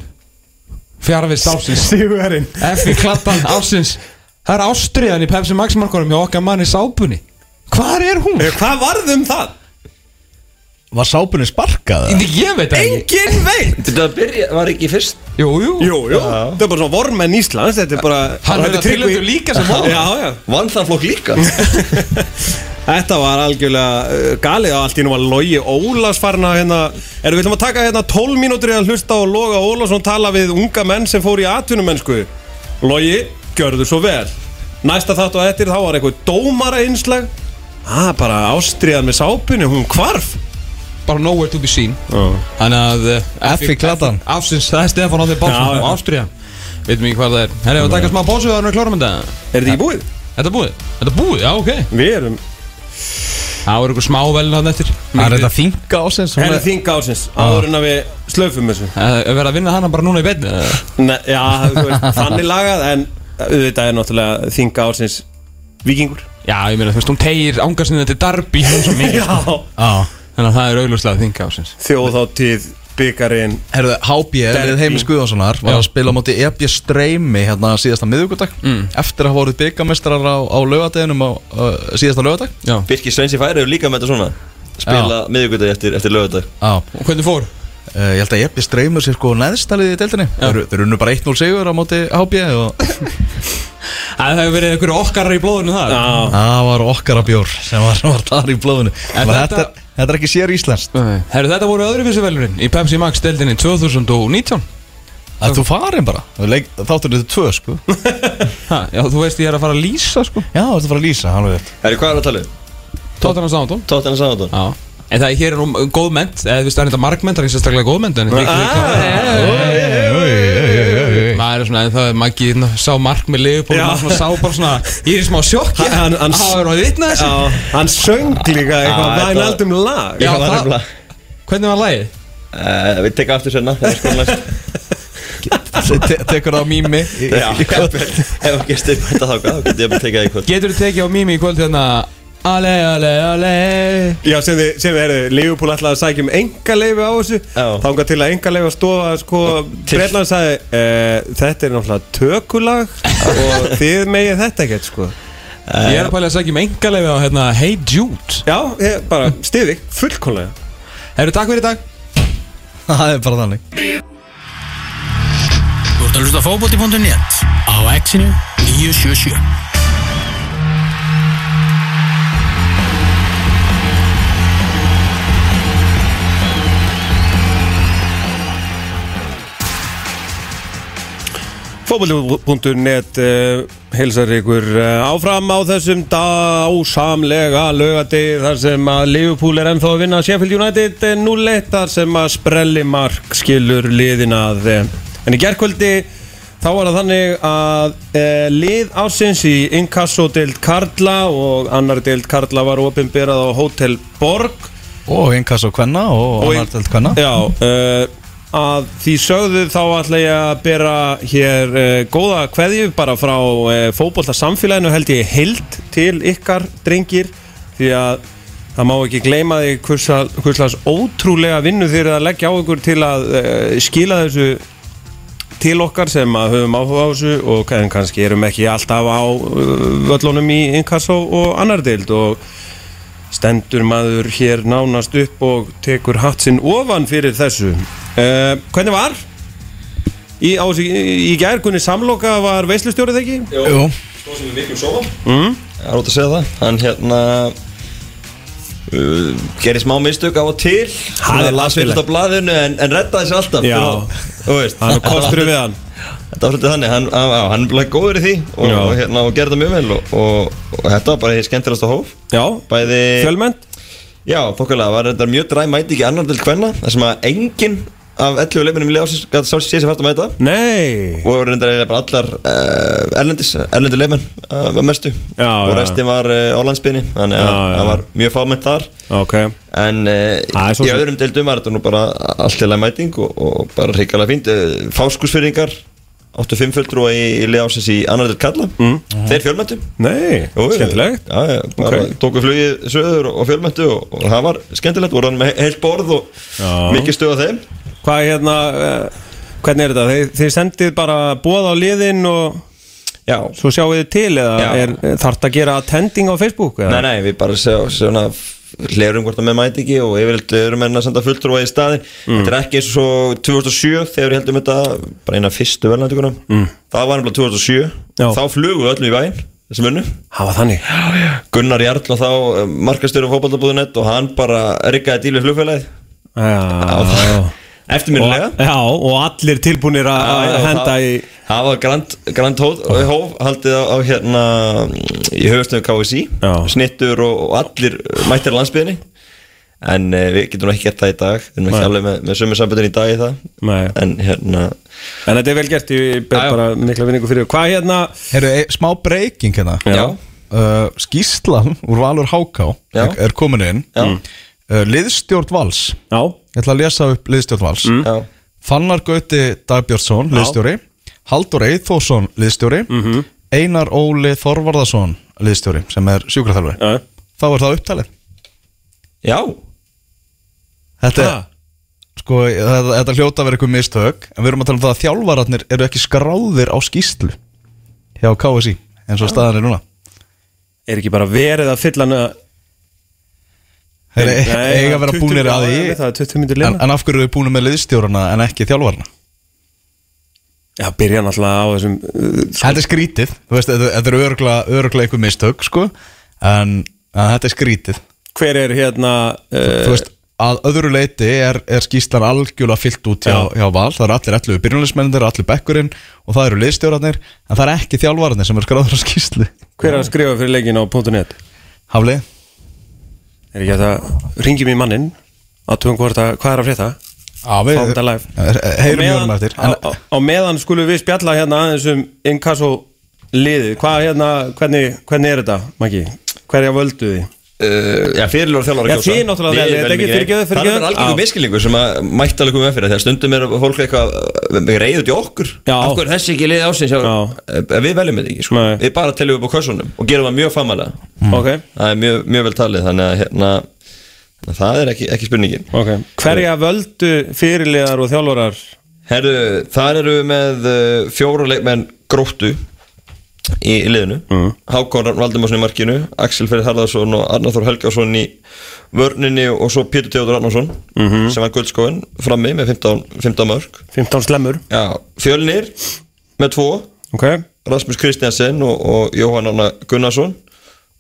[SPEAKER 3] Fjarfist ásins
[SPEAKER 2] Sigurinn
[SPEAKER 3] F í klatan ásins Það er ástriðan í Pepsi Max markarum hjá okkar manni sápunni Hvar er hún?
[SPEAKER 2] Hvað varð um það?
[SPEAKER 1] Var sápunni sparkað? eða?
[SPEAKER 3] Ég, ég veit það ekki
[SPEAKER 2] Engin veit
[SPEAKER 4] Þetta byrja, var ekki fyrst
[SPEAKER 3] Jú, jú,
[SPEAKER 2] Jú, jú, þetta er bara svona vormenn Íslands Þetta er bara
[SPEAKER 3] Hann
[SPEAKER 2] þetta
[SPEAKER 3] verður
[SPEAKER 2] Tryggvi-
[SPEAKER 3] tilnefndur líka sem vormenn.
[SPEAKER 2] Já, já
[SPEAKER 4] Vann það flokk líka
[SPEAKER 2] Þetta var algjörlega uh, galið og allt í nú var Logi Ólafs farin að hérna Erum við ætlum að taka hérna 12 mínútur í að hlusta og Loga Ólafsson tala við unga menn sem fóru í atvinnumennsku Logi, gjörðu svo vel Næsta þátt og eftir þá var eitthvað dómara einslag Það ah, bara ástriðan með sápunni, hún hvarf
[SPEAKER 3] bara nowhere to be seen Þannig að uh,
[SPEAKER 1] F í klatan.
[SPEAKER 3] Ásins, það er Stefán á því
[SPEAKER 2] Já,
[SPEAKER 3] Bálsson
[SPEAKER 2] já.
[SPEAKER 3] og ástriðan Veitum ekki hvað það er Herri, við taka smá bósu þannig að klárum þetta
[SPEAKER 2] Er þetta ekki búið?
[SPEAKER 3] Þetta er búið? Þetta er búið, já, ok
[SPEAKER 2] Við erum
[SPEAKER 3] Það voru ykkur smávelin hann eftir
[SPEAKER 1] Það er þetta þinga ásins
[SPEAKER 2] Henni þing ásins, áður en að við slöfum þessu
[SPEAKER 3] Það verða Eh, að vinna hana bara núna í beinni eða?
[SPEAKER 2] Nei, já, þú veist, þannig lagað en auðvitað er náttúrulega þinga ársins vikingur
[SPEAKER 3] Já, ég meina, þú veist, hún tegir ángarsinni þetta darbi svo mikið sko.
[SPEAKER 2] Já,
[SPEAKER 3] Þannig að það er augljóslega þinga ásins
[SPEAKER 2] þjóðáttíð, byggarinn
[SPEAKER 1] Herðu, HB, við heimis Guðjónssonar var
[SPEAKER 3] Já.
[SPEAKER 1] að spila á móti EB Streymi hérna síðasta miðugudag eftir að hafa voruð byggamestrar á, á lögadeginum á uh, síðasta lögadag
[SPEAKER 3] Já,
[SPEAKER 4] Birkir Sveins í færi hefur líka með þetta svona Spila miðvikudagi eftir, eftir lögadag
[SPEAKER 1] Já,
[SPEAKER 3] og hvernig fór?
[SPEAKER 1] uh, ég held að EB Streymur sér sko neðstalið í deildinni Þeir eru- þeir unnu bara 1-0 sigur á móti HB og
[SPEAKER 3] Að það hefur verið ykkur okkar í blóðinu það
[SPEAKER 2] Já,
[SPEAKER 1] það var okkar að bjór sem var, var þar í blóðinu
[SPEAKER 3] En
[SPEAKER 1] Þannig að
[SPEAKER 3] þetta-
[SPEAKER 1] þetta, er- þetta er ekki sér íslenskt
[SPEAKER 3] Herru, þetta voru öðruvísi velunin í Pepsi Max deildinni 2019
[SPEAKER 1] að þú farin bara Þú leik- þátturinn þetta tvö sko
[SPEAKER 3] ha, Já, þú veist ég er að fara að lýsa sko
[SPEAKER 1] Já, þetta er að fara að lýsa, hann veit
[SPEAKER 4] Herri, hvað er að tala um?
[SPEAKER 3] Tottenham Soundon
[SPEAKER 4] Tottenham Southampton
[SPEAKER 3] Já En það hér er um um góð ment eða þú veist, það er þetta markment, það er sérstaklega góð ment en líka
[SPEAKER 1] Ah.
[SPEAKER 3] líka maður er svona, en það er maggi hérna, sá mark með liðbúl,
[SPEAKER 2] Já.
[SPEAKER 3] maður svona sá bara svona ég er í smá sjokki,
[SPEAKER 2] Hann- hann- hann-
[SPEAKER 3] að hafa verið að vitna þessu
[SPEAKER 2] já hann söng líka eitthvað
[SPEAKER 4] Já,
[SPEAKER 2] væn
[SPEAKER 4] þetta-
[SPEAKER 2] aldum lag
[SPEAKER 3] Já,
[SPEAKER 4] Ég var
[SPEAKER 3] það-
[SPEAKER 4] nefnilega-
[SPEAKER 3] Hvernig var lagið?
[SPEAKER 4] Eh, Við tekum aftur senna Ef
[SPEAKER 1] Te- te- Tekur það á mými
[SPEAKER 4] ef ekki stið bæta þá hvað Þá getur ég að tekið það í kvöld
[SPEAKER 3] Getur þú tekið á mými í kvöld hérna Ale, ale, ale
[SPEAKER 2] Já, sem þið, sem þið erðu, Leifupúl ætlaði að sækja um engaleifi á þessu
[SPEAKER 4] Já.
[SPEAKER 2] Þangað til að engaleifi að stofa, sko,
[SPEAKER 4] Til.
[SPEAKER 2] Breitland sagði e, Þetta er náttúrulega tökulag og þið megið þetta ekkert, sko
[SPEAKER 1] Eh.
[SPEAKER 3] Ég er að pæla að segja um engaleifi á hérna Hey Jude
[SPEAKER 2] Já, ég, bara stiði, fullkomlega
[SPEAKER 3] Herru, takk fyrir í dag
[SPEAKER 1] Það er bara þannig
[SPEAKER 7] Þú ert að hlusta á fótbolti.net á Exinu 977
[SPEAKER 2] Fótbolli.net uh, heilsar ykkur uh, áfram á þessum dásamlega lögadegi þar sem að Liverpool er ennþá að vinna Sheffield United eh, 0-1 þar sem að sprelli mark skilur liðin að uh, en í gerkvöldi þá var það þannig að uh, lið ásins í Inkasso deild Karla og annar deild Karla var opinberað á Hotel Borg
[SPEAKER 1] Og innkass og kvenna og
[SPEAKER 2] Og-
[SPEAKER 1] annar delt kvenna
[SPEAKER 2] Já, uh, að því sögðu þá ætla ég að bera hér uh, góða kveðju bara frá uh, fótbolta samfélaginu held ég heild til ykkar drengir því að það má ekki gleyma því hverslas ótrúlega vinnu þeir eru að leggja á ykkur til að uh, skila þessu til okkar sem að höfum áhuga á þessu og en kannski erum ekki alltaf á uh, völlunum í inkasso og annar deild og stendur maður hér nánast upp og tekur hatsinn ofan fyrir þessu uh, Hvernig var? Í, á, þessu- í, í gær kunni samloka var veislustjórið ekki?
[SPEAKER 1] Jú,
[SPEAKER 4] Svo sem við viljum sofa Það er ótt að segja það Hann hérna Uh, gerir smá mistök á og til
[SPEAKER 2] er
[SPEAKER 4] það las
[SPEAKER 2] allt
[SPEAKER 4] við
[SPEAKER 2] í
[SPEAKER 4] þetta blaðinu en, en reddaði sér alltaf
[SPEAKER 2] Já.
[SPEAKER 4] Þú veist,
[SPEAKER 2] Hann er kostur við hann
[SPEAKER 4] Þetta var svolítið þannig, hann, hann, hann, hann bleið góður í því og,
[SPEAKER 2] Já.
[SPEAKER 4] og, hérna, og gerði það mjög vel og, og, og þetta var bara hér skemmtilegasta hóf
[SPEAKER 2] Já,
[SPEAKER 4] Bæði,
[SPEAKER 2] fjölmennt
[SPEAKER 4] já, þokkalega, var þetta mjög dræm mæti ekki annar til hvenna þar sem að enginn af 11 leifinum leifsins gæti sá sér sér fært að mæta
[SPEAKER 2] Nei
[SPEAKER 4] og reyndar eiginlega bara allar uh, erlendis, erlendu leifin uh, var mestu
[SPEAKER 2] Já,
[SPEAKER 4] og
[SPEAKER 2] já,
[SPEAKER 4] restin var uh, á landsbyrni þannig
[SPEAKER 2] Já,
[SPEAKER 4] að
[SPEAKER 2] já.
[SPEAKER 4] það var mjög fámennt þar
[SPEAKER 2] Ok
[SPEAKER 4] En
[SPEAKER 2] Það
[SPEAKER 4] uh,
[SPEAKER 2] er svo
[SPEAKER 4] í
[SPEAKER 2] sem-
[SPEAKER 4] öðrum deildum var þetta nú bara allt til að mæting og, og bara hrikalega fínt uh, Fáskursfyrringar, 85 fulltrúa í, í leðásins í annar del kalla mm. Þeir fjölmöntu
[SPEAKER 2] Nei, skemmtilegt
[SPEAKER 4] Já, já, bara
[SPEAKER 2] Ok.
[SPEAKER 4] tóku flugið söður og fjölmöntu og, og það var skemmtilegt, voru hann með he- heilt borð og
[SPEAKER 2] Já.
[SPEAKER 4] mikið stöð á þeim
[SPEAKER 2] Hvað er hérna, uh, hvernig er þetta? Þið, þið sendið bara bóð á liðin og
[SPEAKER 4] Já,
[SPEAKER 2] svo sjáu þið til eða
[SPEAKER 4] Já.
[SPEAKER 2] er, þarf það að gera attending á Facebook? Eða?
[SPEAKER 4] nei, nei, við bara sjá, svona hlerum hvort að með mæti ekki og yfirleitt erum enn að senda fulltrúa í staðin
[SPEAKER 2] Mm.
[SPEAKER 4] Þetta er ekki eins og 2007 þegar við heldum þetta bara eina af fyrstu velnættugunum mm. Það var nefnilega 2007
[SPEAKER 2] Já.
[SPEAKER 4] Þá flugum við öllum í væginn þessum önnu
[SPEAKER 2] Það var þannig
[SPEAKER 4] Gunnar Jarl og þá markastöru fótballtabúðunett og hann bara riggaði díl við flugfélagið
[SPEAKER 2] Já,
[SPEAKER 4] Eftirminnilega
[SPEAKER 2] og, já, og allir tilbúinir að
[SPEAKER 4] Já, já,
[SPEAKER 2] henda
[SPEAKER 4] það-
[SPEAKER 2] í
[SPEAKER 4] Það var grand, grand hóf, hóf haldið á, á hérna í höfustöðu KSI
[SPEAKER 2] Já.
[SPEAKER 4] snittur og, og allir mættir á landsbyðinni en uh, við getum nú ekki gert það í dag við erum ekki
[SPEAKER 2] Nei.
[SPEAKER 4] alveg með, með sömu samböndin í dag í það
[SPEAKER 2] Nei.
[SPEAKER 4] en hérna
[SPEAKER 2] En þetta er vel gert, ég ber
[SPEAKER 4] Já, já.
[SPEAKER 2] bara mikla vinningu fyrir Hvað hérna?
[SPEAKER 1] Heyrðu, e, smá breyking hérna
[SPEAKER 4] já,
[SPEAKER 1] uh, skýslan úr Valur Háká
[SPEAKER 4] Já.
[SPEAKER 1] er, er komin inn uh, liðstjórn Vals
[SPEAKER 2] Já,
[SPEAKER 1] ég ætla að lesa upp liðstjórn Vals
[SPEAKER 2] Mm.
[SPEAKER 4] Já,
[SPEAKER 1] Fannar Gauti Dagbjörnsson, liðstjóri Haldur Eithósson, liðstjóri
[SPEAKER 2] Mhm.
[SPEAKER 1] Einar Óli Þorvarðarsson liðstjóri, sem er sjúkraþjálfari
[SPEAKER 2] já,
[SPEAKER 1] þá er það upptalið
[SPEAKER 4] já.
[SPEAKER 1] Þetta er, sko, þetta, þetta hljóta að vera eitthvað mistök En við erum að tala um það að þjálfararnir eru ekki skráðir á skýslu Hjá KSI, eins og staðan er núna
[SPEAKER 2] er ekki bara verið að fylla hana
[SPEAKER 1] Þeir e-
[SPEAKER 2] Nei,
[SPEAKER 1] eiga að vera
[SPEAKER 2] 20
[SPEAKER 1] búnir að
[SPEAKER 2] mínútur
[SPEAKER 1] því
[SPEAKER 2] áður, Það er 20 myndir
[SPEAKER 1] en,
[SPEAKER 2] lina
[SPEAKER 1] en af hverju eru við búnir með liðstjórana en ekki þjálfarana?
[SPEAKER 2] Já, byrja náttúrulega á þessum uh,
[SPEAKER 1] Þetta er skrítið, þú veist, þetta þetta eru örgla, örgla eitthvað mistök, sko En að þetta er skrítið
[SPEAKER 2] Hver er hérna
[SPEAKER 1] Þú
[SPEAKER 2] uh,
[SPEAKER 1] veist, að öðru leiti er, er skýslan algjörlega fyllt út hjá, hjá Val Það eru allir allir byrjunleismennir, allir bekkurinn Og það eru liðstjórarnir En það er ekki þjálfararnir sem eru skráður á skýslu
[SPEAKER 2] Hver er að skrifa fyrir leikin á .net
[SPEAKER 1] Haflið?
[SPEAKER 2] Er ekki hægt að ringjum í mannin að tugum hvort að hvað er að frétta
[SPEAKER 1] Já, við Eh,
[SPEAKER 2] Fáum þetta live.
[SPEAKER 1] Heyrum í honum eftir
[SPEAKER 2] á, á, á meðan skulum við spjalla hérna aðeins um inkasso liði Hvað hérna, hvernig, hvernig er þetta, Maggi? Hverja völdu þið?
[SPEAKER 4] Uh, já, fyrirlur og þjálfari
[SPEAKER 2] Já, þið náttúrulega
[SPEAKER 4] Við
[SPEAKER 2] velið,
[SPEAKER 4] veljum
[SPEAKER 2] ekki fyrirgefðu,
[SPEAKER 4] neitt. Það
[SPEAKER 2] fyrirgefðu.
[SPEAKER 4] er bara algjörðu
[SPEAKER 2] Já.
[SPEAKER 4] miskilningu sem að mætti alveg koma með fyrir Þegar stundum er fólk eitthvað uh, reyður til okkur
[SPEAKER 2] Já.
[SPEAKER 4] Af hverju er þessi ekki liðið ásins
[SPEAKER 2] Já.
[SPEAKER 4] En Við veljum þetta ekki, sko
[SPEAKER 2] Nei.
[SPEAKER 4] Við bara teljum upp á kössunum og gerum það mjög famalega
[SPEAKER 1] Mm.
[SPEAKER 2] Ok,
[SPEAKER 4] Það er mjög, mjög vel talið Þannig að hérna, það er ekki, ekki spurningin
[SPEAKER 2] ok Hverja völdu fyrirliðar og þjálfarar
[SPEAKER 4] Herru, þar eru við með uh, fjóra leikmenn gróttu í, í liðinu mm. Hákon Rafn Valdimarsson í markinu Axel Ferri Harðarsson og Arnar Þór Helgarsson í vörninni og svo Pétur Teodor Arnarsson
[SPEAKER 2] Mhm.
[SPEAKER 4] -hmm. sem var guldskóin frammi með 15, 15 mörg
[SPEAKER 2] 15 slemmur
[SPEAKER 4] Já, Fjölnir með tvo
[SPEAKER 2] Ok,
[SPEAKER 4] Rasmus Kristjansen og, og Jóhann Arna Gunnarsson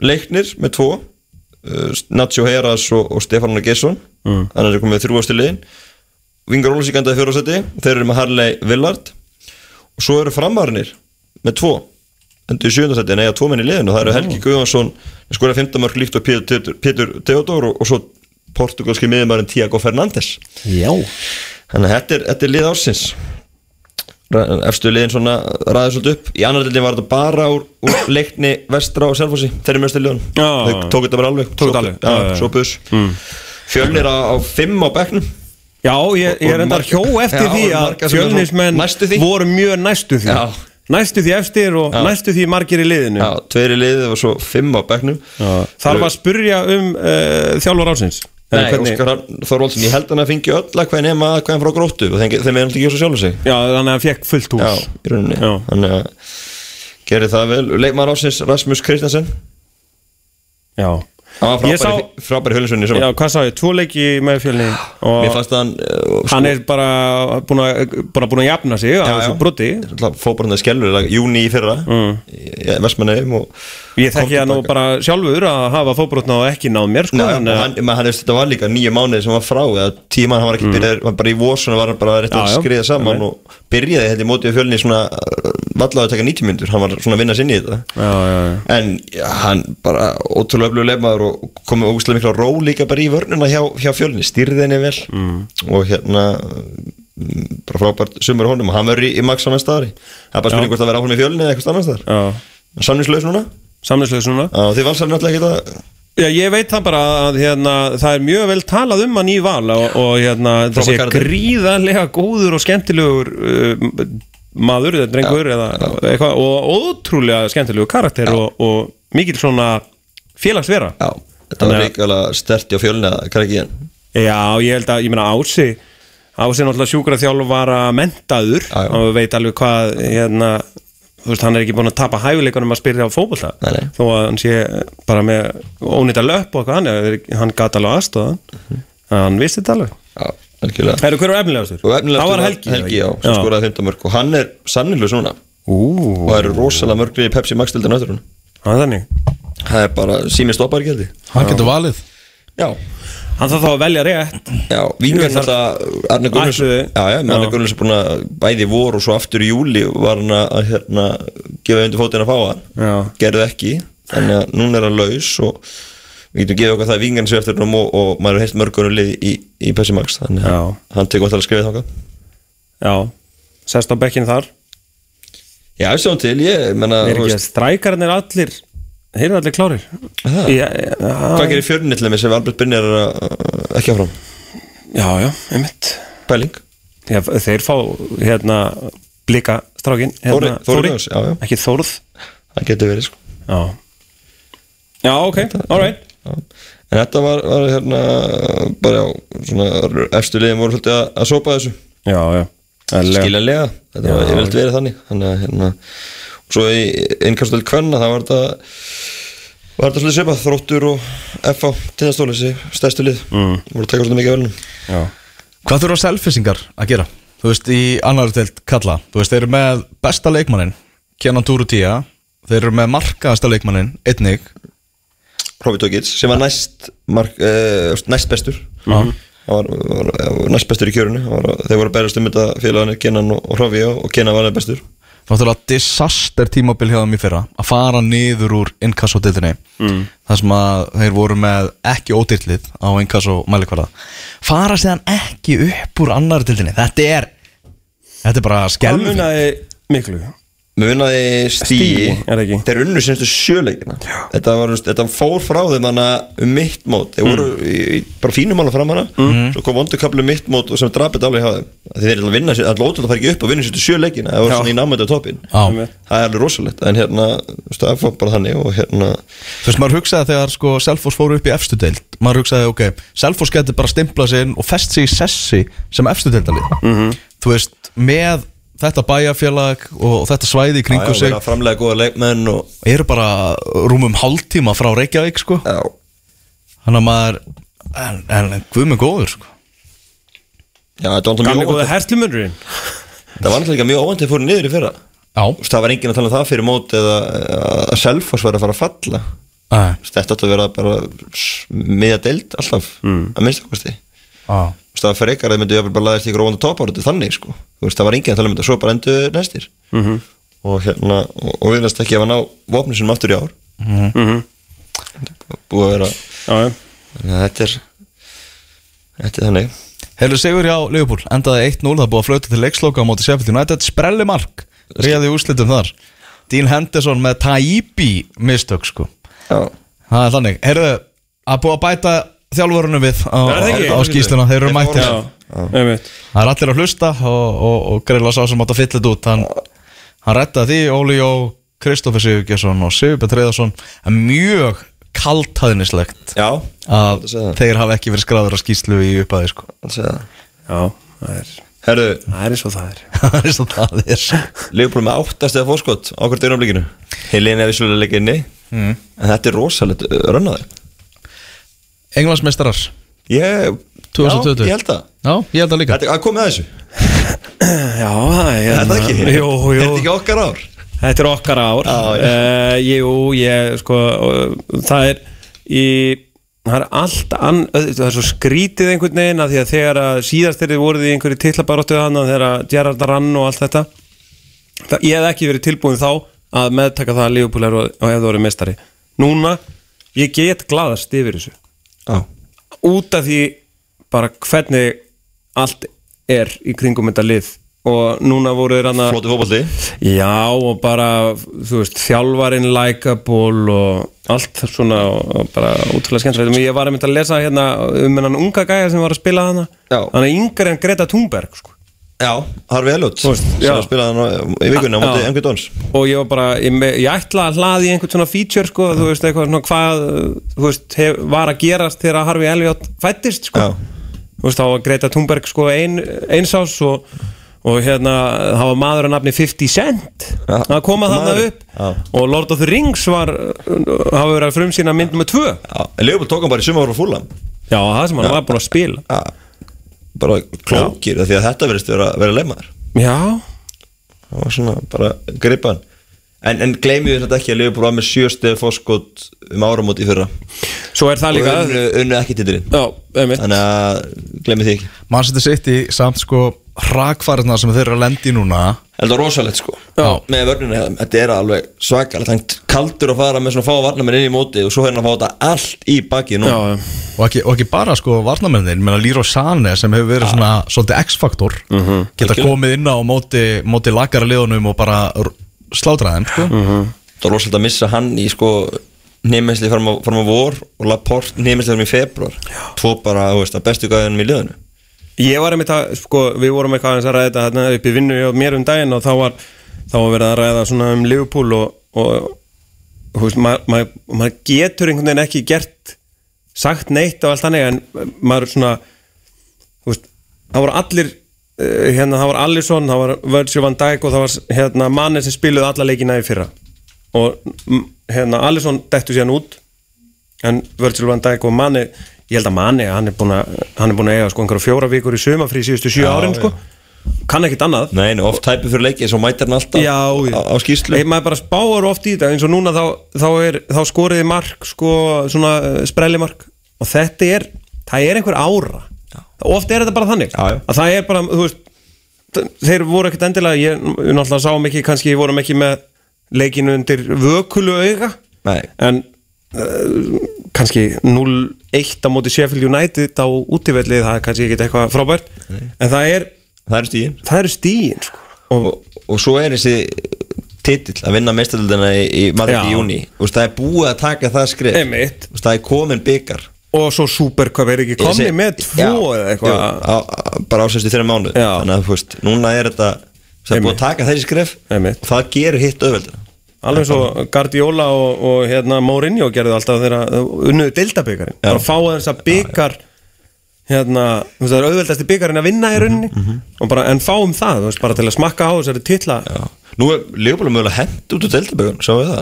[SPEAKER 4] Leiknir með tvo uh, Nacho Heras og, og Stefán Arna Gesson mm. hann er komið þrjúastu liðin Vingar Ólafsík endaði fjóraðsæti þeir eru með Harley Villard og svo eru framarnir með tvo endur sjöndasæti en eiga tvo menn í liðinu það eru
[SPEAKER 2] Mm.
[SPEAKER 4] Helgi Guðjónsson skoraði 15 mörg líkt og Pétur, Pétur Teodor og, og svo portugalski miðumærin Tiago Fernandes
[SPEAKER 2] já
[SPEAKER 4] Þannig að þetta er, þetta er lið ársins Ra- Efstu liðin svona ræðið svolítið upp Í annar liðin var þetta bara úr, úr leikni vestra og selfósi Þeir eru mjög stiljóðan
[SPEAKER 2] Já.
[SPEAKER 4] Þau tók þetta bara alveg
[SPEAKER 2] Tóku þetta
[SPEAKER 4] Svo-
[SPEAKER 2] alveg. Já, já,
[SPEAKER 4] Já, Mm.
[SPEAKER 2] já.
[SPEAKER 4] svo bus Fjölnir á, á fimm á bekknum
[SPEAKER 2] Já, ég, ég
[SPEAKER 4] Og
[SPEAKER 2] er enda
[SPEAKER 4] marga-
[SPEAKER 2] hjó eftir
[SPEAKER 4] Já,
[SPEAKER 2] því
[SPEAKER 4] og
[SPEAKER 2] að
[SPEAKER 4] marga sem eru
[SPEAKER 2] fjölnismenn
[SPEAKER 4] næstu því.
[SPEAKER 2] voru mjög næstu því
[SPEAKER 4] Já.
[SPEAKER 2] Næstu því efstir og
[SPEAKER 4] Já.
[SPEAKER 2] næstu því margir í liðinu
[SPEAKER 4] Já, tveiri liðið og svo fimm á bekknum
[SPEAKER 2] Þar var að spurja um uh, þjálfur ásins
[SPEAKER 4] Nei, Óskar Hrafn Þorvaldsson, ég held hann að fengi öll að hvað nema að hvað hann frá gróttu og þeim, þeim er alltaf ekki svo sjálfur sig
[SPEAKER 2] Já, þannig að hann fekk fullt hús
[SPEAKER 4] Já, í rauninni
[SPEAKER 2] Já.
[SPEAKER 4] Þannig að gerir það vel Leikmaður ásins Rasmus Kristensen
[SPEAKER 2] Já.
[SPEAKER 4] Hann var
[SPEAKER 2] Ég
[SPEAKER 4] frábæri,
[SPEAKER 2] sá-
[SPEAKER 4] sá... frábæri hölusunni
[SPEAKER 2] Já, hvað sá ég, tvo leiki með fjölni
[SPEAKER 4] Mér
[SPEAKER 2] og
[SPEAKER 4] fannst að hann uh, sko,
[SPEAKER 2] hann er bara búin að, bara búin að jafna sig á
[SPEAKER 4] Já,
[SPEAKER 2] þessu
[SPEAKER 4] já.
[SPEAKER 2] broti
[SPEAKER 4] Fóbrundaði skellur, júni í fyrra mm. Vestmannheim og
[SPEAKER 2] Ég þekki hann nú bara sjálfur að hafa fóbrotna og ekki náð mér sko,
[SPEAKER 4] Nei,
[SPEAKER 2] en,
[SPEAKER 4] hann,
[SPEAKER 2] eh,
[SPEAKER 4] hann, menn hann, er- þetta var líka nýju mánuði sem var frá eða tíman hann var ekki byrjað, var bara í vósuna var hann bara rétt að
[SPEAKER 2] Já, já.
[SPEAKER 4] skriða saman og byrjaði þetta í mótið fjölni svona vallaði að taka 90 myndur, hann var svona að vinna sinni í þetta
[SPEAKER 2] já, já, já.
[SPEAKER 4] en ja, hann bara ótrúlega öflugur leikmaður og komið ógustlega mikla ró líka bara í vörnuna hjá, hjá fjölni, stýrði henni vel mm. og hérna mm, bara frábært sumur honum og hann verður í, í maks á næsta ári, það er bara spurning hvort það verður áfram í fjölni eða eitthvað annars þar,
[SPEAKER 2] já.
[SPEAKER 4] samningslaus núna
[SPEAKER 2] Samlislaus núna
[SPEAKER 4] Já, þið valsar náttúrulega ekki það
[SPEAKER 2] Já, ég veit það bara að hérna, það er mjög vel talað um hann í val og, og hérna, þessi
[SPEAKER 4] karakter.
[SPEAKER 2] gríðarlega góður og skemmtilegur uh, maður eða drengur eða eitthvað og ótrúlega skemmtilegur karakter og, og mikil svona félagsvera
[SPEAKER 4] Já, þetta var
[SPEAKER 2] Þannig að-
[SPEAKER 4] reikjulega sterti á fjölni að krakki hann
[SPEAKER 2] Já, ég held að, ég meina Ási Ási er náttúrulega sjúkra þjálfara mentaður
[SPEAKER 4] Já, já.
[SPEAKER 2] og veit alveg hvað hérna, þú veist, hann er ekki búin að tapa hæfileikunum að spyrja á fótbolta
[SPEAKER 4] Nei, nei.
[SPEAKER 2] þó að hann sé bara með ónýta löpp og eitthvað hann, er- hann gat alveg aðstóða hann vissi þetta alveg
[SPEAKER 4] Mhm. Já, algjörlega
[SPEAKER 2] Herru, hver var efnilegastur?
[SPEAKER 4] Og efnilega
[SPEAKER 2] Það var Helgi
[SPEAKER 4] hérna Helgi, já, sem
[SPEAKER 2] já.
[SPEAKER 4] skoraði 15 mörg og hann er sannilega svona
[SPEAKER 2] Ú,
[SPEAKER 4] og það eru rosalega mörgri í Pepsi Max til þetta náttúrun
[SPEAKER 2] hann er þannig
[SPEAKER 4] Það er bara, sími stoppar ekki heldig
[SPEAKER 1] Hann getur valið
[SPEAKER 4] Já,
[SPEAKER 2] Hann þarf þá að velja rétt
[SPEAKER 4] já, vingar
[SPEAKER 2] Jú, þar-
[SPEAKER 4] náttúrulega Arne Gunnars
[SPEAKER 2] Ætluðu.
[SPEAKER 4] Já, já, með
[SPEAKER 2] Já.
[SPEAKER 4] Arne Gunnars er búin að bæði í vor og svo aftur í júli var hann að hérna, gefa undir fótinn að fá hann
[SPEAKER 2] Já.
[SPEAKER 4] Gerðu ekki, þannig að núna er hann laus og við getum gefið okkar það vingarn sér eftir hann og, og maður hefði heilt mörgur lið í, í Pepsi Max þannig að
[SPEAKER 2] Já.
[SPEAKER 4] hann tekur alltaf að skrifa þáka
[SPEAKER 2] Já, sest á bekkin þar
[SPEAKER 4] Já, sjáum til, ég menna
[SPEAKER 2] Er ekki að strækarnir allir Þeir eru allir klárir Já, já,
[SPEAKER 4] Hvað gerir fjörnir til þeim sem Albert Brynjar er að- að- ekki áfram?
[SPEAKER 2] já, já, einmitt
[SPEAKER 4] Pæling
[SPEAKER 2] já, Þeir fá hérna blika strákin hérna,
[SPEAKER 4] Þóri- Þóri Guðjóns, já, já.
[SPEAKER 2] Ekki Þórð
[SPEAKER 4] Það getur verið sko
[SPEAKER 2] Já, já ok, alright
[SPEAKER 4] Já. En þetta var, var hérna bara já, svona efstu liðin voru svolítið að, að sopa þessu
[SPEAKER 2] Já, já Skilja
[SPEAKER 4] skiljanlega, þetta var yfirleitt verið þannig þannig að hérna og svo í innkastuð kvenna það var þetta var þetta svolítið svipað þróttur og FA tindastóli þessi stærstu lið mm. voru að taka svolítið mikið af velnum
[SPEAKER 1] Hvað þurfa selfisingar að gera? Þú veist, í annar telt kalla Þú veist, þeir eru með besta leikmannin Kenan Túru Tía Þeir eru með markaðasta leikmannin, einnig
[SPEAKER 4] Robbie Tókits sem var næst mark, eh, næst bestur mm. var, var, var næst bestur í kjörinu Hann var, þeir voru að berjast um þetta félaginu Kenan og, og Robbie og, og Kenan var næst bestur
[SPEAKER 1] Náttúrulega disaster tímabil hjá þeim í fyrra Að fara niður úr inkassodildinni mm. Það sem að þeir voru með ekki ódildlið á inkassomælikvarða Fara séðan ekki upp úr annar dildinni Þetta er Þetta er bara
[SPEAKER 2] Það
[SPEAKER 1] skelfing
[SPEAKER 2] munaði miklu
[SPEAKER 4] munaði
[SPEAKER 2] Stigi,
[SPEAKER 4] stíi
[SPEAKER 2] er það ekki?
[SPEAKER 4] þeir unnu semstu sjöleikina þetta, var, þú veist, þetta fór frá þeim hana um mitt mót þeir voru
[SPEAKER 2] Mm.
[SPEAKER 4] í, í, bara fínum alveg fram hana svo kom vondurkablu mitt mót og sem drapið alveg hjá þeim Af því þeir ætla að vinna sér, alltaf ótrúlega fara ekki upp og vinna semstu sjöleikina það voru
[SPEAKER 2] Já.
[SPEAKER 4] svona í námöndu á toppin
[SPEAKER 1] Já.
[SPEAKER 4] það er alveg rosalegt en hérna, þú veist, það fór bara þannig og hérna
[SPEAKER 1] Þú veist, maður hugsaði þegar sko Selfoss fóru upp í efstu deild Maður hugsaði, ok, Selfoss getur bara stimplað sig inn og fest sig í sessi sem efstu deildalið -hmm. Þú veist, með þetta bæjarfélag og þetta svæði í
[SPEAKER 4] það
[SPEAKER 1] kringu
[SPEAKER 4] er
[SPEAKER 1] sig
[SPEAKER 4] að framlega góða leikmenn og
[SPEAKER 1] eru bara rúmum hálftíma frá Reykjavík sko
[SPEAKER 4] já,
[SPEAKER 1] Þannig að maður, en, en en guð með góður sko
[SPEAKER 4] já þetta var náttúrulega
[SPEAKER 2] Gamli
[SPEAKER 4] mjög
[SPEAKER 2] góði
[SPEAKER 4] óvænt
[SPEAKER 2] hertlumunurinn
[SPEAKER 4] það var náttúrulega líka mjög óvænt þeir fóru niður í fyrra Þú
[SPEAKER 1] Já,
[SPEAKER 4] veist, það var enginn að tala um það fyrir mót eða að Selfoss var að fara að falla
[SPEAKER 1] Æ,
[SPEAKER 4] þetta átti að vera bara miðja deild alltaf, að minnst okkur stið
[SPEAKER 1] á,
[SPEAKER 4] það fyrir ykkar að myndu jafnvel bara laðist í gróðan og topa þetta er þannig sko, þú veist það var enginn að tala um þetta svo bara endur næstir
[SPEAKER 2] Mhm,
[SPEAKER 4] -hmm. og hérna, og, og viðnast ekki að ná vopnum sinum aftur í ár -hmm. búið að vera
[SPEAKER 2] mhm. Já, já
[SPEAKER 4] þannig að þetta er þetta er þannig
[SPEAKER 1] Helur Sigur hjá Liverpool, endaði 1-0, það er búið að flöta til leiksloka á móti Sheffield United, sprelli mark réði úrslitum þar Dean Henderson með Taibi mistök sko
[SPEAKER 4] já,
[SPEAKER 1] Það er þannig, heyrðu, að búið að bæta þjálfurunum við á,
[SPEAKER 2] er það ekki?
[SPEAKER 1] á skýsluna, þeir eru mættir
[SPEAKER 2] Já, einmitt
[SPEAKER 1] Það er allir að hlusta og, og, og greila sá sem átt að fylla þetta út hann, hann rettaði því, Óli Jó Kristoffer Sigurgesson og Sigurbjörn Treyðarsson en mjög kaltæðnislegt
[SPEAKER 4] já,
[SPEAKER 1] að
[SPEAKER 4] Þetta segja það.
[SPEAKER 1] þeir hafa ekki verið skráður á skýslu í uppaði sko.
[SPEAKER 4] þannig að
[SPEAKER 2] Já, það er
[SPEAKER 4] herru,
[SPEAKER 2] Það er eins og það er
[SPEAKER 1] það er svo það er
[SPEAKER 4] Leopold með áttast eða fórskot á hvert auðvitað Helene er vissulega leikið inni en þetta er rosalegt uh, rönnaði
[SPEAKER 1] Englandsmeistarar
[SPEAKER 4] ég,
[SPEAKER 1] 2020.
[SPEAKER 4] já, ég held að
[SPEAKER 1] Já, ég held að líka
[SPEAKER 4] þetta er komið að þessu,
[SPEAKER 2] Já, það er hérna-
[SPEAKER 4] þetta ekki
[SPEAKER 2] Jú,
[SPEAKER 4] er
[SPEAKER 2] jú
[SPEAKER 4] þetta ekki okkar ár
[SPEAKER 2] Þetta er okkar ár
[SPEAKER 4] Já, já.
[SPEAKER 2] uh, Jú, ég sko uh, Það er í Það er allt ann, öð- það er svo skrítið einhvern veginn að því að þegar að síðast þeirri voruð í einhverju tillabaróttu hann að þegar að Gerard rann og allt þetta það, ég hef ekki verið tilbúin þá að meðtaka það að Liverpool er og ef það voru mestari Núna, ég get glaðast yfir þessu
[SPEAKER 4] Já.
[SPEAKER 2] út af því bara hvernig allt er í kringum þetta lið og núna voru þeir hann að
[SPEAKER 4] Flóti fótbolti
[SPEAKER 2] Já og bara þú veist, þjálfarin likeable og allt svona og og bara útrúlega skemmtilegt ég var einmitt að lesa hérna um hennan unga gæja sem var að spila hana
[SPEAKER 4] Já.
[SPEAKER 2] hann er yngri en Greta Thunberg sko.
[SPEAKER 4] Já, Harfi Elliot
[SPEAKER 2] Þú veist, já.
[SPEAKER 4] sem spilaði hann á- í vikunni á
[SPEAKER 2] Já.
[SPEAKER 4] móti Engu Dons
[SPEAKER 2] og ég var bara ég, me- ég ætla að hlaði í einhvern svona feature sko, þú veist, eitthvað svona hvað þú veist, hef, var að gerast þegar að Harfi Elliot fættist sko.
[SPEAKER 4] Já.
[SPEAKER 2] þú veist, þá var Greta Thunberg sko ein, einsás og, og hérna, það var maður að nafni 50 Cent
[SPEAKER 4] Já.
[SPEAKER 2] að koma þarna
[SPEAKER 4] Maður.
[SPEAKER 2] upp
[SPEAKER 4] Já.
[SPEAKER 2] og Lord of the Rings var hafa verið að frumsýna mynd með tvö já,
[SPEAKER 4] Leopold tók hann bara í sumar frá fúlam
[SPEAKER 2] það sem hann var búin að spila
[SPEAKER 4] bara klókir af því að þetta verðist vera, vera leimar
[SPEAKER 2] já,
[SPEAKER 4] það var svona bara gripan en, en gleymið þetta ekki að Leopold var með sjösteg fórskot um áramót í fyrra
[SPEAKER 2] svo er það
[SPEAKER 4] og
[SPEAKER 2] líka
[SPEAKER 4] unnu, unnu ekki titilinn
[SPEAKER 2] já, einmitt
[SPEAKER 4] þannig að gleymið því ekki
[SPEAKER 1] Manchester City samt sko hrakfarna sem þeir eru að lendi núna
[SPEAKER 4] Þetta var rosalegt sko
[SPEAKER 2] Já.
[SPEAKER 4] Með vörnina hjá þeim, þetta er alveg svakalegt Hann kaldur að fara með svona fáa varnamenn inn í móti Og svo er hann að fá þetta allt í bakið nú
[SPEAKER 2] já, já.
[SPEAKER 1] og ekki, og ekki bara sko varnamennin menna Líró Sane sem hefur verið svona svolítið X-faktor
[SPEAKER 2] Mhm.
[SPEAKER 1] geta komið inn á móti, móti
[SPEAKER 2] Mhm.
[SPEAKER 1] lagara liðunum og bara r- slátra þeim sko.
[SPEAKER 4] Það var rosalega að missa hann í sko nefnmessli fram, á- fram á vor og Laporte nefnmessli fram í februar tvo bara, þú veist, að bestu gæðinum í liðinu
[SPEAKER 2] Ég var einmitt að, sko, við vorum eitthvað aðeins að ræða þetta hérna upp í vinnu hjá mér um daginn og þá var, þá var verið að ræða svona um Liverpool og, og þú veist, maður ma, ma getur einhvern veginn ekki gert sagt neitt og allt þannig en maður svona, þú veist, það voru allir eh, hérna, það var Alisson, það var Virgil van Dijk og það var hérna manni sem spiluði alla leikina í fyrra og mm, hérna Alisson dettu síðan út en Virgil van Dijk og Mane ég held að Mane, hann er búin að hann er búin að eiga sko einhverja fjóra vikur í suma fyrir síðustu sjö árin sko, kann ekkit annað
[SPEAKER 4] Nei, nei, oft tæpið fyrir leiki, svo mætir hann alltaf
[SPEAKER 2] já,
[SPEAKER 4] á, á skýrslu
[SPEAKER 2] Ei, maður bara spáar oft í þetta eins og núna þá, þá, er, þá skoriði mark sko, svona eh, sprellimark og þetta er, það er einhver ára oft er þetta bara þannig
[SPEAKER 4] Já, já.
[SPEAKER 2] að það er bara, þú veist þ- þeir voru ekkert endilega, ég náttúrulega sáum ekki kannski vorum ekki með leikinu undir vökulu auga
[SPEAKER 4] Nei.
[SPEAKER 2] en uh, kannski 0-1 á móti Sheffield United á útivellið, það er kannski ekkert eitthvað frábært en það er,
[SPEAKER 4] Það eru stíðin
[SPEAKER 2] það eru stíin sko. og,
[SPEAKER 4] og, og svo er þessi titill að vinna mestaröldina í, í Madrid
[SPEAKER 2] Já.
[SPEAKER 4] í júni og það er búið að taka það skrif
[SPEAKER 2] Einmitt.
[SPEAKER 4] og það er komin byggar
[SPEAKER 2] og svo Supercup er ekki komið með tvo eða eitthvað
[SPEAKER 4] bara ásæstu þeirra mánu
[SPEAKER 2] Já.
[SPEAKER 4] þannig að þú veist, núna er þetta það er búið
[SPEAKER 2] Einmitt.
[SPEAKER 4] að taka þessi skrif
[SPEAKER 2] Einmitt.
[SPEAKER 4] og það gerir hitt öðvöldina
[SPEAKER 2] alveg eins og Guardiola og, og hérna Mourinho gerðu alltaf þeirra unnuðu deildabikarin
[SPEAKER 4] Já.
[SPEAKER 2] bara fá þess að bikar hérna, þú veist það er auðveldasti bikarinn að
[SPEAKER 4] Mhm,
[SPEAKER 2] vinna í rauninni og bara, en fáum það, þú veist, bara til að smakka á þessari titla
[SPEAKER 4] nú er Leopold mögulega hent út úr deltabögun sjáum við það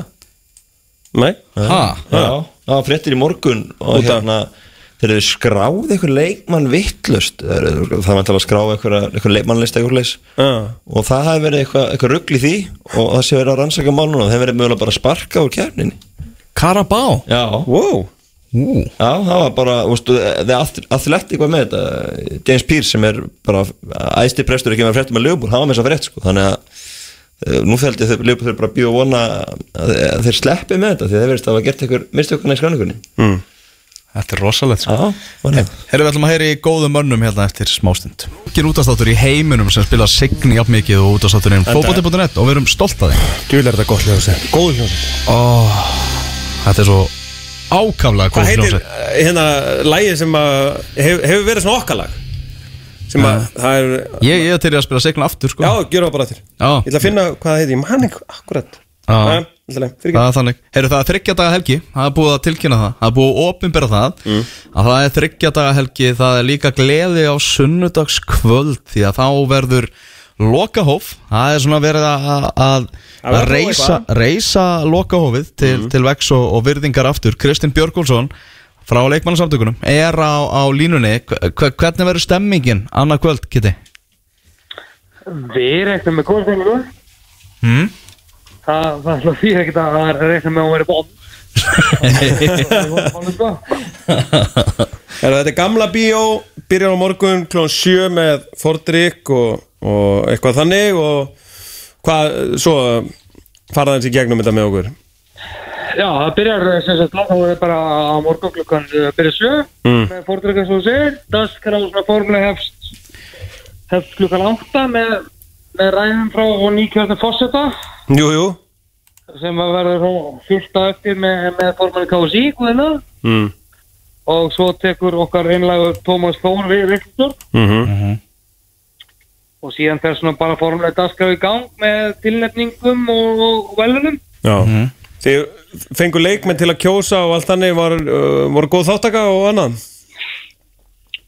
[SPEAKER 2] nei,
[SPEAKER 1] Ha?
[SPEAKER 4] Já, það var fréttir í morgun og
[SPEAKER 2] Út af-
[SPEAKER 4] hérna þeir eru skráð einhver leikmann vittlust það var alltaf að skráða einhver, einhver leikmannlist einhver leis
[SPEAKER 2] Já.
[SPEAKER 4] og það hafi verið eitthvað, eitthvað rugl í því og það sé verið að rannsaka mál núna og þeir verið mögulega bara að sparka úr kjarninni
[SPEAKER 1] Karabá
[SPEAKER 4] Já,
[SPEAKER 2] wow
[SPEAKER 1] Ú,
[SPEAKER 4] Já það var bara, veistu, þeir aðlætti eitthvað með þetta James Pearce sem er bara æsti prestur ekki með fréttum að Leopold, hann var með þess að frétt sko þannig að eh, nú fælt ég að Leopold þeir bara býða vona að að þeir sleppi með þetta því þeir verðist að hafa gert eitthvað mistökkuna í skráningunni
[SPEAKER 1] þetta er rosalegt sko.
[SPEAKER 4] Já, vonið
[SPEAKER 1] Herru, við ætlum að heyra í góðum mönnum hérna eftir smástund Ekki útastáttur í heiminum sem spila signi jafn mikið og útastátturinn Fóbóti.net og við erum stolt að þeim
[SPEAKER 2] djúlega er þetta gott hljóðsett, góð hljóðsett
[SPEAKER 1] Þetta er svo ákaflega
[SPEAKER 2] hvað
[SPEAKER 1] góð
[SPEAKER 2] heitir
[SPEAKER 1] hljómsveit
[SPEAKER 2] eh, hérna lægið sem að hefur hefur verið svona okkalag sem að það er,
[SPEAKER 1] Ég, ég er til í að spila signa aftur sko
[SPEAKER 2] já, gjörum það bara til
[SPEAKER 1] Já.
[SPEAKER 2] ég ætla að finna hvað það heitir, ég man ekki
[SPEAKER 1] Já.
[SPEAKER 2] akkurat fyrir
[SPEAKER 1] Það er þannig Herru, það er þryggja daga helgi Það er búið að tilkynna það Það er búið að opinbera það Að það er þryggja daga helgi Það er líka gleði á sunnudagskvöld Því að þá verður lokahóf Það er svona verið að, að, að,
[SPEAKER 2] Að vera að prófa
[SPEAKER 1] reisa, reisa lokahófið til, til vex og, og virðingar aftur Kristinn Björgólfsson frá leikmannasamtökunum er á, á línunni Hve- hve- Hvernig verður stemmingin annað kvöld, Kitty?
[SPEAKER 8] Við reknum með góða stemningu
[SPEAKER 1] Hmm?
[SPEAKER 8] Það það er alltaf því ekkert að það reknum með að hún sko. veri bóð
[SPEAKER 2] Heru, þetta er gamla bíó, byrjar á morgun klón 7 með Fordrik og, og eitthvað þannig og hvað, svo faraði hans í gegnum þetta með okkur
[SPEAKER 8] Já, það byrjar eh, sem sagt langt er bara á morgun klukkan eh, byrja sjö mm. með fordrykkan svo þú segir Daskrál svona formulega hefst hefst klukkan átta með, með ræðum frá og nýkjörnum fórseta
[SPEAKER 2] Jú, jú
[SPEAKER 8] sem að verður svo fyrsta eftir með, með formulega KSI guðina
[SPEAKER 2] mm.
[SPEAKER 8] og svo tekur okkar einlægur Tómas Þór við rekstur
[SPEAKER 2] Mm -hmm.
[SPEAKER 8] og síðan fer svona bara formulega daskrá í gang með tilnefningum og, og velunum
[SPEAKER 2] Já Þið fengu leikmenn til að kjósa og allt þannig var, uh, voru góð þáttaka og annað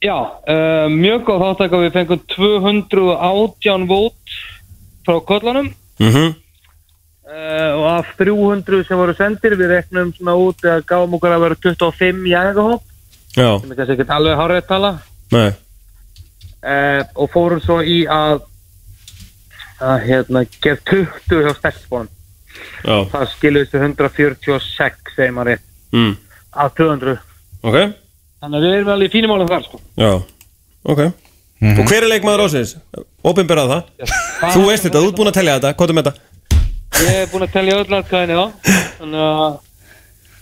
[SPEAKER 8] Já, uh, mjög góð þáttaka við fengum 218 vót frá kollanum
[SPEAKER 2] mm -hmm.
[SPEAKER 8] uh, og af 300 sem voru sendir við reknum svona út að gáum okkur að vera 25 í æðahóp
[SPEAKER 2] Já,
[SPEAKER 8] sem er kannski ekki alveg hárið tala
[SPEAKER 2] nei
[SPEAKER 8] uh, og fórum svo í að að hérna gef 20 hjá stelpunum
[SPEAKER 2] Já,
[SPEAKER 8] það skilur þessu 146 segir maður rétt
[SPEAKER 2] mm.
[SPEAKER 8] af 200
[SPEAKER 2] ok
[SPEAKER 8] þannig að við erum alveg í fínum álum þar sko
[SPEAKER 2] Já, ok Og hver er leikmaður ásins? Opinberað það? Þú veist þetta, þú ert búin að telja þetta, hvað er með þetta?
[SPEAKER 8] Ég hef búin að telja öll atkvæðin já Þannig að,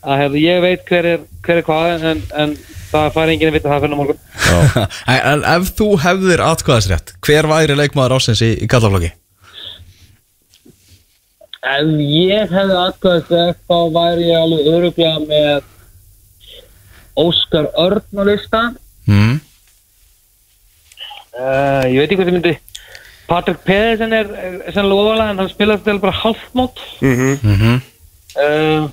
[SPEAKER 8] að hef, ég veit hver er, hver er hvað en, en það fær enginn að vita það fyrir morgun
[SPEAKER 1] en, en ef þú hefðir atkvæðisrétt Hver væri leikmaður ásins í, í kallaflokki?
[SPEAKER 8] Ef ég hefði atkvæðast þá væri ég alveg öruglega með Óskar Örn á lista
[SPEAKER 1] mm.
[SPEAKER 8] uh, Ég veit ekki hvað það myndi Patrik Pedersen er, er sennilega ofalega en hann spilast eða bara halvmót uh,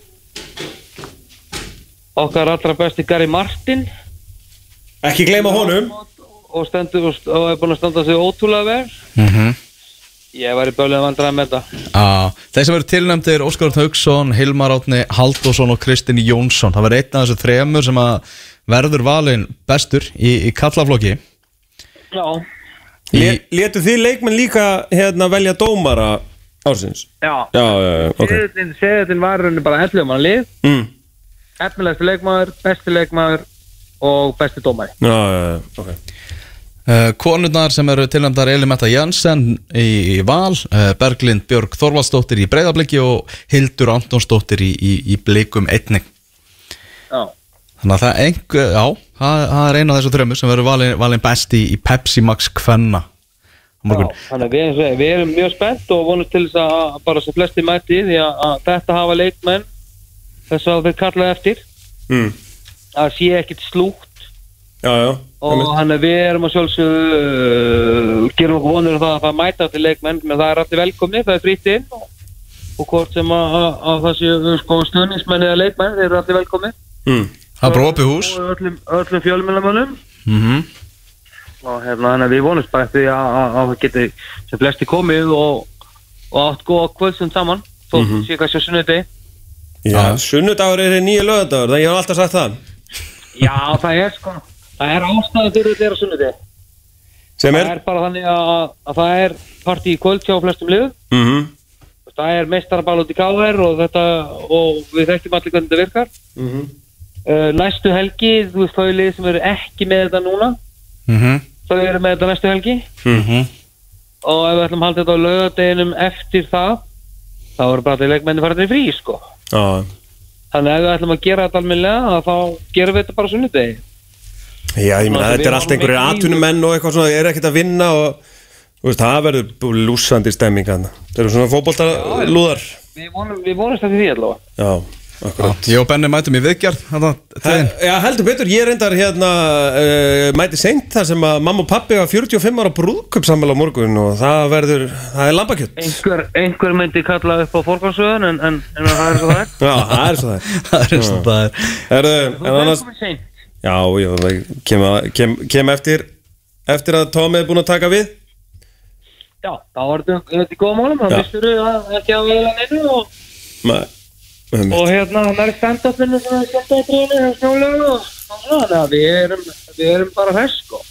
[SPEAKER 8] Okkar allra besti Gary Martin
[SPEAKER 2] Ekki gleyma honum
[SPEAKER 8] og, stendur, og, og er búin að standa sig ótrúlega vel Ég væri börlega vandræða með þetta
[SPEAKER 1] Já, þeir sem eru tilnæmdir Óskar Hauksson, Hilmar Átni Halldórsson og Kristinn Jónsson það verður einn af þessu þremur sem að verður valin bestur í, í kallaflokki
[SPEAKER 8] Já,
[SPEAKER 1] í,
[SPEAKER 2] Létu þið leikmenn líka hérna velja dómara ársins?
[SPEAKER 8] já
[SPEAKER 2] Já, já, já, ok
[SPEAKER 8] Seðin, seðin var henni bara 11 mann lið
[SPEAKER 2] mm.
[SPEAKER 8] efnilegstu leikmaður, besti leikmaður og besti dómari
[SPEAKER 2] Já, já, já, ok
[SPEAKER 1] uh, konurnar sem eru tilnæmdar Elimetta Jensen í, í Val uh, Berglind Björg Þorvaldsdóttir í Breiðabliki og Hildur Antonsdóttir í, í, í Blikum einning
[SPEAKER 8] Já,
[SPEAKER 1] þannig að það einhver, já það, það er einn af þessu þremur sem verður valin, valin best í, í Pepsi Max Kvenna á
[SPEAKER 8] já
[SPEAKER 1] morgun
[SPEAKER 8] þannig að við, eins og ég, við erum mjög spennt og vonumst til þess að- að bara sem flesti mæti því að, að þetta hafa leikmenn þess að þeir kallaði eftir
[SPEAKER 2] mm.
[SPEAKER 8] að sé ekkit slúgt
[SPEAKER 2] Já, já
[SPEAKER 8] og hann að við erum að sjálfsögðu uh, gerum okkur vonur um það að það mæta til leikmenn menn það er allir velkomni, það er frýtt inn og, og hvort sem að, að, að það séu sko, stuðningsmenn eða leikmenn þeir eru allir velkomni
[SPEAKER 2] mm.
[SPEAKER 1] það er bara opið hús
[SPEAKER 8] og öllum, öllum fjölmjölamönnum
[SPEAKER 1] mhm
[SPEAKER 8] og hérna þannig að við vonumst bara eftir því að að- að það geti sem flesti komið og, og átt góða kvöldsum saman þó mm
[SPEAKER 1] Mhm.
[SPEAKER 8] -hmm. sé kannski á sunnundi
[SPEAKER 2] Já, sunnudagur er nýja lögadagur, þannig ég hef alltaf sagt það
[SPEAKER 8] já það er sko það er ástæðan fyrir þetta er á sunnundi
[SPEAKER 2] Sem
[SPEAKER 8] það
[SPEAKER 2] er
[SPEAKER 8] er bara þannig að, að það er partí í kvöld hjá flestum liðum
[SPEAKER 2] mm -hmm.
[SPEAKER 8] það er meistarabal út í KR og þetta og við þekktum allir hvernig þetta virkar uh, næstu helgi þú veist þau lið sem eru ekki með þetta núna
[SPEAKER 1] Mhm.
[SPEAKER 8] þau eru með þetta næstu helgi
[SPEAKER 1] Mhm.
[SPEAKER 8] og ef við ætlum að halda þetta á laugardeginum eftir það þá eru bara allir leikmenni farin í frí sko
[SPEAKER 2] Já,
[SPEAKER 8] þannig að ef við ætlum að gera þetta alminlega að þá gerum við þetta bara á sunnudegi
[SPEAKER 2] já, ég meina,
[SPEAKER 8] Þannig að
[SPEAKER 2] þetta
[SPEAKER 8] við
[SPEAKER 2] er allt einhverjir
[SPEAKER 8] vorum mikið í-
[SPEAKER 2] atvinnumenn og eitthvað svona, er ekkert að vinna og þú veist, það verður lúsandi stemming hann Það eru svona fótboltalúðar
[SPEAKER 8] við, vonum, við vonumst eftir því allavega
[SPEAKER 2] Já, akkurat
[SPEAKER 1] Ég og Benni mætum í viðgerð þarna,
[SPEAKER 2] He-
[SPEAKER 1] til-
[SPEAKER 2] Já, heldur betur, ég reyndar hérna uh, mæti seint þar sem að mamma og pappi hafa 45 ára brúðköp á morgun og það verður, það er lambakjött Já,
[SPEAKER 8] einhver, einhver myndi kalla upp á fórkvæmsöðun en, en, en það er svo það
[SPEAKER 2] það er
[SPEAKER 8] er
[SPEAKER 2] svo það
[SPEAKER 1] Það er eins og það er
[SPEAKER 2] er Herðu,
[SPEAKER 8] þú
[SPEAKER 2] en
[SPEAKER 8] er
[SPEAKER 2] annars,
[SPEAKER 8] komið seint
[SPEAKER 2] já, ég kem, að- kem, kem eftir eftir að Tommi er búin að taka við
[SPEAKER 8] já, þá var þetta þetta í góða málum þá
[SPEAKER 2] Já.
[SPEAKER 8] missur við ekki að vila neinu og,
[SPEAKER 2] Nei, um,
[SPEAKER 8] og hérna hann er stand-upinu sem er stand-upinu og snjólega og og svona þannig að við erum, við erum bara fersk sko.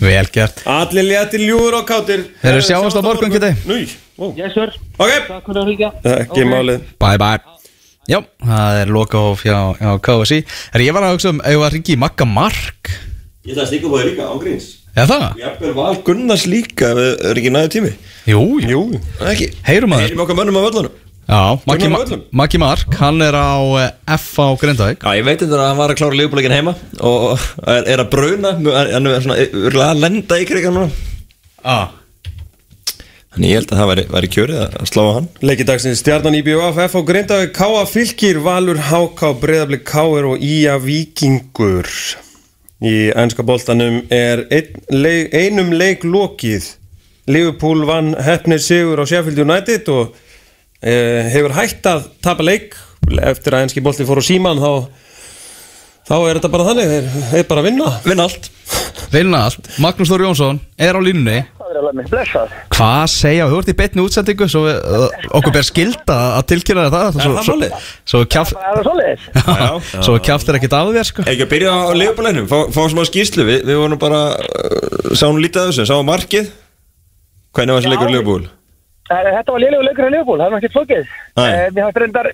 [SPEAKER 1] Vel gert
[SPEAKER 2] Allir léttir ljúður og kátir
[SPEAKER 1] Herðu, sjáumst á morgun, Kiddi.
[SPEAKER 2] Núi, ó,
[SPEAKER 8] yes sir,
[SPEAKER 2] ok
[SPEAKER 8] takk fyrir að hluka
[SPEAKER 2] Ekki málið
[SPEAKER 1] Bye bye Já, það er loka á fjá á KFC Herri, ég var að hugsa um Ef að ringi í Magga Mark
[SPEAKER 4] Ég ætla að stíka búið líka, ángríns
[SPEAKER 1] Eða það?
[SPEAKER 4] Jafnvel val Gunnars líka, ef það er ekki næðu tími
[SPEAKER 1] Jú, jú
[SPEAKER 4] Það ekki
[SPEAKER 1] Heyrum að
[SPEAKER 4] Heyrum okkar mönnum á völlunum
[SPEAKER 1] Já, Maggi,
[SPEAKER 4] Gunnar
[SPEAKER 1] Ma
[SPEAKER 4] Völlum.
[SPEAKER 1] Maggi Mark Hann er á eh, FH Grindavík
[SPEAKER 4] Já, ég veit þetta að hann var að klára lífbúleikin heima og er, er að bruna, hann er svona örgulega að lenda í krigan núna
[SPEAKER 1] Já
[SPEAKER 4] Þannig ég held að það væri, væri kjörið að að slá á hann
[SPEAKER 2] Leiki dagsins Stjarnan IBF, FH Grindavík, K.A. Fylkir, Valur, HK, Breiðablik, K.R. og Ía Víkingur Í ennska boltanum er einn leik, einum leik lokið Liverpool vann hefnir sigur á Sheffield United og e, hefur hætt að tapa leik eftir að ennski bolti fór á síman þá, þá er þetta bara þannig, þeir þeir bara að vinna
[SPEAKER 4] Vinn allt
[SPEAKER 1] Vilna allt Magnús Þór Jónsson Er á línunni
[SPEAKER 8] það er alveg mér blessað
[SPEAKER 1] Hvað segja, þú ert í betni útsendingu Svo við, eh, okkur ber skilda að tilkynna þér það Er
[SPEAKER 2] það málið?
[SPEAKER 1] Svo kjáft
[SPEAKER 8] það er svolítið
[SPEAKER 1] Svo kjáft er ekkert af þér sko
[SPEAKER 4] Ekki að byrja á leifbúleginum, fá, fá smá skýrslu Við, við vorum bara, uh, sáum lítið af þessu, sáum markið Hvernig var þessi leikur leifbúl?
[SPEAKER 8] Eh, Þetta var liðlegu leikur að Liverpool, það er ekki flókið.
[SPEAKER 4] Nei.
[SPEAKER 8] Eh, Mér fannst reyndar,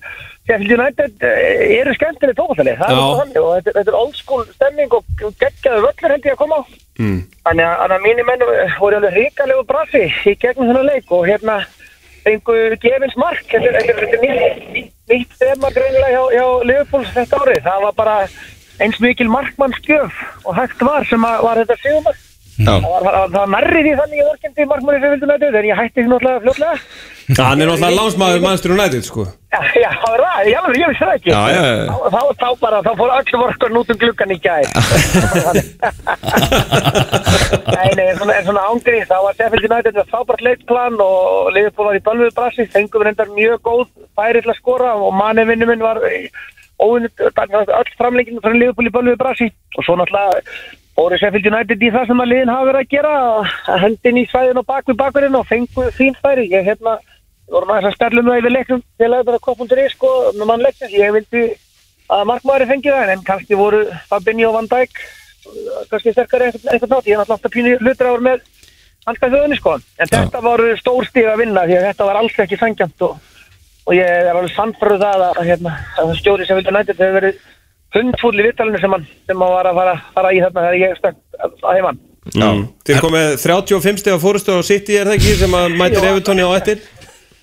[SPEAKER 8] Sheffield United eh, eru skemmtileg tókvallið, það er
[SPEAKER 2] Já.
[SPEAKER 8] bara þannig og þetta, þetta er old school stemming og geggjaðu völlur held ég að koma á. Mm. Þannig að- þannig að mínir menn eh, voru alveg ríkalegu brasi í gegnum þennan leik og hérna fengu gefins mark, þetta er- þetta er þetta er nýtt, nýtt þema greinilega hjá, hjá Liverpool þetta árið. Það var bara eins mikil markmannsgjöf og hægt var sem að, var þetta sigumark.
[SPEAKER 2] Já.
[SPEAKER 8] Það var- það- það var nærri því þannig ég vorkendi markmanni sem vildi nættu en ég hætti því náttúrulega fljótlega
[SPEAKER 2] Hann er náttúrulega lánsmaður mannstur og nættið sko
[SPEAKER 8] Já, það er það, ég alveg, ég vissi það ekki
[SPEAKER 2] Já, já, já.
[SPEAKER 8] Þá, þá, þá bara, þá fór öll vorkun út um gluggan í gæð Nei, nei, en svona, en svona ángrið þá var Sheffield United með fábært leikplan og Liverpool var í bölvuð brasi fengum reyndar mjög góð færi til að skora og manni vinnu minn var óvinnit, öll framlengin frá Liverpool í bölvuð brasi og svo náttúrulega fóru Sheffield United í það sem að liðin hafa verið að gera að hendin í svæðin og bak við bakurinn og fengu fín færi ég hérna Við vorum aðeins að stærlu með það yfir leiknum til að þetta koppundur í sko með mann leiknum. Ég vildi að markmaðurinn fengi það en kannski voru Fabinho og Van Dijk uh, kannski sterkari einhvern einhvern nátt. Ég er náttúrulega alltaf pínu hlutur áur með hanska þjóðinni sko. En þetta voru stórstíð að vinna því að þetta var alls ekki sangjant og, og ég er alveg sannfæru það að, hérna, að það stjóri sem vildi nættið hefur verið hundfúll í vittalinu sem hann sem hann var að fara, fara í þarna þegar ég stökk að, að heimann.
[SPEAKER 2] mm. Þeir komið 35 steg á fórustu og sitt í er það ekki sem að mætir Evertóni á eftir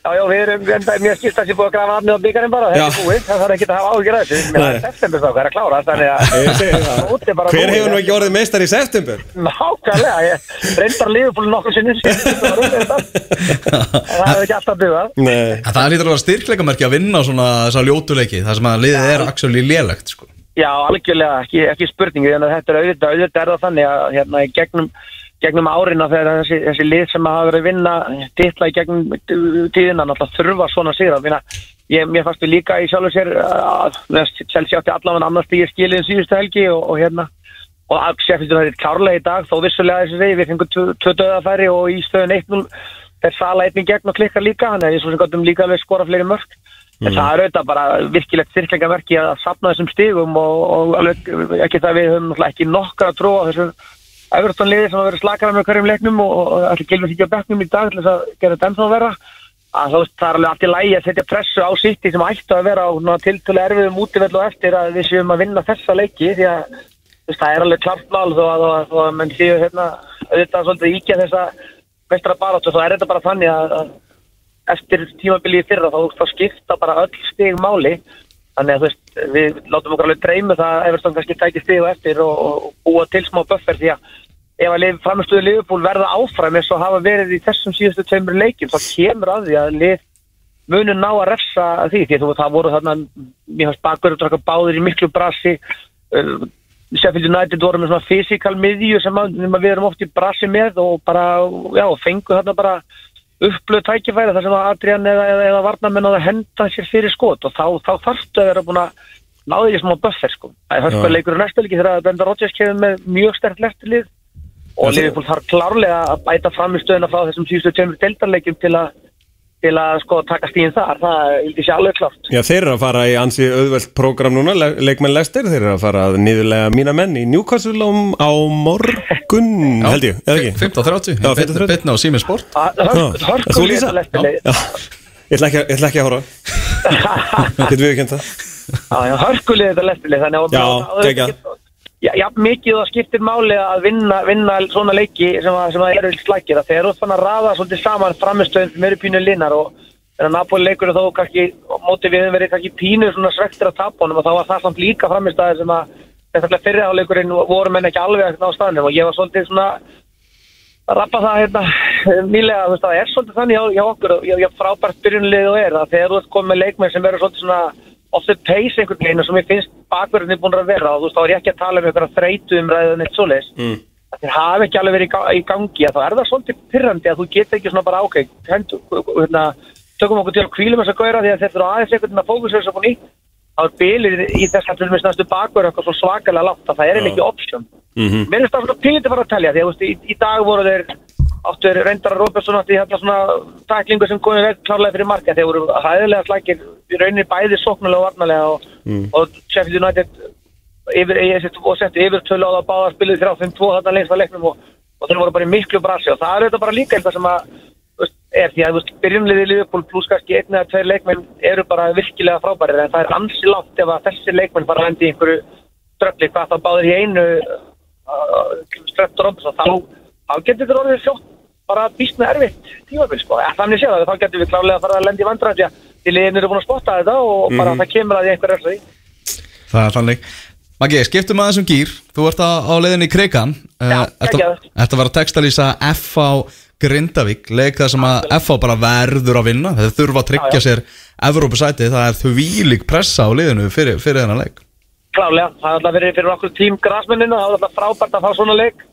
[SPEAKER 8] Já, já, við erum, en það er mjög skýrt að sé búið að grafa afnið á byggarinn bara, þetta
[SPEAKER 2] Já.
[SPEAKER 8] er búið, það þarf ekki að hafa áhyggjur af þessu, mér
[SPEAKER 2] Nei.
[SPEAKER 8] það er september þá, hvað er að klára, þannig
[SPEAKER 2] Ég segi það.
[SPEAKER 8] að móti bara
[SPEAKER 2] Hver
[SPEAKER 8] búið.
[SPEAKER 2] hefur nú ekki orðið meistar í september?
[SPEAKER 8] Nákvæmlega, ég reyndar lífupúl nokkuð sinni, það var rúið þetta, en það hefur ekki alltaf byggðað.
[SPEAKER 2] Nei
[SPEAKER 1] En það lítur að vera styrkleikamerki að vinna svona þessa ljótuleiki Það sem að liðið er actually lélegt sko.
[SPEAKER 8] Já, algjörlega, ekki, ekki spurningu, en þetta er auðvitað, auðvitað er það þannig að hérna í gegnum gegnum árina þegar þessi, þessi lið sem hafa verið að vinna titla í gegnum tíðina náttúrulega þurfa svona sigra Minna, ég, mér fannst við líka í sjálfu sér að að Chelsea átti allavega annars því ég skilið um síðustu helgi og, og hérna og að Sheffield United klárlega í dag þó vissulega þessi segi, við fengum tvö- tvö döðafæri og í stöðun 1-0 þeir sala einnig gegn og klikkar líka þannig að ég svo sem gottum líka alveg skora fleiri mörg en það er auðvitað bara virkilegt styrklingaverki að sapna þessum stigum og, og alveg ekki það að við höfum náttúrulega ekki nokkra trú á þessu Everton liði sem að vera slakara með hverjum leiknum og, og allir gilvum því að bekknum í dag til þess að gera þetta ennþá vera að þú veist það er alveg allt í lægi að setja pressu á sitti sem ættu að vera á tiltölu erfiðum útivell og eftir að við séum að vinna þessa leiki því að Þú veist, það er alveg klart mál þó að, þó að, þó að menn séu hérna auðvitað svolítið íkja þessa mestra baráttu, þá er þetta bara þannig að, að eftir tímabilið í fyrra þá, þá skipta bara öll stig máli þannig að þú veist, við látum okkur alveg dreymu það að Everton kannski tæki stig og eftir og, og, og búa til smá buffer því að ef að framistuðu liðbúl verða áfram eins og hafa verið í þessum síðustu tveimur leikjum þá kemur að því að lið munum ná að refsa því því að þú- það voru þarna mér fannst bakur og drakka báðir í miklu brasi uh, Sheffield United voru með svona fysikal miðju sem að, sem að við erum oft í brasi með og bara, já, fengu þarna bara upplöð tækifæri þar sem að Adrian eða, eða, eða varnamenn á að henda sér fyrir skot og þá, þá þarftu að vera búin að náði því smá buffer sko það er hörkuð leikur og næstu leiki þegar að Brenda Rodgers kemur með mjög sterkt leftilið og Liverpool þarf klárlega að bæta fram í stöðuna frá þessum síðustu tveimur deildarleikjum til að til að sko taka stíðin þar, það er ekki alveg klárt.
[SPEAKER 2] Já, þeir eru að fara í ansi auðvelt prógram núna, le leikmenn lestir, þeir eru að fara að niðurlega mína menn í Newcastle á, á morgun, held ég, eða ekki?
[SPEAKER 1] 15.30
[SPEAKER 2] Já, 15.30.
[SPEAKER 1] Bitna á Siemens Sport
[SPEAKER 2] Já. Þú
[SPEAKER 8] Hörkuð
[SPEAKER 2] Lísa?
[SPEAKER 8] leftilið,
[SPEAKER 2] Já. Ég ætla ekki, að- ég ætla ekki að horfa, getur við ekki en það?
[SPEAKER 8] hörkuð þetta leftilið, þannig að
[SPEAKER 2] Já,
[SPEAKER 8] það er
[SPEAKER 2] geggjað.
[SPEAKER 8] ekki- Já, já, mikið það skiptir máli að vinna, vinna svona leiki sem, að, sem að eru slækir að þeir eru þannig að raða svolítið saman framistöðin sem eru pínu linnar og en að Napoli leikur þó kannski á móti við höfum verið kannski pínu svona svektir að tapa honum og þá var það samt líka framistæði sem að þetta fyrri áleikurinn voru menn ekki alveg að ná staðnum og ég var svolítið svona að rappa það hérna nýlega þú veist það er svolítið þannig hjá, hjá okkur og ég frábært byrjunlið og er að þegar þú ert komið með leikmenn sem eru svolítið svona off the pace einhvern veginn og sem ég finnst bakverðinni búin að vera og þú veist þá er ég ekki að tala um einhverja þreytu um ræðið neitt svoleiðis mm. að þeir hafa ekki alveg verið í ga- í gangi að þá er það svolítið pyrrandi að þú getur ekki svona bara ákveð hendu, hérna, tökum okkur til að kvílum þess að gauðra því að þeir þurfa aðeins einhvern veginn að fókusa þess að búin í þá er bilir í þess að til dæmis næstu bakverð eitthvað svo svakalega látt að það er eiginlega ekki option mér finnst það svona pílítið fara að telja því að þú veist, í, í dag voru þeir áttu þeir reyndar að Róbjörnsson átti hérna svona taklingu sem komið veg klárlega fyrir marka þeir voru hæðilega slækir í rauninni bæði sóknulega og varnalega og, og Sheffield United yfir, yfir, og setti yfirtölu á það báða spilið 3-5-2 þarna lengst að leiknum og, og þeir voru bara í miklu brasi og það er auðvitað bara líka eitthvað sem að þú veist, er því að þú veist, byrjumliði liðból pluss kannski einn eða tveir leikmenn eru bara virkilega frábærir en það er ansi langt ef að þessi leikmenn fara að hendi einhverju ströfli hvað þá báðir í einu uh, ströftur om þá, þá getur þetta orðið sjótt bara býst með erfitt tímabil sko. Eh, þannig séð það, þá getur við klálega að fara að lendi vandræð því að liðin eru búin að spotta þetta og bara það kemur að því einhver er því
[SPEAKER 1] Það er þannig Maggi, skiptum aðeins um gýr Þú ert á, á leiðinni í Kreikan
[SPEAKER 8] Já,
[SPEAKER 1] Þetta
[SPEAKER 8] geggjaður.
[SPEAKER 1] þetta var að textalýsa F.A. Grindavík Leik þar sem að F.A. bara verður að vinna Þeir þurfa að tryggja sér Evrópusæti Það er þvílík pressa á liðinu fyrir, fyrir þennan leik
[SPEAKER 8] Klálega, það er alltaf verið fyrir okkur tím grasmennina, það er alltaf frábært að fá svona leik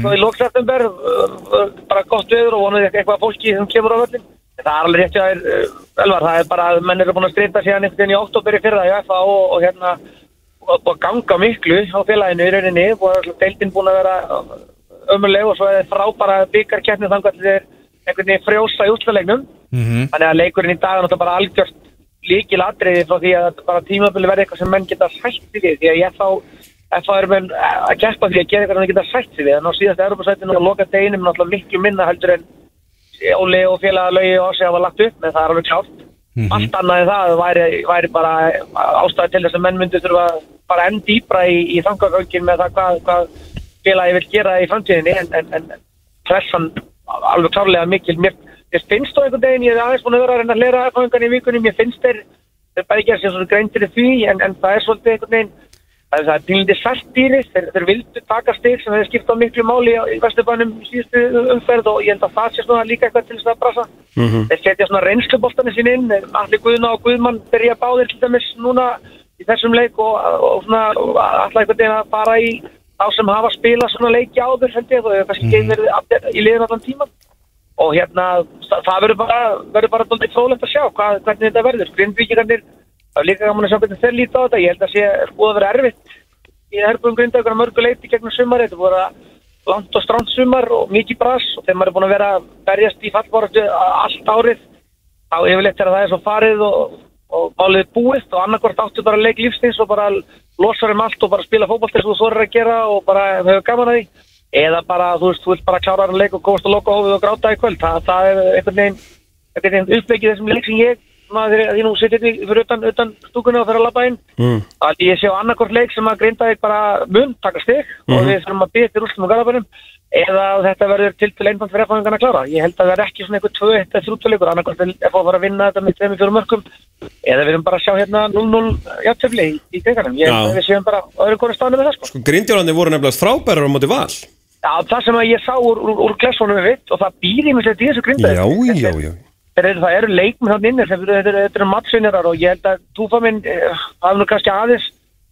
[SPEAKER 8] Svo í lókseftember, uh, bara gott viður og vonið eitthvað að fólki sem kemur á völlin Það er alveg rétt hjá þér, eh, Elvar, það er bara að menn eru búin að skreita síðan einhvern veginn í oktober í fyrra í FA og, og hérna og, og ganga miklu á félaginu í rauninni og deildin búin að vera ömuleg og svo er frábæra byggarkeppni þangar til þeir einhvern veginn frjósa í útlulegnum Þannig að leikurinn í dag er náttúrulega bara algjört líkil atriði frá því að bara tímabili verði eitthvað sem menn geta sætt sig við því að ég þá F.A. er menn að keppa því að gera eitthvað sem þeir geta sætt sig við en á síðast Europasætinu og loka deginum er náttúrulega miklu minna heldur en Óli og félagalögi og Ási hafa lagt upp en það er alveg klárt allt annað en það væri, væri bara ástæði til þess að menn myndu þurfa að fara enn dýpra í, í þangagöngin með það hvað, hvað félagi vil gera í framtíðinni en, en, en pressan alveg klárlega mikil mér, mér finnst þó einhvern veginn, ég er aðeins búin að vera að reyna að lera erfangan í vikunni, mér finnst þeir þeir bæði gera sér svona grein fyrir því en, en það er svolítið einhvern veginn það er það er pínlítið sartýri, þeir, þeir vildu taka stig sem þeir skipta miklu máli á- í Vesturbænum í síðustu umferð og ég held að það sé svona líka eitthvað til þess að brasa þeir setja svona reynsluboltanir sín inn allir Guðna og Guðmann byrja báðir til dæmis núna í þessum leik og, og svona alltaf einhvern veginn að fara í þá sem hafa spilað svona leiki áður held ég og hefur kannski mm verið allir í liðin allan tíman og hérna það það verður bara, verður bara doldið frólægt að sjá hvað, hvernig þetta verður grindvíkirannir, það er líka gaman að sjá hvernig þeir líta á þetta, ég held að sé búið að vera erfitt í herbúðum grindaukar mörgu leiti gegnum sumar, þetta voru langt og stránt sumar og mikið bras og þegar maður er búin að vera að berjast í fallborðu allt árið, þá yfirleitt er að það er svo farið og, og málið er búið og annarkvort áttu bara leik lífsins og bara losar um allt og bara spila fótbolt eins og þú þorir að gera og bara hefur gaman að því eða bara, þú veist, þú vilt bara klára hann leik og komast að loka hófið og gráta í kvöld það, það er einhvern veginn, einhvern veginn uppveikið þessum leik sem ég maður þegar því nú sittir því fyrir utan, utan stúkunni og fyrir að labba inn mm. að ég sé á annarkort leik sem að grinda þig bara mun taka stig
[SPEAKER 2] Mhm.
[SPEAKER 8] og við þurfum að býja til úrstum og garðabænum eða að þetta verður til til einfand fyrir efáðingan að klára ég held að það er ekki svona eitthvað 2-1 eða 3-2 leikur annarkort er efáð að fara að vinna þetta með 2-4 mörgum eða við erum bara að sjá hérna 0-0 játtöfli í, í kriganum ég held
[SPEAKER 2] Já.
[SPEAKER 8] að við séum bara á öðru konu stafnum með það sko
[SPEAKER 2] Sko, grindjólandi voru nefnilega frábærar á móti val
[SPEAKER 8] Já, það sem að ég sá úr, úr, úr glessunum mitt og það býr í mjög í þessu grindaði.
[SPEAKER 2] Já, já, já
[SPEAKER 8] Þeir, það eru leikmenn hann innir, þeir, þeir, þeir, þeir eru mattsynjarar og ég held að túfa minn eh, hafði nú kannski aðeins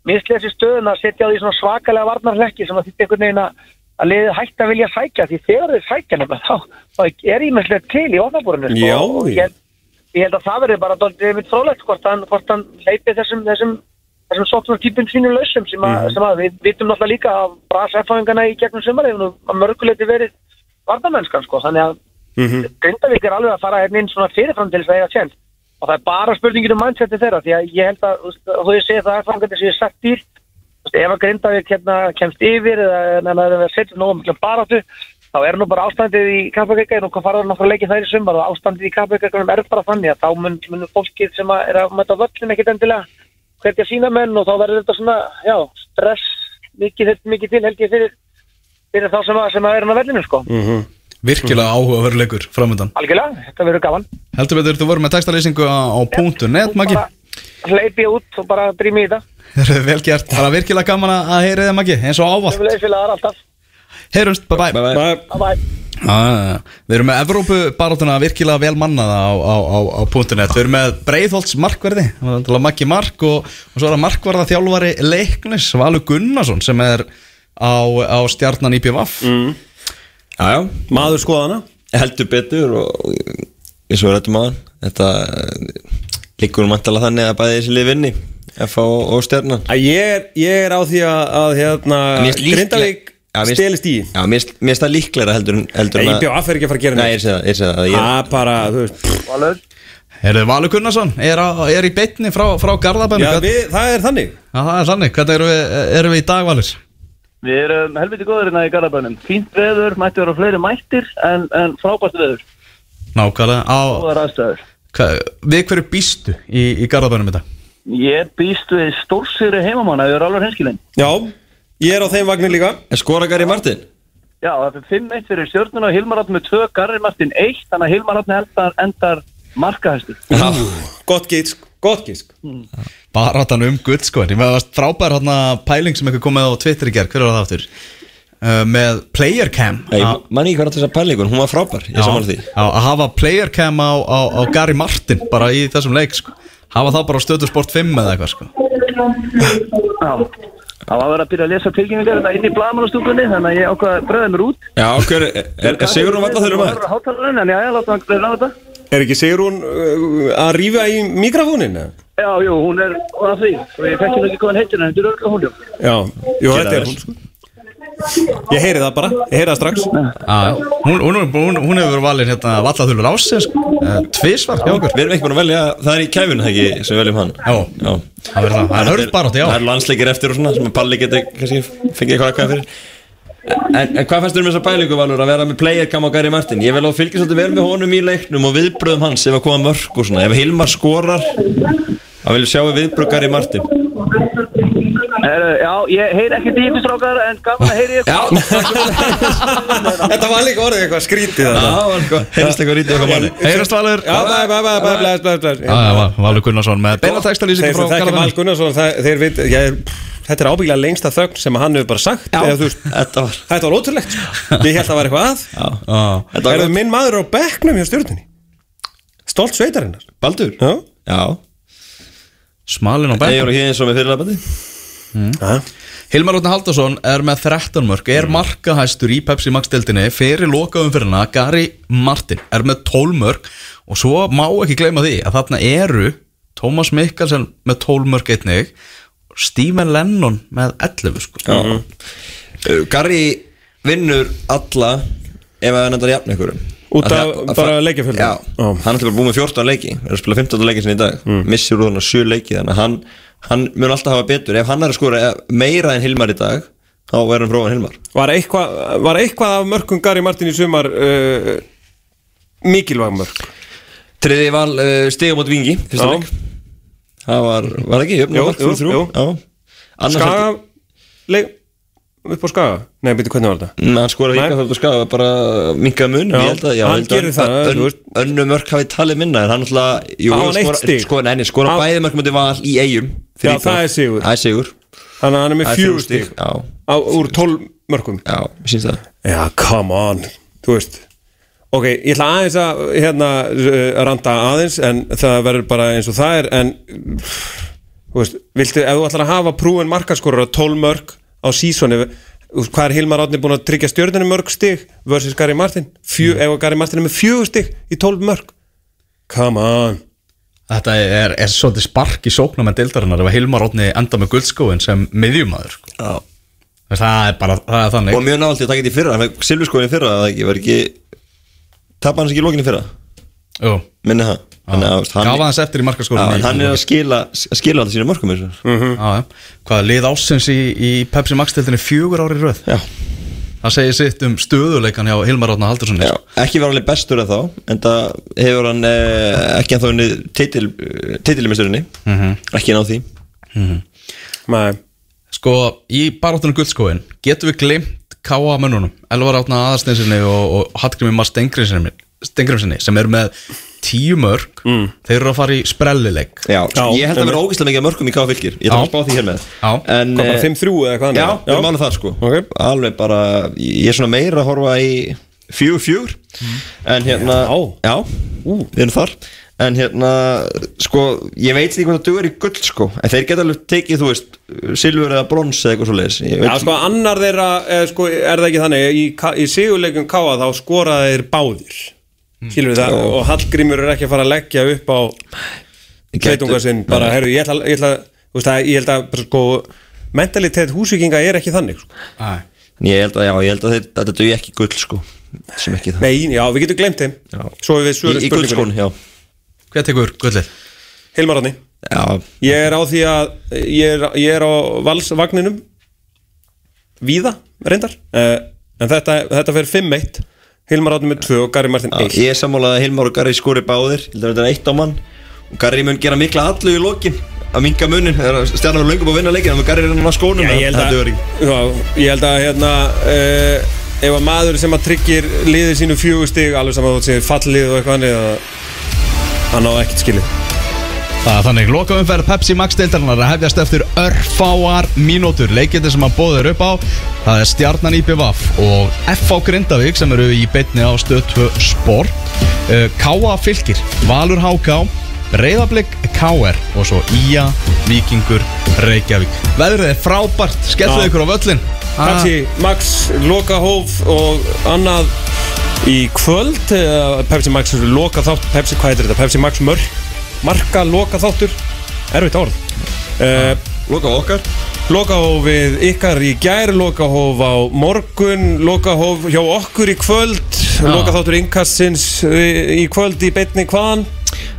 [SPEAKER 8] mislið þessi stöðun að setja á því svona svakalega varnarlekki sem að þetta einhvern veginn að að liðið hægt að vilja sækja því þegar þeir sækja nema þá, þá er ímesslega til í ofnabúrinu
[SPEAKER 2] Já,
[SPEAKER 8] og ég
[SPEAKER 2] já.
[SPEAKER 8] held, ég held að það verður bara dálítið mitt frólægt hvort hann, hvort hann leipi þessum, þessum, þessum sóknartípum sínum lausum sem,
[SPEAKER 2] Mhm.
[SPEAKER 8] að, sem að við vitum náttúrulega líka að brasa erfæðingana í gegnum sumarið og mörguleiti verið varnamennskan sko, þannig að Grindavík er alveg að fara hérna inn svona fyrirfram til þess að eiga tjent og það er bara spurningin um mindsetti þeirra því að ég held að þú veist, þó ég segi það erfangandi sem ég sagt dýr þú veist, ef að Grindavík hérna kemst yfir eða neðan að það setjum nógum miklum baráttu þá er nú bara ástandið í kappaukeika nú kom faraður nokkru leikið þær í sumar og ástandið í kappaukeika er bara þannig að þá mun, mun fólkið sem að er að mæta á völlin ekkit endilega hverja sína menn og þá verður þetta svona já, stress mikið, mikið til helgi fyrir, fyrir þá sem að, sem að er hann á vellinu sko
[SPEAKER 1] Virkilega
[SPEAKER 8] Mhm.
[SPEAKER 1] áhugaveruleikur framöndan
[SPEAKER 8] algjörlega, þetta verður gaman
[SPEAKER 1] Heldur betur, þú voru með textalýsingu á, á punktu.net,
[SPEAKER 8] Nú
[SPEAKER 1] Maggi
[SPEAKER 8] bara hleyp ég út og bara drými í það
[SPEAKER 1] Heyrðu, Vel gert, það er virkilega gaman að að heyra þig, Maggi Eins og
[SPEAKER 8] Við
[SPEAKER 1] ávallt,
[SPEAKER 8] viljum félagar alltaf
[SPEAKER 1] heyrumst, bye bye
[SPEAKER 8] Bye bye
[SPEAKER 1] Ah, við erum með Evrópu barátuna virkilega vel mannaða á, á, á, á punktunet Við erum með Breiðholts markverði Maggi Mark og, og svo er það markvarða þjálfari Leiknis Valur Gunnarsson sem er á, á stjarnan IPVaf mm.
[SPEAKER 4] Jájá,
[SPEAKER 2] Maður skoðana
[SPEAKER 4] heldur betur og eins og við rættum aðan þetta líkur mantala þannig að bæði þessi lið vinni F.A. og og Stjarnan
[SPEAKER 2] Að Ég er, ég er á því að, að hérna,
[SPEAKER 4] Mér finnst líkleg-
[SPEAKER 2] Grindavík
[SPEAKER 4] Já, mér finnst-
[SPEAKER 2] stelist í
[SPEAKER 4] Já, mér finnst- mér finnst það líklega heldur, en- heldur
[SPEAKER 2] Nei, ég bjó aðferð ekki að fara að gera
[SPEAKER 4] Nei, ég sé það, ég sé það ég,
[SPEAKER 2] Það er bara, þú veist
[SPEAKER 1] Heyrðu, Valur Gunnarsson er, á, er í beitni frá, frá Garðabæn
[SPEAKER 4] Oh
[SPEAKER 2] já, við, Það er þannig
[SPEAKER 1] Það er þannig, hvernig erum við, erum við í dag Valur?
[SPEAKER 8] Við erum helviti góður hérna í Garabænum Fínt veður, mætti vera fleiri mættir en, en frábært veður,
[SPEAKER 1] Nákvæmlega á,
[SPEAKER 8] góðar aðstæður
[SPEAKER 1] hva, Við hverju býstu í, í Garðabænum í dag?
[SPEAKER 8] Ég býst við stórsýri heimamanna, við erum alveg henskilinn
[SPEAKER 2] Já, ég er á þeim vagnir líka
[SPEAKER 4] En skora Gary Martin?
[SPEAKER 8] Já, það er 5-1 fyrir stjórnuna og Hilmar Átn með 2, Garri Martin 1 þannig að Hilmar Átn endar, endar markahæstur
[SPEAKER 2] Gott geit sko. Gott gísk
[SPEAKER 1] Bara hann um guldskóin Ég með það var frábær hann pæling sem eitthvað komið á Twitter í gerð Hver var það aftur? Uh, með player cam
[SPEAKER 4] Nei,
[SPEAKER 1] Að-
[SPEAKER 4] manni ekki hvað þetta pælingun, hún var frábær, ég samanlega því
[SPEAKER 1] Já, að hafa player cam á, á, á Gary Martin bara í þessum leik sko. hafa það bara á stötu sport 5 eða eitthvað sko.
[SPEAKER 9] Já, það var verið að byrja að lesa tilgjengilega
[SPEAKER 8] hérna
[SPEAKER 9] þetta inn í blamanastúkunni þannig að ég ákvað að bröða mér út
[SPEAKER 4] Já, hver, er, er, er Sigurður valla þeirra maður?
[SPEAKER 9] Það var hátalarinn, en já, ég láta hann reyna á þetta
[SPEAKER 2] Er ekki Sigrún uh, að rífa í mikrofónin? eða?
[SPEAKER 9] Já, jú, hún er á því og ég fekk hérna ekki góðan heitin en þetta er örgulega hún, jú
[SPEAKER 2] Já, jú,
[SPEAKER 4] Gera
[SPEAKER 2] þetta er
[SPEAKER 4] vel.
[SPEAKER 2] hún sko. Ég heyri það bara, ég heyri það strax
[SPEAKER 1] að, hún, hún, hún, hún hefur valin hérna, vallathulur ásinn sko. uh, tvísvar hjá okkur
[SPEAKER 4] Við erum ekki búin að velja, það er í kæfun, það ekki, sem við veljum hann
[SPEAKER 1] Já,
[SPEAKER 4] Já
[SPEAKER 1] það verður það, það er hörð bara átti,
[SPEAKER 4] Það er
[SPEAKER 1] já
[SPEAKER 4] landsleikir eftir og svona, sem að Palli geti kannski fengið eitthvað að hvað fyrir En, en hvað fannst þér um þessa pælingu, Valur, að vera með player cam á Gary Martin? Ég vil á fylgja svolítið vel með honum í leiknum og viðbröðum hans ef að koma mörg og svona Ef Hilmar skorar, þá viljum sjá við viðbröð Gary Martin
[SPEAKER 9] Heru, Já, ég heyri ekki dýti strákar en gaman að heyri
[SPEAKER 4] Já,
[SPEAKER 9] ykkur
[SPEAKER 2] Þetta var líka orðið eitthvað skrítið
[SPEAKER 4] Já,
[SPEAKER 2] þarna.
[SPEAKER 4] það var eitthvað, heyrðist eitthvað rítið okkar manni
[SPEAKER 1] Heyrast Valur
[SPEAKER 2] Já, bæ, bæ, bæ, bæ, blæs, blæs, blæs
[SPEAKER 1] Já, já, Val- Valur Gunnarsson með beina textalýsingu
[SPEAKER 2] Þeir sem
[SPEAKER 1] frá
[SPEAKER 2] þekkja Val
[SPEAKER 1] Kalamann
[SPEAKER 2] Gunnarsson það- þeir vit, ég, Þetta er ábyggilega lengsta þögn sem hann hefur bara sagt eða, þú veist,
[SPEAKER 4] Þetta var,
[SPEAKER 2] Þetta var ótrúlegt sko. Ég held að það var eitthvað að
[SPEAKER 4] þetta var
[SPEAKER 2] Erðu minn maður á bekknum hjá stjórninni Stolt sveitarinnar
[SPEAKER 4] Baldur
[SPEAKER 2] Já,
[SPEAKER 4] Já
[SPEAKER 1] Smalin og
[SPEAKER 4] Ég
[SPEAKER 1] Benn
[SPEAKER 4] voru hér eins og með fyrirlabandi
[SPEAKER 1] Hilmar Rótna Haldarsson er með 13 mörg er
[SPEAKER 4] Mm.
[SPEAKER 1] markahæstur í Pepsi Max-deldinni fyrir lokaðum fyrir hana, Gary Martin er með 12 mörg og svo má ekki gleyma því að þarna eru Thomas Mikkelsen með 12 mörg einnig Stephen Lennon með 11 sko.
[SPEAKER 4] Já Mm-hmm. Garri vinnur alla ef að hann endar jafn ykkur
[SPEAKER 2] Út af bara leikjafjölda?
[SPEAKER 4] Já,
[SPEAKER 2] Já.
[SPEAKER 4] hann ætla bara búið með 14 leiki er að spila 15 leiki sinni í dag
[SPEAKER 2] Mm.
[SPEAKER 4] missir úr þannig 7 leiki þannig að hann, hann mun alltaf hafa betur ef hann er að skora eh, meira en Hilmar í dag þá verður hann fróðan Hilmar
[SPEAKER 2] var eitthvað, var eitthvað af mörgum Gary Martin í sumar uh, mikilvæg mörg
[SPEAKER 4] Triði val uh, stegum át vingi fyrsta
[SPEAKER 2] Já.
[SPEAKER 4] leik það var, var ekki, jöfn
[SPEAKER 2] Jú,
[SPEAKER 4] og mark,
[SPEAKER 2] jú,
[SPEAKER 4] 3-3.
[SPEAKER 2] jú.
[SPEAKER 4] Já. Annars
[SPEAKER 2] Skaga leik, upp á Skaga Nei, byrju, hvernig var þetta?
[SPEAKER 4] Nei, Mm. hann skoraði
[SPEAKER 2] Nei.
[SPEAKER 4] líka fyrir að skafa bara minga mun
[SPEAKER 2] Já,
[SPEAKER 4] ég held að, já,
[SPEAKER 2] hann
[SPEAKER 4] ég held að
[SPEAKER 2] gerir það,
[SPEAKER 4] ön,
[SPEAKER 2] þú
[SPEAKER 4] ön,
[SPEAKER 2] veist.
[SPEAKER 4] önnu mörk hafi talið minna en hann alltaf, jú,
[SPEAKER 2] Á, hann eitt stig.
[SPEAKER 4] sko, nei, nei, skora
[SPEAKER 2] Á-
[SPEAKER 4] bæði mörk mútið val í eigum fyrir
[SPEAKER 2] Já,
[SPEAKER 4] IBF.
[SPEAKER 2] það er sigur.
[SPEAKER 4] það er sigur,
[SPEAKER 2] Þannig að hann er með
[SPEAKER 4] það er
[SPEAKER 2] fjögur
[SPEAKER 4] fjögur
[SPEAKER 2] stík
[SPEAKER 4] stig já,
[SPEAKER 2] á, úr tól mörgum
[SPEAKER 4] já, mér syns það
[SPEAKER 2] Já, come on, þú veist Ok, ég ætla aðeins að hérna uh, randa aðeins en það verður bara eins og það er en pff, þú veist, viltu, ef þú ætlar að hafa prúin markaskorur á 12 mörg á sísoni hvað er Hilmar Átni búin að tryggja stjörninu mörg stig versus Gary Martin Fjö, ef Gary Martin er með fjögur stig í 12 mörg Come on
[SPEAKER 1] Þetta er, er svolítið spark í sóknar með deildarinnar ef að Hilmar Rótni enda með guldskóin sem miðjumæður sko.
[SPEAKER 4] já.
[SPEAKER 1] það er bara það er þannig
[SPEAKER 4] og mjög nált ég takit í fyrra, hann fekk silfurskóin í fyrra það ekki, var ekki tapa hans ekki í lokinni fyrra,
[SPEAKER 1] Jú.
[SPEAKER 4] minni það þannig að þú veist,
[SPEAKER 1] Gaf
[SPEAKER 4] hann,
[SPEAKER 1] aðeins eftir í
[SPEAKER 4] já,
[SPEAKER 1] markaskólan
[SPEAKER 4] en hann er að skila skila alltaf sína mörkum þessu
[SPEAKER 2] Mm.
[SPEAKER 1] Hvað er lið ásins í, í Pepsi Max-deldinni fjögur ári röð?
[SPEAKER 4] já,
[SPEAKER 1] Það segir sitt um stöðuleikan hjá Hilmar Átna Haldurssoni
[SPEAKER 4] já, ekki var alveg bestur en þá en það hefur hann eh, ekki en þá henni titil, titilimisturinn
[SPEAKER 2] Mhm.
[SPEAKER 4] mm -hmm. ekki náð því
[SPEAKER 2] Nei,
[SPEAKER 1] Sko, í baráttunum guldskóin getum við glimt K.A. mönnunum Elvar Átna Aðarsteinsinni og, og Hallgrimmi Mar Stengrimsinni sem eru með tíu mörg þeir eru að fara í sprellileik
[SPEAKER 4] Já, ég held
[SPEAKER 2] einmitt.
[SPEAKER 4] að vera ógeðslega mikið af mörgum í K.A. fylgir Ég þarf
[SPEAKER 1] Já.
[SPEAKER 4] að spá því hér með
[SPEAKER 1] Já.
[SPEAKER 4] en,
[SPEAKER 2] hvað bara
[SPEAKER 4] eh,
[SPEAKER 2] 5-3 eða hvað
[SPEAKER 4] Já, við
[SPEAKER 2] já.
[SPEAKER 4] erum alveg þar sko
[SPEAKER 2] Ok.
[SPEAKER 4] Alveg bara, ég er svona meira að horfa í fjögur fjögur
[SPEAKER 2] Mhm.
[SPEAKER 4] En hérna, já, við erum þar En hérna, sko, ég veit því hvað það dugur í gull sko En þeir geta alveg tekið, þú veist, silfur eða brons eða eitthvað svo leiðis
[SPEAKER 2] Já, sko, annar þeirra, eh, sko, er það ekki þannig í, K- í sigurleikum K.A. þá skoraði þeir báðir skilur við það, og Hallgrímur er ekki að fara að leggja upp á kveitunga sinn, bara, herru, ég ætla, ég ætla þú veist það, ég held að, bara, sko mentalitet húsvíkinga er ekki þannig sko.
[SPEAKER 4] Ég held að, já, ég held að þeir, þetta dugi ekki í gull sko Sem ekki það
[SPEAKER 2] nei, já, við getum glemt þeim
[SPEAKER 4] Já.
[SPEAKER 2] svo við svörum
[SPEAKER 4] Í, í gullskónu, já
[SPEAKER 1] Hver tekur gullið?
[SPEAKER 2] Hilmar Átni,
[SPEAKER 4] Já,
[SPEAKER 2] ég er á því að ég er, ég er á valsvagninum víða, reyndar uh, en þetta, þetta fer 5-1 Hilmar Átni með 2 og Gary Martin
[SPEAKER 4] Já,
[SPEAKER 2] 1
[SPEAKER 4] Ég er sammálað að Hilmar og Garri skori báðir Hildur þetta er eitt á mann Og Garri mun gera mikla allu í lokin Að minga munin Það er að Stjarnan var löngum að vinna leikin Þannig að Garri er hann á skónum
[SPEAKER 2] Já, ég held að, já, ég held að hérna, uh, ef að maður sem að tryggir liðið sínu fjögur stig alveg saman þótt sem fallið og eitthvað annað að hann á ekkert skilið
[SPEAKER 1] Það er þannig, lokaumferð Pepsi Max deildarinnar að hefjast eftir örfáar mínútur leikindi sem að bóða er upp á það er Stjarnan IPVaf og FH Grindavík sem eru í beitni á stöð 2 Sport eh, K.A. Fylkir, Valur HK Reyðablík KR og svo Ía Víkingur Reykjavík Veðrið er frábært,
[SPEAKER 2] Já.
[SPEAKER 1] skelluðu ykkur á völlin
[SPEAKER 2] Pepsi Max loka hóf og annað í kvöld eh, Pepsi Max loka þátt Pepsi, hvað heitir þetta? Pepsi Max mörg marka loka þáttur erfitt orð uh,
[SPEAKER 4] Loka okkar
[SPEAKER 2] loka hóf við ykkar í gær loka hóf á morgun loka hóf hjá okkur í kvöld loka þáttur innkassins eh, í í kvöld í beinni hvaðan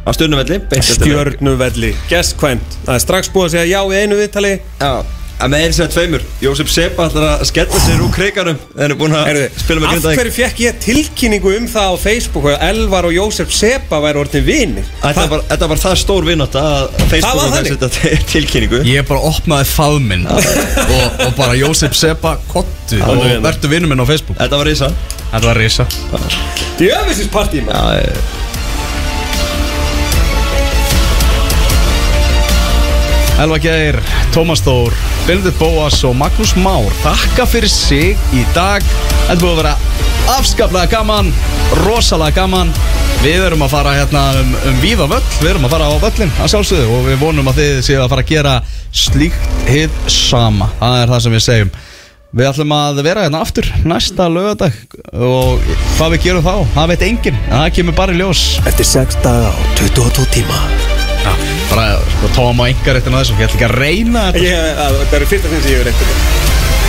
[SPEAKER 4] Á stjörnuvelli beint eftir leik.
[SPEAKER 2] stjörnuvelli gestkvæmt það er strax búið að segja já í einu viðtali
[SPEAKER 4] Já, að með einu sem tveimur Jósef Sepa ætlar að skella sér úr kreikanum En er búin að
[SPEAKER 2] Heyrðu,
[SPEAKER 4] spila með
[SPEAKER 2] af
[SPEAKER 4] grindaðik
[SPEAKER 2] hverju fekk ég tilkynningu um það á Facebook að Elvar og Jósef Sepa væri orðin vinir
[SPEAKER 4] Þetta var, þetta var það stór vinátt að
[SPEAKER 2] Það
[SPEAKER 4] Facebook
[SPEAKER 2] var
[SPEAKER 4] var
[SPEAKER 2] þannig.
[SPEAKER 4] þetta til- tilkynningu
[SPEAKER 1] Ég bara opnaði faðminn og, og bara Jósef Sepa kottu
[SPEAKER 4] er
[SPEAKER 1] og
[SPEAKER 4] hérna.
[SPEAKER 1] verður vinnum minn á Facebook
[SPEAKER 4] Þetta var reysa
[SPEAKER 1] Þetta var risa
[SPEAKER 2] Djöfisins partí maður.
[SPEAKER 1] Elva Geir, Tómas Þór, Benedikt Bóas og Magnús Már þakka fyrir sig í dag. Þetta er búið að vera afskaplega gaman, rosalega gaman. Við erum að fara hérna um, um víða völl, við erum að fara á völlin að sjálfsögðu og við vonum að þið séu að fara að gera slíkt hið sama. Það er það sem við segjum. Við ætlum að vera hérna aftur næsta lögadag og hvað við gerum þá, það veit enginn, en það kemur bara í ljós.
[SPEAKER 2] Eftir 6 daga og 22 tíma
[SPEAKER 1] Já, bara sko, tóma á engar eftir þessu, ég ætla ekki að reyna þetta.
[SPEAKER 2] ég, að, Það eru fyrsta sinn sem ég er eftir